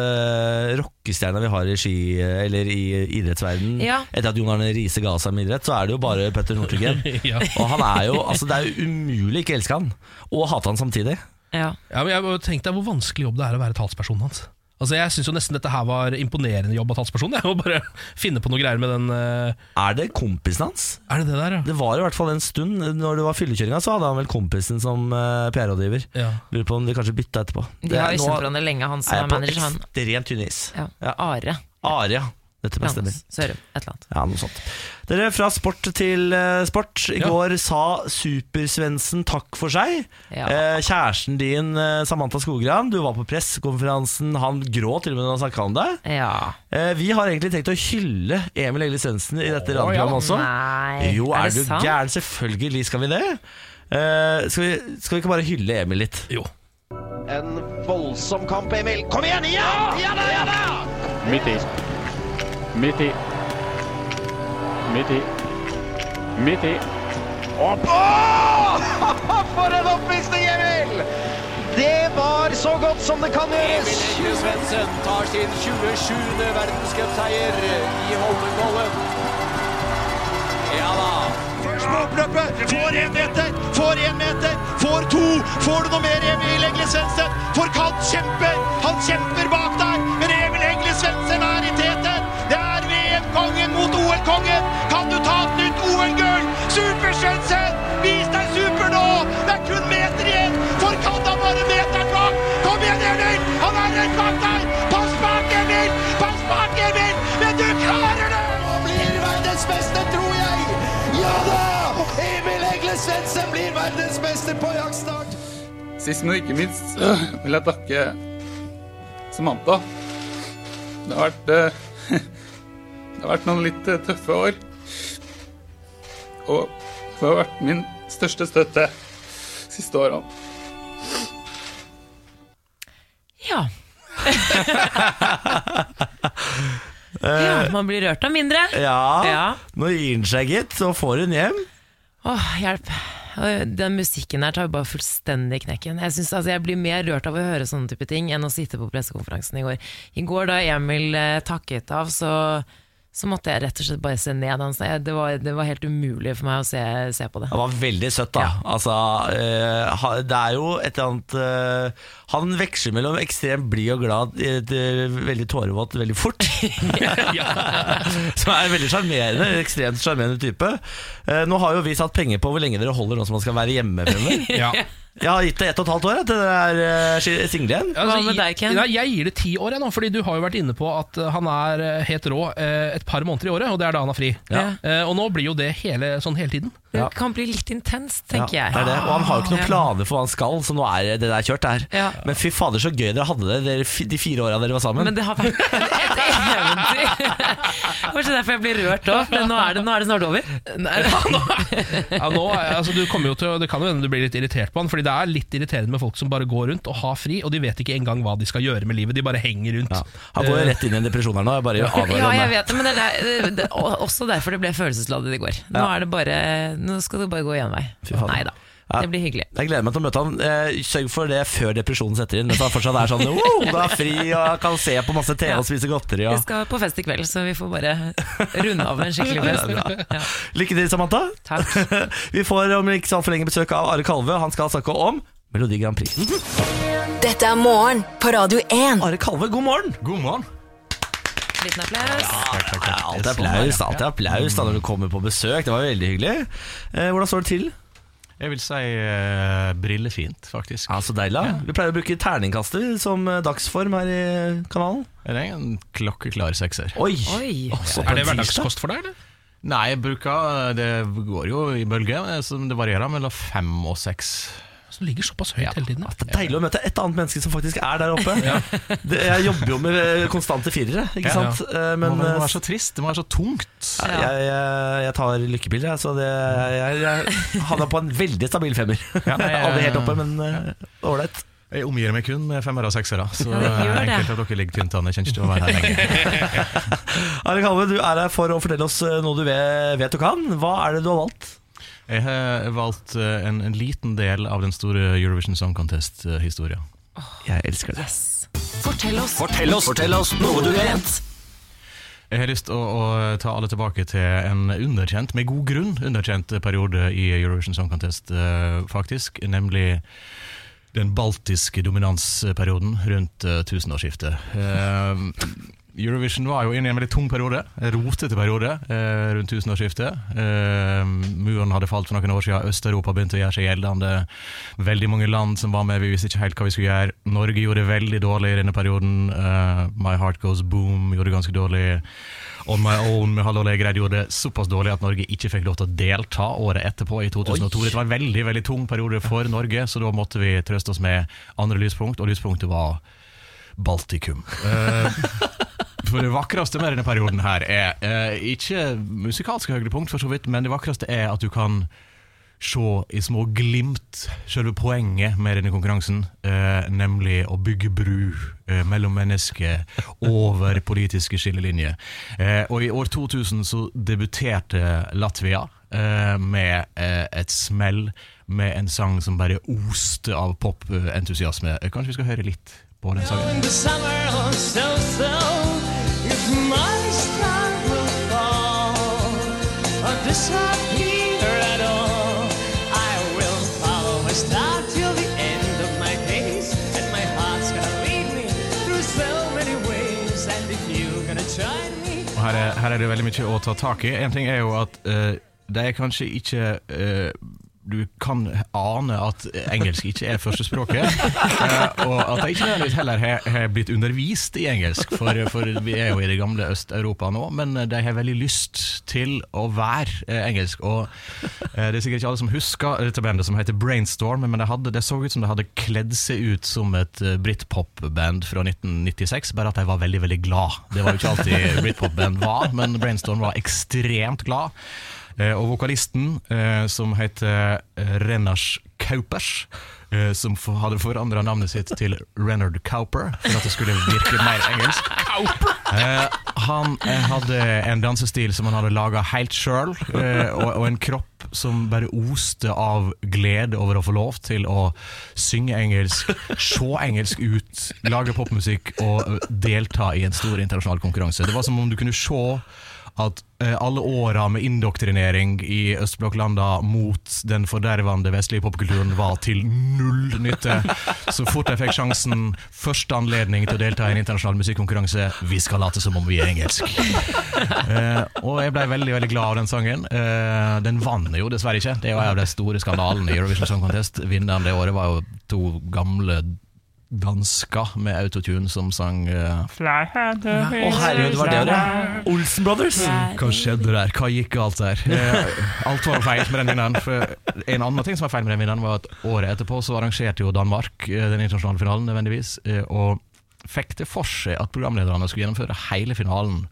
Speaker 1: rockestjerna vi har i ski Eller i idrettsverden
Speaker 3: Ja.
Speaker 1: Etter at Jon Arne Riise ga seg med idrett Så er det jo bare Petter Northug igjen
Speaker 2: Ja.
Speaker 1: Og han er jo, altså det er jo umulig ikke elske han Og hate han samtidig
Speaker 3: Ja.
Speaker 2: Ja, men jeg bare tenkte deg hvor vanskelig jobb det er å være talspersonen hans. Altså, Jeg syns jo nesten dette her var imponerende jobb av talspersonen. Jeg må bare finne på noe greier med den eh,
Speaker 1: Er det kompisen hans?
Speaker 2: Er det det der, ja?
Speaker 1: Det var i hvert fall en stund Når det var fyllekjøringa så hadde han vel kompisen som eh, PR-rådgiver
Speaker 2: Ja.
Speaker 1: Lurer på om de kanskje bytta etterpå
Speaker 3: De har
Speaker 1: er-
Speaker 3: jo
Speaker 1: nå
Speaker 3: kjent hverandre lenge, han
Speaker 1: er
Speaker 3: som
Speaker 1: jeg
Speaker 3: er
Speaker 1: på
Speaker 3: manager, han.
Speaker 1: ekstremt tynn is
Speaker 3: Ja.
Speaker 1: Ja.
Speaker 3: Are.
Speaker 1: Aria, dette bestemmer
Speaker 3: Johannes Sørum, et eller annet.
Speaker 1: Ja, noe sånt. Dere, fra sport til eh, sport. I
Speaker 2: Ja.
Speaker 1: går sa Supersvensen takk for seg.
Speaker 3: Ja.
Speaker 1: Eh, kjæresten din, eh, Samantha Skogran, du var på pressekonferansen. Han gråt til og med når han snakka om det.
Speaker 3: Ja.
Speaker 1: Eh, vi har egentlig tenkt å hylle Emil Egil Svendsen i dette radioprogrammet også.
Speaker 3: Nei,
Speaker 1: Sånn. jo, er,
Speaker 3: det
Speaker 1: du
Speaker 3: sant?
Speaker 1: gæren? Selvfølgelig skal vi det. Eh, skal, vi, skal vi ikke bare hylle Emil litt?
Speaker 2: Jo.
Speaker 10: En voldsom kamp, Emil. Kom igjen! Ja! Ja da, ja da! Midt i. Midt i. Midt i. Midt i. Opp! Åh! For en oppvisning, Emil! Det var så godt som det kan gjøres. Emil Egil Svendsen tar sin 27. verdenscupseier i Holmenkollen. Ja da. Først på oppløpet. eh, Får én meter, får én meter, får to. Får du noe mer, Emil Egil Svendsen? For Kant kjemper. Han kjemper bak der, men Emil Egil Svendsen er i teten. Det er VM-kongen mot OL-kongen. Kan du ta et nytt OL-gull? Super-Svendsen, vis deg super nå! Det er kun meter igjen, for Kant er bare meteren bak. Kom igjen, Emil! Han er rett bak deg! Pass bak, Emil! Pass bak, Emil! Men du klarer det! Nå blir verdens beste, tror jeg! Ja da! Emil Egle Svendsen blir verdensmester på jaktstart.
Speaker 7: Sist, men ikke minst, vil jeg takke Samantha. Det har vært eh, Det har vært noen litt eh, tøffe år. Og hun har vært min største støtte siste åra.
Speaker 3: Ja. ja, man blir rørt av mindre.
Speaker 1: Ja.
Speaker 3: Ja.
Speaker 1: Nå gir han seg, gitt. Så får hun hjem.
Speaker 3: Åh, hjelp. Åh, Den musikken der tar jo bare fullstendig knekken. Jeg, synes, altså, jeg blir mer rørt av å høre sånne type ting enn å sitte på pressekonferansen i går. I går da Emil eh, takket av, så, så måtte jeg rett og slett bare se ned. hans. Jeg- Det var, det var helt umulig for meg å se, se på det.
Speaker 1: Det var veldig søtt, da. Altså, eh, ha- det er jo et eller annet eh, Han veksler mellom ekstremt blid og glad eh, til veldig tårevåt veldig fort. som er en veldig sjarmerende. en Ekstremt sjarmerende type. Eh, nå har jo vi satt penger på hvor lenge dere holder nå som man skal være hjemme. Fremmer.
Speaker 2: Ja.
Speaker 1: Jeg har gitt det ett og et halvt år jeg, til det der uh, singlingen.
Speaker 2: Altså, jeg- Nei, jeg gir det ti år, jeg nå. Fordi du har jo vært inne på at eh, han er eh, helt rå eh, et par måneder i året, og det er da han har fri.
Speaker 1: Ja.
Speaker 2: Eh, Og nå blir jo det hele, sånn hele tiden.
Speaker 3: Det kan bli litt intenst, tenker
Speaker 1: Ja,
Speaker 3: jeg.
Speaker 1: Det er det. Og han har jo ikke noen
Speaker 3: Ja.
Speaker 1: planer for hva han skal, så nå er det der kjørt. Der.
Speaker 3: Ja.
Speaker 1: Men fy fader, så gøy dere hadde det dere, fi- de fire åra dere var sammen.
Speaker 3: Men det har vært et eventyr. Kanskje derfor jeg blir rørt òg, men nå er, det, nå er det snart over. Nei,
Speaker 2: Ja, nå, eh, altså, du kommer jo til, å- det kan jo hende du blir litt irritert på han, Fordi det er litt irriterende med folk som bare går rundt og har fri, og de vet ikke engang hva de skal gjøre med livet. De bare henger rundt.
Speaker 1: Han går jo
Speaker 2: Eh,
Speaker 1: rett inn i en depresjon her nå. Jeg bare advarer
Speaker 3: Ja,
Speaker 1: om
Speaker 3: jeg
Speaker 1: det.
Speaker 3: vet det, men det er det, det, og- også derfor det ble følelsesladet i går. Nå,
Speaker 1: Ja.
Speaker 3: er det bare, nå skal du bare gå én vei.
Speaker 1: Fy faen.
Speaker 3: Nei da,
Speaker 1: Ja.
Speaker 3: det blir hyggelig.
Speaker 1: Jeg gleder meg til å møte han. Eh, Sørg for det før depresjonen setter inn. Mens han fortsatt er sånn wow, da er jeg fri og kan se på masse TV og spise godteri.
Speaker 3: Vi
Speaker 1: Og.
Speaker 3: skal på fest i kveld, så vi får bare runde av med en skikkelig fest.
Speaker 1: Ja, det
Speaker 3: Ja.
Speaker 1: Lykke til, Samantha.
Speaker 3: Takk.
Speaker 1: Vi får om ikke så altfor lenge besøk av Are Kalve. Han skal snakke om Melodi Grand Prix.
Speaker 5: Dette er morgen på Radio 1.
Speaker 1: Mhm, Are Kalve, god morgen.
Speaker 11: God morgen.
Speaker 3: Liten applaus.
Speaker 1: Alltid applaus, alltid applaus da når du kommer på besøk. Det var jo veldig hyggelig. Eh, hvordan står det til?
Speaker 11: Jeg vil si eh, brillefint, faktisk.
Speaker 1: Ja, Så deilig. da. Vi pleier å bruke terningkaster som eh, dagsform her i eh, kanalen.
Speaker 11: Det er en klokkeklar sekser.
Speaker 1: Oi!
Speaker 3: Oi.
Speaker 1: Også på
Speaker 2: Er det
Speaker 1: en tirsdag.
Speaker 2: hverdagskost for deg, eller?
Speaker 11: Nei, jeg bruker eh, Det går jo i bølger, men det er sånn- det varierer mellom fem og seks.
Speaker 2: Så ligger såpass høyt hele tiden. da.
Speaker 1: Det er deilig å møte et annet menneske som faktisk er der oppe. det, jeg jobber jo med eh, konstante firere, ikke
Speaker 11: Ja.
Speaker 1: sant. Eh,
Speaker 11: Men,
Speaker 1: Men
Speaker 11: det må
Speaker 1: eh,
Speaker 11: være så trist, det må være så tungt.
Speaker 1: jeg, jeg, jeg tar lykkepiller, jeg, så det, jeg, jeg havna på en veldig stabil femmer.
Speaker 11: Ja, nei,
Speaker 1: Aldri
Speaker 11: eh,
Speaker 1: helt oppe, men eh, ålreit.
Speaker 11: Jeg omgir meg kun med femmer og seksere, så
Speaker 3: Ja, det gjør det.
Speaker 11: enkelte av dere ligger tynt an. Jeg kjenner ikke til å være her lenger.
Speaker 1: Are Kalve, du er her for å fortelle oss eh, noe du ve- vet du kan. Hva er det du har valgt?
Speaker 11: Jeg har valgt eh, en, en liten del av den store Eurovision Song Contest-historia.
Speaker 1: Jeg elsker det.
Speaker 5: Fortell oss.
Speaker 11: Jeg har lyst til å, å ta alle tilbake til en underkjent, med god grunn, underkjent periode i Eurovision Song Contest, eh, faktisk. Nemlig den baltiske dominansperioden rundt eh, tusenårsskiftet. Eh, Eurovision var jo inne i en veldig tung periode, en rotete periode, eh, rundt tusenårsskiftet. Eh, muren hadde falt for noen år siden, Øst-Europa begynte å gjøre seg gjeldende. Veldig mange land som var med, vi visste ikke helt hva vi skulle gjøre. Norge gjorde det veldig dårlig i denne perioden. Eh, My Heart Goes Boom gjorde det ganske dårlig. On My Own med Hallo Legreid gjorde det såpass dårlig at Norge ikke fikk lov til å delta året etterpå, i 2002. Det var en veldig veldig tung periode for Norge, så da måtte vi trøste oss med andre lyspunkt, og lyspunktet var Baltikum. Eh, for det vakreste med denne perioden her er eh, ikke musikalske høydepunkt, for så vidt, men det vakreste er at du kan se i små glimt selve poenget med denne konkurransen, eh, nemlig å bygge bru eh, mellom mennesker over politiske skillelinjer. Eh, og i år 2000 så debuterte Latvia eh, med eh, et smell med en sang som bare oste av popentusiasme. Eh, Kanskje vi skal høre litt på den sangen? Og her er, her er det veldig mye å ta tak i. En ting er jo at eh, det er kanskje ikke eh, Du kan ane at engelsk ikke er førstespråket, eh, og at jeg ikke nødvendigvis heller har har blitt undervist i engelsk, for, for vi er jo i det gamle Øst-Europa nå, men de har veldig lyst til å være eh, engelsk. Og eh, det er sikkert ikke alle som husker dette bandet som heter Brainstorm, men det, hadde, det så ut som det hadde kledd seg ut som et eh, britpop-band fra 1996, bare at de var veldig, veldig glad. Det var jo ikke alltid britpop-band var, men Brainstorm var ekstremt glad. Eh, Og vokalisten, eh, som heter eh, Renars Kaupers, eh, som for- hadde forandra navnet sitt til Renard Cowper, for at det skulle virke mer engelsk. Eh, han eh, hadde en dansestil som han hadde laga helt sjøl, eh, og, og en kropp som bare oste av glede over å få lov til å synge engelsk, se engelsk ut, lage popmusikk og eh, delta i en stor internasjonal konkurranse. Det var som om du kunne se at eh, alle åra med indoktrinering i østblokklanda mot den fordervende vestlige popkulturen var til null nytte. Så fort jeg fikk sjansen, første anledning til å delta i en internasjonal musikkonkurranse, vi skal late som om vi er engelsk. Eh, og jeg ble veldig veldig glad av den sangen. Eh, den vant jo dessverre ikke. Det er jo en av de store skandalene i Eurovision Song Contest. Vinneren det året var jo to gamle dansker med autotune som sang eh,
Speaker 1: Å, herregud, det var det, ja. Olsen Brothers.
Speaker 11: Hva skjedde der? Hva gikk galt der? Eh, alt var feil med den vinneren. For en annen ting som var feil med den vinneren, var at året etterpå så arrangerte jo Danmark eh, den internasjonale finalen nødvendigvis, eh, og fikk det for seg at programlederne skulle gjennomføre hele finalen.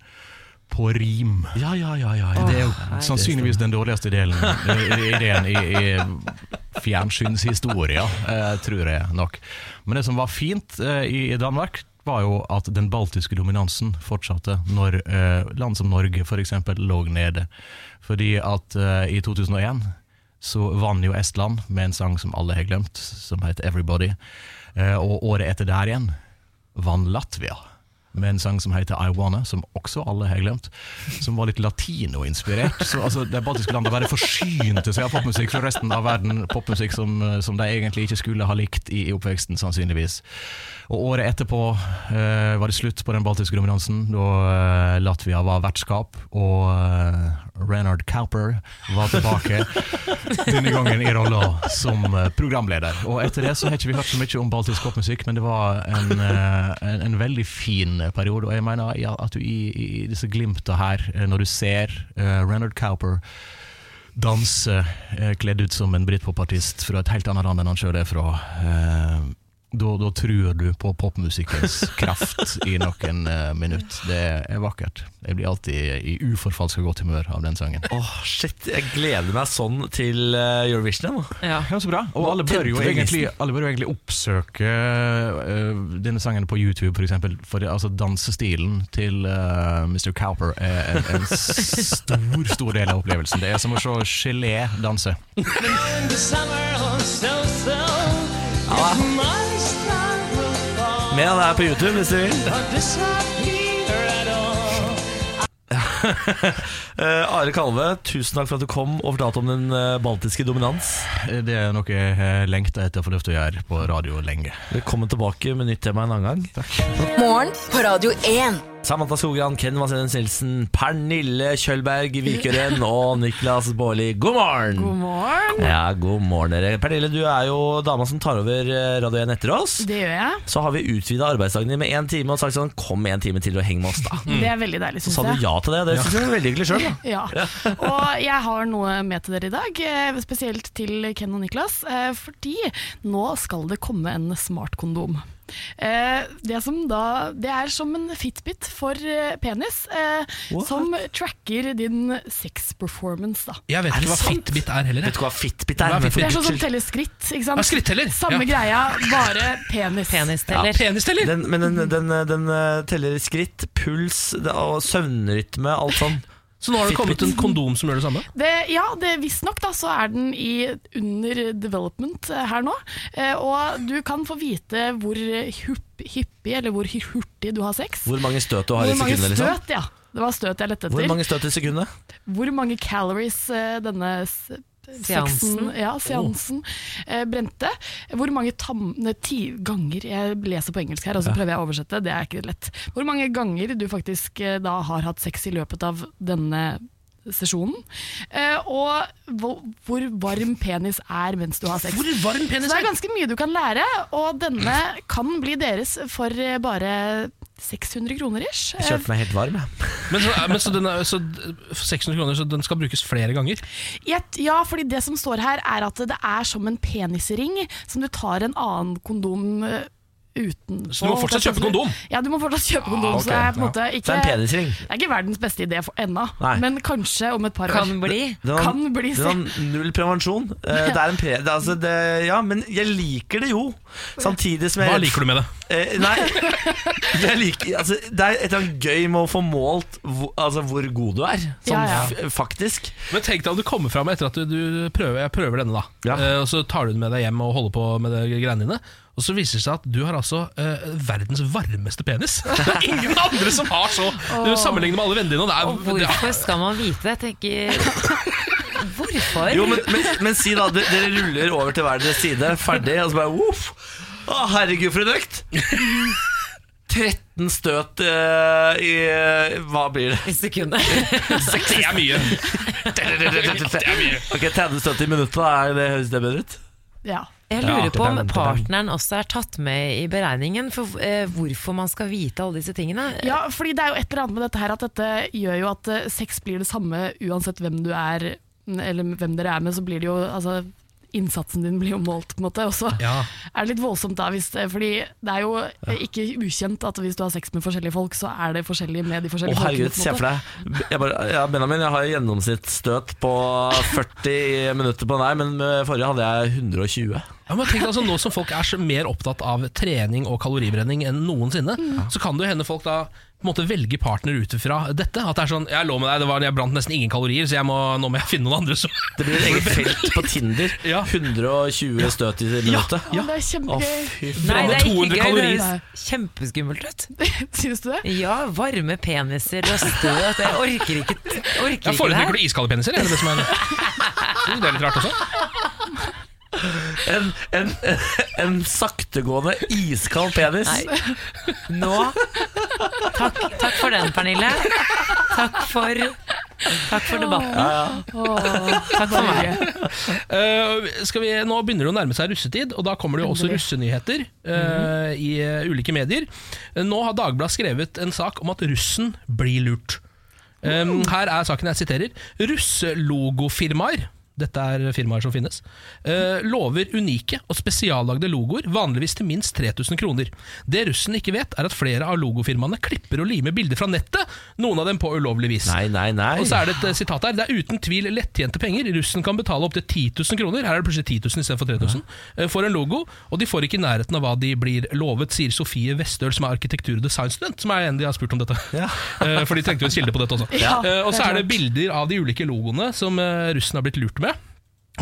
Speaker 11: På rim.
Speaker 1: Ja, ja, ja, ja,
Speaker 11: Det er jo
Speaker 1: Nei, det
Speaker 11: sannsynligvis den dårligste delen eh, ideen i, i fjernsynshistoria, eh, tror jeg nok. Men det som var fint eh, i i Danmark, var jo at den baltiske dominansen fortsatte når eh, land som Norge f.eks. lå nede. Fordi at eh, i 2001 så vant jo Estland med en sang som alle har glemt, som het 'Everybody'. Eh, og året etter der igjen vant Latvia med en sang som heter I Wanna, som også alle har glemt, som var litt latinoinspirert. Så altså, de baltiske landene bare forsynte seg av popmusikk fra resten av verden, popmusikk som, som de egentlig ikke skulle ha likt i, i oppveksten, sannsynligvis. Og året etterpå eh, var det slutt på den baltiske dominansen, da eh, Latvia var vertskap, og eh, Renard Cowper var tilbake, denne gangen i rolla som eh, programleder. Og etter det så har ikke vi hørt så mye om baltisk popmusikk, men det var en, eh, en, en veldig fin eh, periode. Og jeg mener ja, at du i, i i disse glimta her, eh, når du ser eh, Renard Cowper danse eh, kledd ut som en britpopartist fra et helt annet land enn han sjøl er fra, eh, da, da tror du på popmusikkens kraft i noen eh, minutt. Det er vakkert. Jeg blir alltid i uforfalska godt humør av den sangen.
Speaker 1: Åh, shit, jeg gleder meg sånn til eh, Eurovision jeg, nå.
Speaker 3: Ja.
Speaker 11: så bra. Og alle bør jo
Speaker 1: Tente gnisten.
Speaker 11: egentlig, alle bør jo egentlig oppsøke eh, denne sangen på YouTube, for eksempel. For det, altså, dansestilen til eh, Mr. Cowper er en, en stor, stor del av opplevelsen. Det er som å se gelé danse.
Speaker 1: Mer av det her på YouTube hvis du vil. Eh, Are Kalve, tusen takk for at du kom og fortalte om den eh, baltiske dominans.
Speaker 11: Det er noe jeg har lengta etter å få lov til å gjøre på radio lenge.
Speaker 1: Velkommen tilbake med nytt tema en annen gang.
Speaker 5: Morgen på Radio 1.
Speaker 1: Samantha Skogran, Ken Vasenus Nilsen, Pernille Kjølberg Vikøren og Niklas Baarli. God morgen!
Speaker 4: God morgen.
Speaker 1: Ja, god morgen dere. Pernille, du er jo dama som tar over eh, Radio 1 etter oss.
Speaker 4: Det gjør jeg.
Speaker 1: Så har vi utvida arbeidsdagen din med én time og sagt sånn Kom en time til og heng med oss, da.
Speaker 4: Det er veldig deilig,
Speaker 1: Så
Speaker 4: syns
Speaker 1: sa du
Speaker 4: jeg.
Speaker 1: ja til det, og det syns jeg var veldig hyggelig sjøl.
Speaker 4: Ja. Og jeg har noe med til dere i dag, eh, spesielt til Ken og Niklas. eh, Fordi nå skal det komme en smartkondom. Eh, Det, som da, det er som en fitbit for eh, penis, eh, som tracker din sex-performance. da.
Speaker 2: Jeg vet
Speaker 1: Er det
Speaker 2: ikke hva
Speaker 1: sant?
Speaker 2: Fitbit er heller.
Speaker 1: Vet du hva Fitbit er?
Speaker 2: Hva er
Speaker 1: Men
Speaker 2: Fitbit?
Speaker 1: for
Speaker 4: Det er sånn
Speaker 1: guds
Speaker 4: som
Speaker 1: skyld.
Speaker 4: teller skritt, ikke sant?
Speaker 2: Ja, skritteller,
Speaker 4: Samme greia, bare penis.
Speaker 3: Penisteller.
Speaker 2: Penisteller!
Speaker 1: Den, men den, den, den eh, teller skritt, puls det- og søvnrytme, alt sånn.
Speaker 2: Så nå har det kommet en kondom som gjør det samme?
Speaker 4: Det, ja, det visstnok da, så er den i under development eh, her nå. Eh, og du kan få vite hvor eh, hupp, hyppig eller hvor hy- hurtig du har sex.
Speaker 1: Hvor mange støt du har i
Speaker 4: Hvor mange
Speaker 1: sekundet, liksom.
Speaker 4: støt, ja. Det var støt jeg lette etter.
Speaker 1: Hvor mange støt i sekundet?
Speaker 4: Hvor mange calories eh, denne s- sexen,
Speaker 3: Seansen.
Speaker 4: ja, seansen eh, brente. Hvor mange tam, nei, ti ganger Jeg leser på engelsk her, og så prøver jeg å oversette. Det er ikke lett. Hvor mange ganger du faktisk eh, da har hatt sex i løpet av denne sesjonen. Eh, og hvor, hvor varm penis er mens du har sex.
Speaker 2: Hvor varm
Speaker 4: Så
Speaker 2: penis
Speaker 4: det er
Speaker 2: er
Speaker 4: ganske mye du kan lære, og denne kan bli deres for eh, bare 600 kroner ish.
Speaker 1: Jeg kjørte meg helt varm, jeg.
Speaker 2: men så, eh, men så, den er, så for 600 kroner, så den skal brukes flere ganger?
Speaker 4: Gjett- Ja, fordi det som står her er at det er som en penisring som du tar en annen kondom eh, uten
Speaker 2: Så du må fortsatt kjøpe kondom? Ah,
Speaker 4: Ja, du må fortsatt kjøpe kondom. Så det er på en måte
Speaker 1: Så det
Speaker 4: ikke,
Speaker 1: er en penisring.
Speaker 4: det er ikke verdens beste idé for ennå,
Speaker 1: Nei.
Speaker 4: men kanskje om et par år.
Speaker 3: Kan bli.
Speaker 1: Den har-
Speaker 4: Kan bli
Speaker 1: den har null prevensjon. Eh, Det er en pre... Det, er altså, det, ja, men jeg liker det jo. Samtidig som jeg
Speaker 2: Hva liker du med det?
Speaker 1: Eh, nei, det er, like, altså, det er et eller annet gøy med å få målt hvor, altså, hvor god du er. Sånn
Speaker 2: Ja, ja.
Speaker 1: f- faktisk.
Speaker 2: Men tenk deg om du kommer fram etter at du, du prøver, jeg prøver denne, da. Eh, og så tar du den med deg hjem og holder på med de greiene dine. Og så viser det seg at du har altså eh, verdens varmeste penis. Det er ingen andre som har så Du Sammenlignet med alle vennene dine. og
Speaker 3: Og
Speaker 2: Det er, det er
Speaker 3: hvorfor skal man vite det? Jeg tenker Hvorfor?
Speaker 1: Jo, men, men, men si da, dere- dere ruller over til hver deres side, ferdig, og så bare voff. Å, herregud, for en økt! 13 støt eh, i Hva blir det?
Speaker 3: I sekundet.
Speaker 1: det er mye. Ok, 30 støt i minuttet, da er det høres det bedre ut?
Speaker 4: Ja.
Speaker 3: Jeg lurer på om partneren også er tatt med i beregningen for eh, hvorfor man skal vite alle disse tingene.
Speaker 4: Ja, fordi det er jo et eller annet med dette her at dette gjør jo at eh, sex blir det samme uansett hvem du er, mm, eller hvem dere er med, så blir det jo altså, Innsatsen din blir jo målt, på en måte. Og så
Speaker 2: Ja.
Speaker 4: er det litt voldsomt da, hvis, eh, fordi det er jo eh, ikke ukjent at hvis du har sex med forskjellige folk, så er det forskjellig med de
Speaker 1: Å
Speaker 4: forskjellige folkene.
Speaker 1: herregud,
Speaker 4: på en
Speaker 1: se for
Speaker 4: måte.
Speaker 1: deg jeg bare, ja, Benjamin, jeg har gjennomsnittsstøt på 40 minutter på den her, men med forrige hadde jeg 120.
Speaker 2: Ja, men tenk deg altså, Nå som folk er så mer opptatt av trening og kaloribrenning enn noensinne, så kan det jo hende folk da på en måte velge partner ut fra dette. At det er sånn 'Jeg lå med deg, det var, jeg brant nesten ingen kalorier, så jeg må, nå må jeg finne noen andre som
Speaker 1: Det blir et eget felt på Tinder. 120 støt i minuttet.
Speaker 4: Ja, det er kjempegøy.
Speaker 1: Å, fy
Speaker 3: Nei,
Speaker 1: faen.
Speaker 3: det er ikke
Speaker 1: 200
Speaker 3: gøy. Det
Speaker 1: kalorier.
Speaker 3: høres kjempeskummelt ut.
Speaker 4: Syns du det?
Speaker 3: Ja, varme peniser og støt. Jeg orker ikke, orker
Speaker 2: Jeg
Speaker 3: ikke det
Speaker 2: foretrekker
Speaker 3: her.
Speaker 2: du iskalde peniser? Er det det som er Jo, Det er litt rart også.
Speaker 1: En, en, en saktegående iskald penis.
Speaker 3: Nå Takk, takk for den, Pernille. Takk for, takk for debatten. Takk for meg.
Speaker 2: Eh, skal vi, nå begynner det å nærme seg russetid, og da kommer det jo også russenyheter eh, i eh, ulike medier. Eh, Nå har Dagbladet skrevet en sak om at russen blir lurt. Um, her er saken jeg siterer. Russelogofirmaer dette er firmaer som finnes, eh, lover unike og spesiallagde logoer, vanligvis til minst 3000 kroner. Det russen ikke vet, er at flere av logofirmaene klipper og limer bilder fra nettet, noen av dem på ulovlig vis.
Speaker 1: Nei, nei, nei.
Speaker 2: Og så er det et eh, sitat her. Det er uten tvil lettjente penger. Russen kan betale opptil 10 000 kroner. Her er det plutselig 10 000 istedenfor 3000. eh, For en logo, og de får ikke i nærheten av hva de blir lovet, sier Sofie Westøl, som er arkitektur- og designstudent, som er en de har spurt om dette. Eh, For de trengte jo en kilde på dette også.
Speaker 9: Ja,
Speaker 2: Eh, Og så
Speaker 9: det er
Speaker 2: er det bilder av de ulike logoene som eh, russen har blitt lurt med.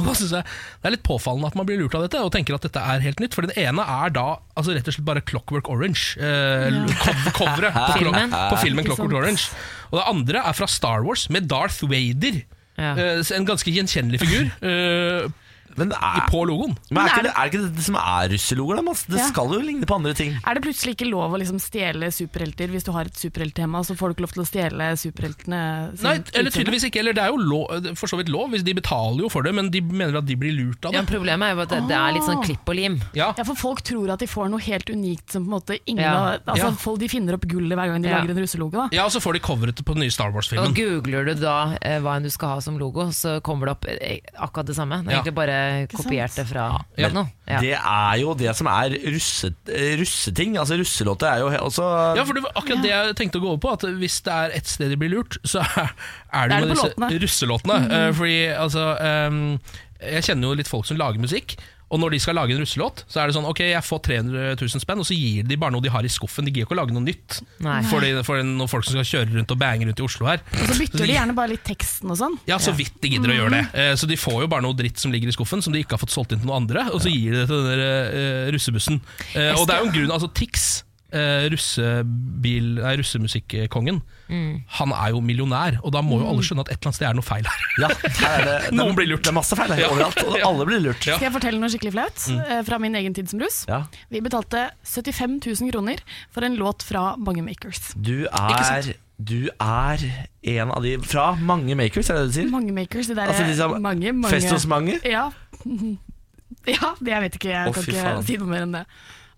Speaker 2: Og da synes jeg Det er litt påfallende at man blir lurt av dette og tenker at dette er helt nytt. For den ene er da altså rett og slett bare Clockwork Orange. Eh,
Speaker 9: Ja.
Speaker 2: cov- Coveret på, Clo-
Speaker 9: Filmen.
Speaker 2: på filmen
Speaker 9: Ikke sant.
Speaker 2: Clockwork Orange. Og det andre er fra Star Wars med Darth Vader. Eh, så en ganske gjenkjennelig figur eh, i- på logoen.
Speaker 1: Men er, ikke det, er ikke det det som er russelogoer? da, Mads? Det
Speaker 4: Ja.
Speaker 1: skal jo ligne på andre ting.
Speaker 4: Er det plutselig ikke lov å liksom stjele superhelter? Hvis du har et superhelttema, så får du ikke lov til å stjele superheltene? sin
Speaker 2: Nei, eller
Speaker 4: utseende?
Speaker 2: tydeligvis ikke. Eller det er jo lov, for så vidt lov, hvis de betaler jo for det, men de mener at de blir lurt av det.
Speaker 3: Ja, problemet er jo at det, det er litt sånn klipp og lim.
Speaker 2: Ja.
Speaker 4: for folk tror at de får noe helt unikt som på en måte ingen
Speaker 2: Ja.
Speaker 4: av- altså,
Speaker 2: Ja.
Speaker 4: folk, De finner opp gullet hver gang de
Speaker 3: Ja.
Speaker 4: lager en russelogo. Da.
Speaker 2: Ja, og så får de coveret på den nye Star
Speaker 3: Og
Speaker 2: Wars-filmen.
Speaker 3: Googler du da eh, hva enn du skal ha som logo, så kommer det opp eh, akkurat det samme. Det er
Speaker 1: Ja.
Speaker 3: egentlig bare kopiert det fra
Speaker 1: Men
Speaker 3: noe. Ja.
Speaker 1: det er jo det som er russe, eh, russeting. Altså Russelåter er jo he- også
Speaker 2: Ja, for det var akkurat det jeg tenkte å gå over på. At hvis det er ett sted de blir lurt, så er, er
Speaker 1: Det
Speaker 2: det
Speaker 1: er
Speaker 2: jo
Speaker 1: det
Speaker 2: med
Speaker 1: på
Speaker 2: disse
Speaker 1: låtene.
Speaker 2: russelåtene.
Speaker 1: Mhm.
Speaker 2: Eh, fordi altså ehm, Jeg kjenner jo litt folk som lager musikk. Og når de skal lage en russelåt, så er det sånn Ok, jeg får 300 000 spenn, og så gir de bare noe de har i skuffen. De gir jo ikke å lage noe nytt
Speaker 4: Nei.
Speaker 2: for, de, for noen folk som skal kjøre rundt og bange rundt i Oslo her.
Speaker 4: Og så bytter de gjerne bare litt teksten og sånn.
Speaker 2: Ja, så vidt de gidder å gjøre det. Eh, Så de får jo bare noe dritt som ligger i skuffen, som de ikke har fått solgt inn til noen andre, og så gir de det til den der eh, russebussen. Eh, Og det er jo en grunn, altså Tix, eh, russebil, nei, russemusikkongen,
Speaker 3: Mm.
Speaker 2: han er jo millionær, og da må jo alle skjønne at et eller annet sted er noe feil her. Noen blir lurt.
Speaker 1: Det er masse feil her overalt, og alle blir lurt.
Speaker 4: Skal jeg fortelle noe skikkelig flaut
Speaker 1: Mm.
Speaker 4: eh, fra min egen tid som russ?
Speaker 1: Ja.
Speaker 4: Vi betalte 75 000 kroner for en låt fra Bangemakers.
Speaker 1: Du
Speaker 4: Ikke sant?
Speaker 1: er, du er en av de fra mange makers, er det det du sier?
Speaker 4: Mangemakers, de der
Speaker 1: Altså, de som-
Speaker 4: mange, mange
Speaker 1: Fest hos mange?
Speaker 4: Ja. ja, det jeg vet ikke. Jeg
Speaker 1: Å,
Speaker 4: kan
Speaker 1: fy
Speaker 4: ikke
Speaker 1: faen.
Speaker 4: si noe mer enn det.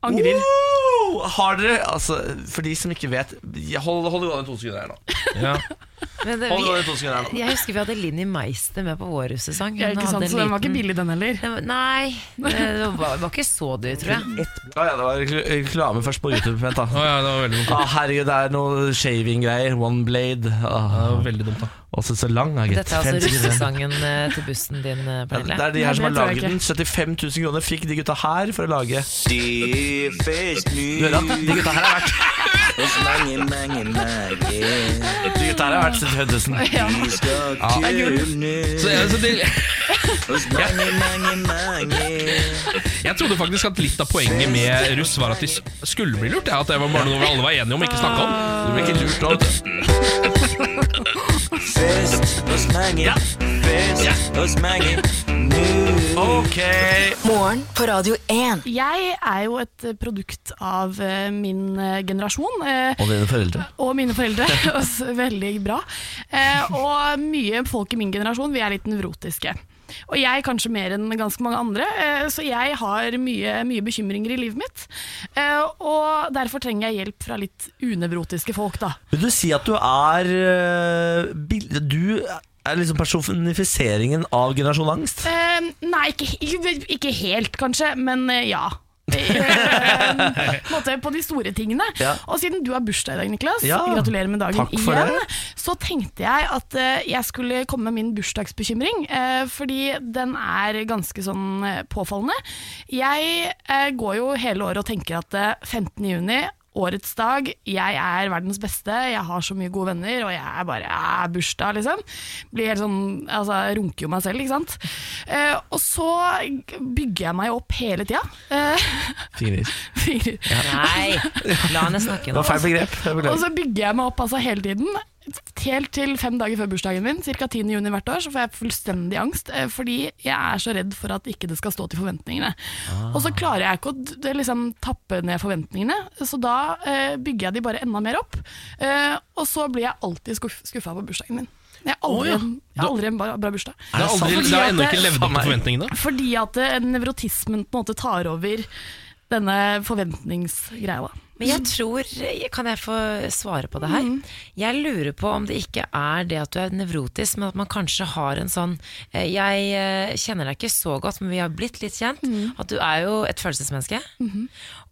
Speaker 4: Angrer.
Speaker 1: Oh, har dere altså, For de som ikke vet jeg- Hold, hold det gående to sekunder her nå.
Speaker 3: Men det,
Speaker 1: Hold det gående to sekunder her
Speaker 3: vi, jeg husker vi hadde Linni Meister med på vår russesang.
Speaker 4: Ja,
Speaker 3: Hun
Speaker 4: ikke
Speaker 3: hadde
Speaker 4: sant,
Speaker 3: en
Speaker 4: så den var
Speaker 3: liten-
Speaker 4: ikke billig, den heller.
Speaker 3: Nei, eh, det var, var ikke så dyr, tror jeg.
Speaker 1: nå. Ah, ja, det var rekl- reklame først på YouTube. Vent, da.
Speaker 2: ja, det var veldig dumt.
Speaker 1: Ah, herregud, det er noe shaving-greier. One blade. Ah.
Speaker 2: veldig dumt, da.
Speaker 1: Altså så lang, da, gitt.
Speaker 3: Dette er
Speaker 1: Fem
Speaker 3: altså
Speaker 1: sekunder.
Speaker 3: russesangen eh, til bussen din, eh,
Speaker 1: Ja,
Speaker 3: Pernille.
Speaker 1: Det er de her som har laget den. 75 000 kroner fikk de gutta her for å lage
Speaker 12: De fake news.
Speaker 1: Du hører at de gutta her har vært
Speaker 12: Hos mange, mange, mange.
Speaker 1: De gutta her har vært Seth Henderson.
Speaker 12: Ja. Du skal
Speaker 1: Ja. Det er
Speaker 12: kunne
Speaker 2: Så jeg, så det,
Speaker 12: Hos mange, mange, mange.
Speaker 2: jeg trodde faktisk at litt av poenget med russ var at de s- skulle bli lurt. Ja, at det var bare noe vi alle var enige om og ikke snakka om. Du ble ikke lurt da, vet du.
Speaker 12: Fest hos mange. Fest hos mange.
Speaker 1: Ok.
Speaker 5: Morgen på Radio 1.
Speaker 4: Jeg er jo et eh, produkt av eh, min eh, generasjon. eh,
Speaker 1: Og dine foreldre.
Speaker 4: og mine foreldre. og s- Veldig bra. Eh, og mye folk i min generasjon, vi er litt nevrotiske. Og jeg kanskje mer enn ganske mange andre, eh, så jeg har mye, mye bekymringer i livet mitt. Eh, og derfor trenger jeg hjelp fra litt unevrotiske folk, da.
Speaker 1: Vil du si at du er eh, bil- Du er liksom personifiseringen av generasjon angst?
Speaker 4: Eh, nei, ikke, ikke- ikke helt, kanskje, men eh, ja. Eh, på en måte på de store tingene.
Speaker 1: Ja.
Speaker 4: Og siden du har bursdag i dag, Niklas,
Speaker 1: Ja.
Speaker 4: gratulerer med dagen
Speaker 1: Takk for
Speaker 4: igjen,
Speaker 1: det.
Speaker 4: så tenkte jeg at eh, jeg skulle komme med min bursdagsbekymring, eh, fordi den er ganske sånn eh, påfallende. Jeg eh, går jo hele året og tenker at eh, 15. juni Årets dag, jeg er verdens beste, jeg har så mye gode venner, og jeg er bare ja, bursdag, liksom. Blir helt sånn, altså, jeg runker jo meg selv, ikke sant. Eh, og så bygger jeg meg opp hele tida. Eh,
Speaker 1: Fingrer.
Speaker 4: Fingrer.
Speaker 3: Nei, la henne snakke
Speaker 1: Det
Speaker 3: nå.
Speaker 1: var feil begrep. Jeg
Speaker 4: Og
Speaker 1: beklager.
Speaker 4: så bygger jeg meg opp altså, hele tiden. Helt til fem dager før bursdagen min, ca. 10. juni hvert år, så får jeg fullstendig angst. eh, Fordi jeg er så redd for at ikke det skal stå til forventningene.
Speaker 2: Ah.
Speaker 4: Og så klarer jeg ikke å d- det liksom, tappe ned forventningene, så da eh, bygger jeg de bare enda mer opp. Eh, og så blir jeg alltid skuffa på bursdagen min. Jeg har aldri,
Speaker 2: Å, ja.
Speaker 4: en- jeg har aldri en bra, bra bursdag.
Speaker 2: Det har aldri-
Speaker 4: Fordi
Speaker 2: det har
Speaker 4: at
Speaker 2: ennå ikke
Speaker 4: det-
Speaker 2: levd opp til forventningene.
Speaker 4: Fordi at eh, nevrotismen på en måte tar over denne forventningsgreia.
Speaker 3: Men jeg tror, kan jeg få svare på det her? Jeg lurer på om det ikke er det at du er nevrotisk, men at man kanskje har en sånn eh, Jeg eh, kjenner deg ikke så godt, men vi har blitt litt kjent. At du er jo et følelsesmenneske.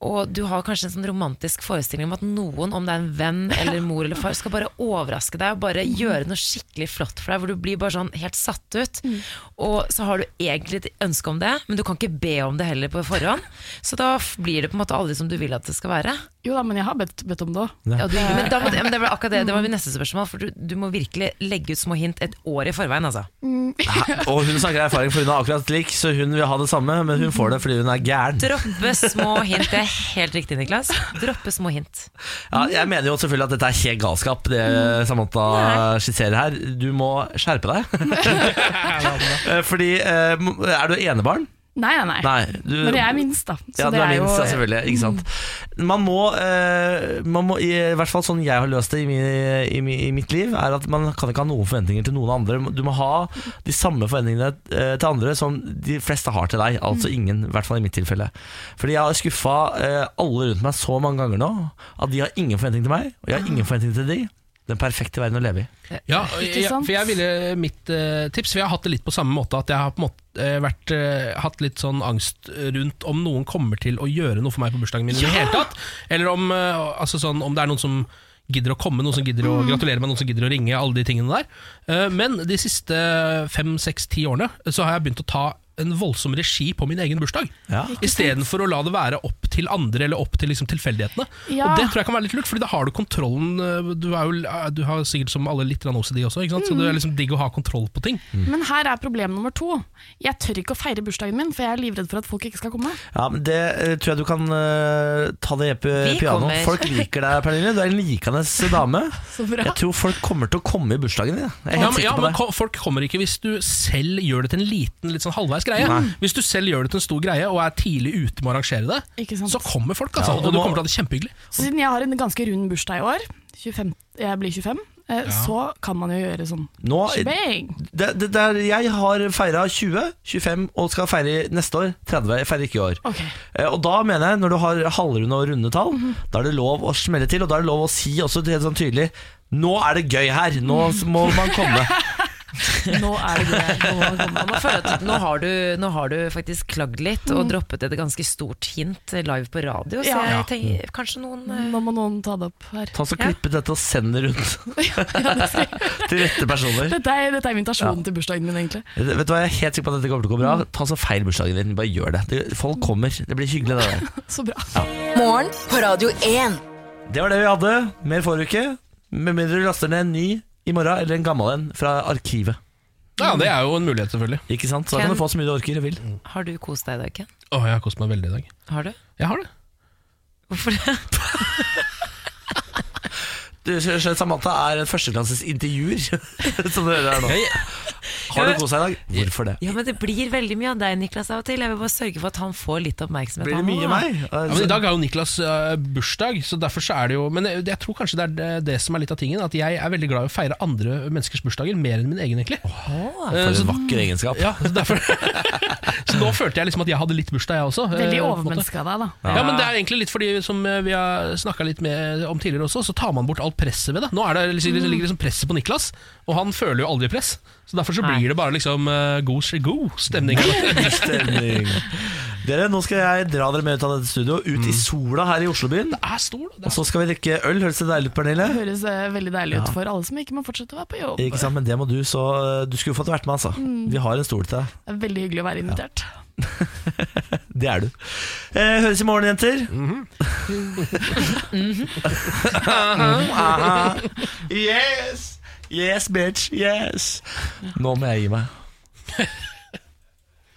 Speaker 3: Og du har kanskje en sånn romantisk forestilling om at noen, om det er en venn eller mor eller far, skal bare overraske deg og bare gjøre noe skikkelig flott for deg, hvor du blir bare sånn helt satt ut. Og så har du egentlig et ønske om det, men du kan ikke be om det heller på forhånd. Så da f- blir det på en måte aldri som du vil at det skal være.
Speaker 4: Jo da, men jeg har bedt, bedt om det òg.
Speaker 3: Ja, du, men da, måtte- ja, men det var akkurat det, det var mitt neste spørsmål, for du, du må virkelig legge ut små hint et år i forveien, altså.
Speaker 1: Hæ? Og hun snakker av erfaring, for hun er akkurat lik, så hun vil ha det samme, men hun får det fordi hun er gæren.
Speaker 3: Droppe små hint, det er helt riktig, Niklas. Droppe små hint.
Speaker 1: Ja, jeg mener jo selvfølgelig at dette er helt galskap, det
Speaker 4: Mm.
Speaker 1: Samantha skisserer her. Du må skjerpe deg. Eh, Fordi eh, Er du enebarn?
Speaker 4: Nei, nei, nei.
Speaker 1: Nei, du-
Speaker 4: Men jeg er minst, da. Så
Speaker 1: ja, du
Speaker 4: det
Speaker 1: er mm.
Speaker 4: jo-
Speaker 1: minst, ja, selvfølgelig. Ikke sant? Man må, eh, man må i, i hvert fall sånn jeg har løst det i, min, i, mi- i mitt liv, er at man kan ikke ha noen forventninger til noen andre. Du må ha de samme forventningene eh, til andre som de fleste har til deg. Altså ingen, i hvert fall i mitt tilfelle. Fordi jeg har skuffa eh, alle rundt meg så mange ganger nå at de har ingen forventning til meg, og jeg har ingen forventning til de. Den perfekte verden å leve i.
Speaker 2: Ja, og jeg,
Speaker 1: sant?
Speaker 2: for jeg ville mitt eh, tips For jeg har hatt det litt på samme måte At jeg har på en måte eh, vært, eh, hatt litt sånn angst rundt Om noen kommer til å gjøre noe for meg på bursdagen min i det
Speaker 9: Ja!
Speaker 2: hele tatt Eller om, eh, altså sånn, om det er noen som gidder å komme Noen som gidder å
Speaker 9: Mm.
Speaker 2: gratulere meg Noen som gidder å ringe Alle de tingene der Eh, Men de siste 5, 6, 10 årene Så har jeg begynt å ta en voldsom regi på min egen bursdag
Speaker 1: ja.
Speaker 2: I stedet for å la det være opp til andre Eller opp til liksom tilfeldighetene
Speaker 4: Ja.
Speaker 2: Og det tror jeg kan være litt lurt, Fordi da har du kontrollen eh, Du, er jo, eh, du har sikkert som alle litt grann OCD også, ikke sant? så
Speaker 4: Mm.
Speaker 2: det er liksom digg å ha kontroll på ting.
Speaker 4: Men her er problem nummer to. Jeg tør ikke å feire bursdagen min, for jeg er livredd for at folk ikke skal komme.
Speaker 1: Ja, men Det eh, tror jeg du kan eh, ta det
Speaker 4: Vi
Speaker 1: på piano.
Speaker 4: kommer.
Speaker 1: Folk liker deg, Pernille. Du er en likende dame.
Speaker 4: Så bra.
Speaker 1: Jeg tror folk kommer til å komme i bursdagen din. Jeg Jeg er
Speaker 2: Ja,
Speaker 1: helt
Speaker 2: men, ja,
Speaker 1: sikker på
Speaker 2: men
Speaker 1: det.
Speaker 2: ko- Folk kommer ikke hvis du selv gjør det til en liten litt sånn halvveis greie.
Speaker 1: Nei.
Speaker 2: Hvis du selv gjør det til en stor greie og er tidlig ute med å arrangere det,
Speaker 4: Ikke sant?
Speaker 2: så kommer folk. altså,
Speaker 4: Ja, og
Speaker 2: og,
Speaker 4: du
Speaker 2: du
Speaker 4: må-
Speaker 2: kommer til å ha det kjempehyggelig.
Speaker 4: Så siden jeg har en ganske rund bursdag i år, 25, jeg blir 25, eh,
Speaker 1: Ja.
Speaker 4: så kan man jo gjøre sånn
Speaker 1: Nå,
Speaker 4: shebang.
Speaker 1: det, det der, jeg har feira 20, 25 og skal feire i neste år. 30. Jeg feirer ikke i år. Eh, Og da mener jeg, når du har halvrunde og runde tall,
Speaker 2: Mhm.
Speaker 1: da er det lov å smelle til, og da er det lov å si også helt sånn tydelig Nå er det gøy her! Nå må man komme.
Speaker 3: Nå er det greit. Nå, kommer man. Nå føler jeg at nå, har du, nå har du faktisk klagd litt og
Speaker 4: Mm.
Speaker 3: droppet et ganske stort hint live på radio. Så
Speaker 4: Ja.
Speaker 3: jeg
Speaker 1: Mm.
Speaker 3: tenker, kanskje noen eh,
Speaker 4: Nå må noen ta det opp her.
Speaker 1: Ta så
Speaker 4: Ja.
Speaker 1: Klippe dette og send det rundt til rette personer.
Speaker 4: Dette er, dette er invitasjonen
Speaker 1: Ja.
Speaker 4: til bursdagen min, egentlig.
Speaker 1: Vet du hva, Jeg er helt sikker på at dette kommer til å gå bra. Ta så feil bursdagen din. Bare gjør det. det. Folk kommer. Det blir hyggelig, det der.
Speaker 4: Så bra.
Speaker 5: Morgen på Radio 1.
Speaker 1: Det var det vi hadde. Mer får du ikke. Med mindre du laster ned en ny i morgen, eller en gammel en fra arkivet.
Speaker 2: Ja, det er jo en mulighet, selvfølgelig.
Speaker 1: Ikke sant? Så da
Speaker 3: Ken?
Speaker 1: kan du få så mye du orker og vil.
Speaker 3: Har du kost deg i dag, Ken?
Speaker 2: Å, jeg har kost meg veldig i dag.
Speaker 3: Har du?
Speaker 2: Jeg har det.
Speaker 3: Hvorfor det?
Speaker 1: Du, Samantha er en førsteklasses intervjuer, som du hører her nå. Har du kost deg i dag? Hvorfor det?
Speaker 3: Ja, men Det blir veldig mye av deg, Niklas, av og til. Jeg vil bare sørge for at han får litt oppmerksomhet.
Speaker 1: Blir det
Speaker 3: han
Speaker 1: mye
Speaker 3: også, da.
Speaker 1: meg? Altså,
Speaker 2: Ja, men I dag er jo Niklas eh, bursdag, så derfor så er det jo Men jeg, jeg tror kanskje det er det, det som er litt av tingen. At jeg er veldig glad i å feire andre menneskers bursdager mer enn min egen, egentlig.
Speaker 1: for
Speaker 2: Eh,
Speaker 1: en
Speaker 2: så-
Speaker 1: vakker egenskap.
Speaker 2: Ja, så, derfor, så nå følte jeg liksom at jeg hadde litt bursdag, jeg også. eh,
Speaker 4: Veldig
Speaker 2: på en måte.
Speaker 4: overmenneske av deg, da.
Speaker 2: Ja. men Det er egentlig litt fordi som eh, vi har snakka litt med eh, om tidligere også, så tar man bort alt presset ved det. Nå er det, liksom, det ligger liksom presset på Niklas, og han føler jo aldri press. Så Derfor så blir det bare liksom eh, god, god stemning.
Speaker 1: Stemning. Dere, Nå skal jeg dra dere med ut av dette studio, ut
Speaker 2: Mm.
Speaker 1: i sola her i Oslobyen.
Speaker 2: Det er sol,
Speaker 1: Og så skal vi drikke øl. Høres det deilig ut, Pernille?
Speaker 4: Det høres eh, veldig deilig
Speaker 1: Ja.
Speaker 4: ut for alle som ikke må fortsette å være på jobb.
Speaker 1: Ikke sant, men det må du, så eh, du skulle fått vært med, altså.
Speaker 4: Mm.
Speaker 1: Vi har en stol til deg.
Speaker 4: Det er veldig hyggelig å være invitert.
Speaker 1: Det er du. Eh, høres i morgen, jenter. Aha. yes! Yes, bitch. Yes! Nå må jeg gi meg.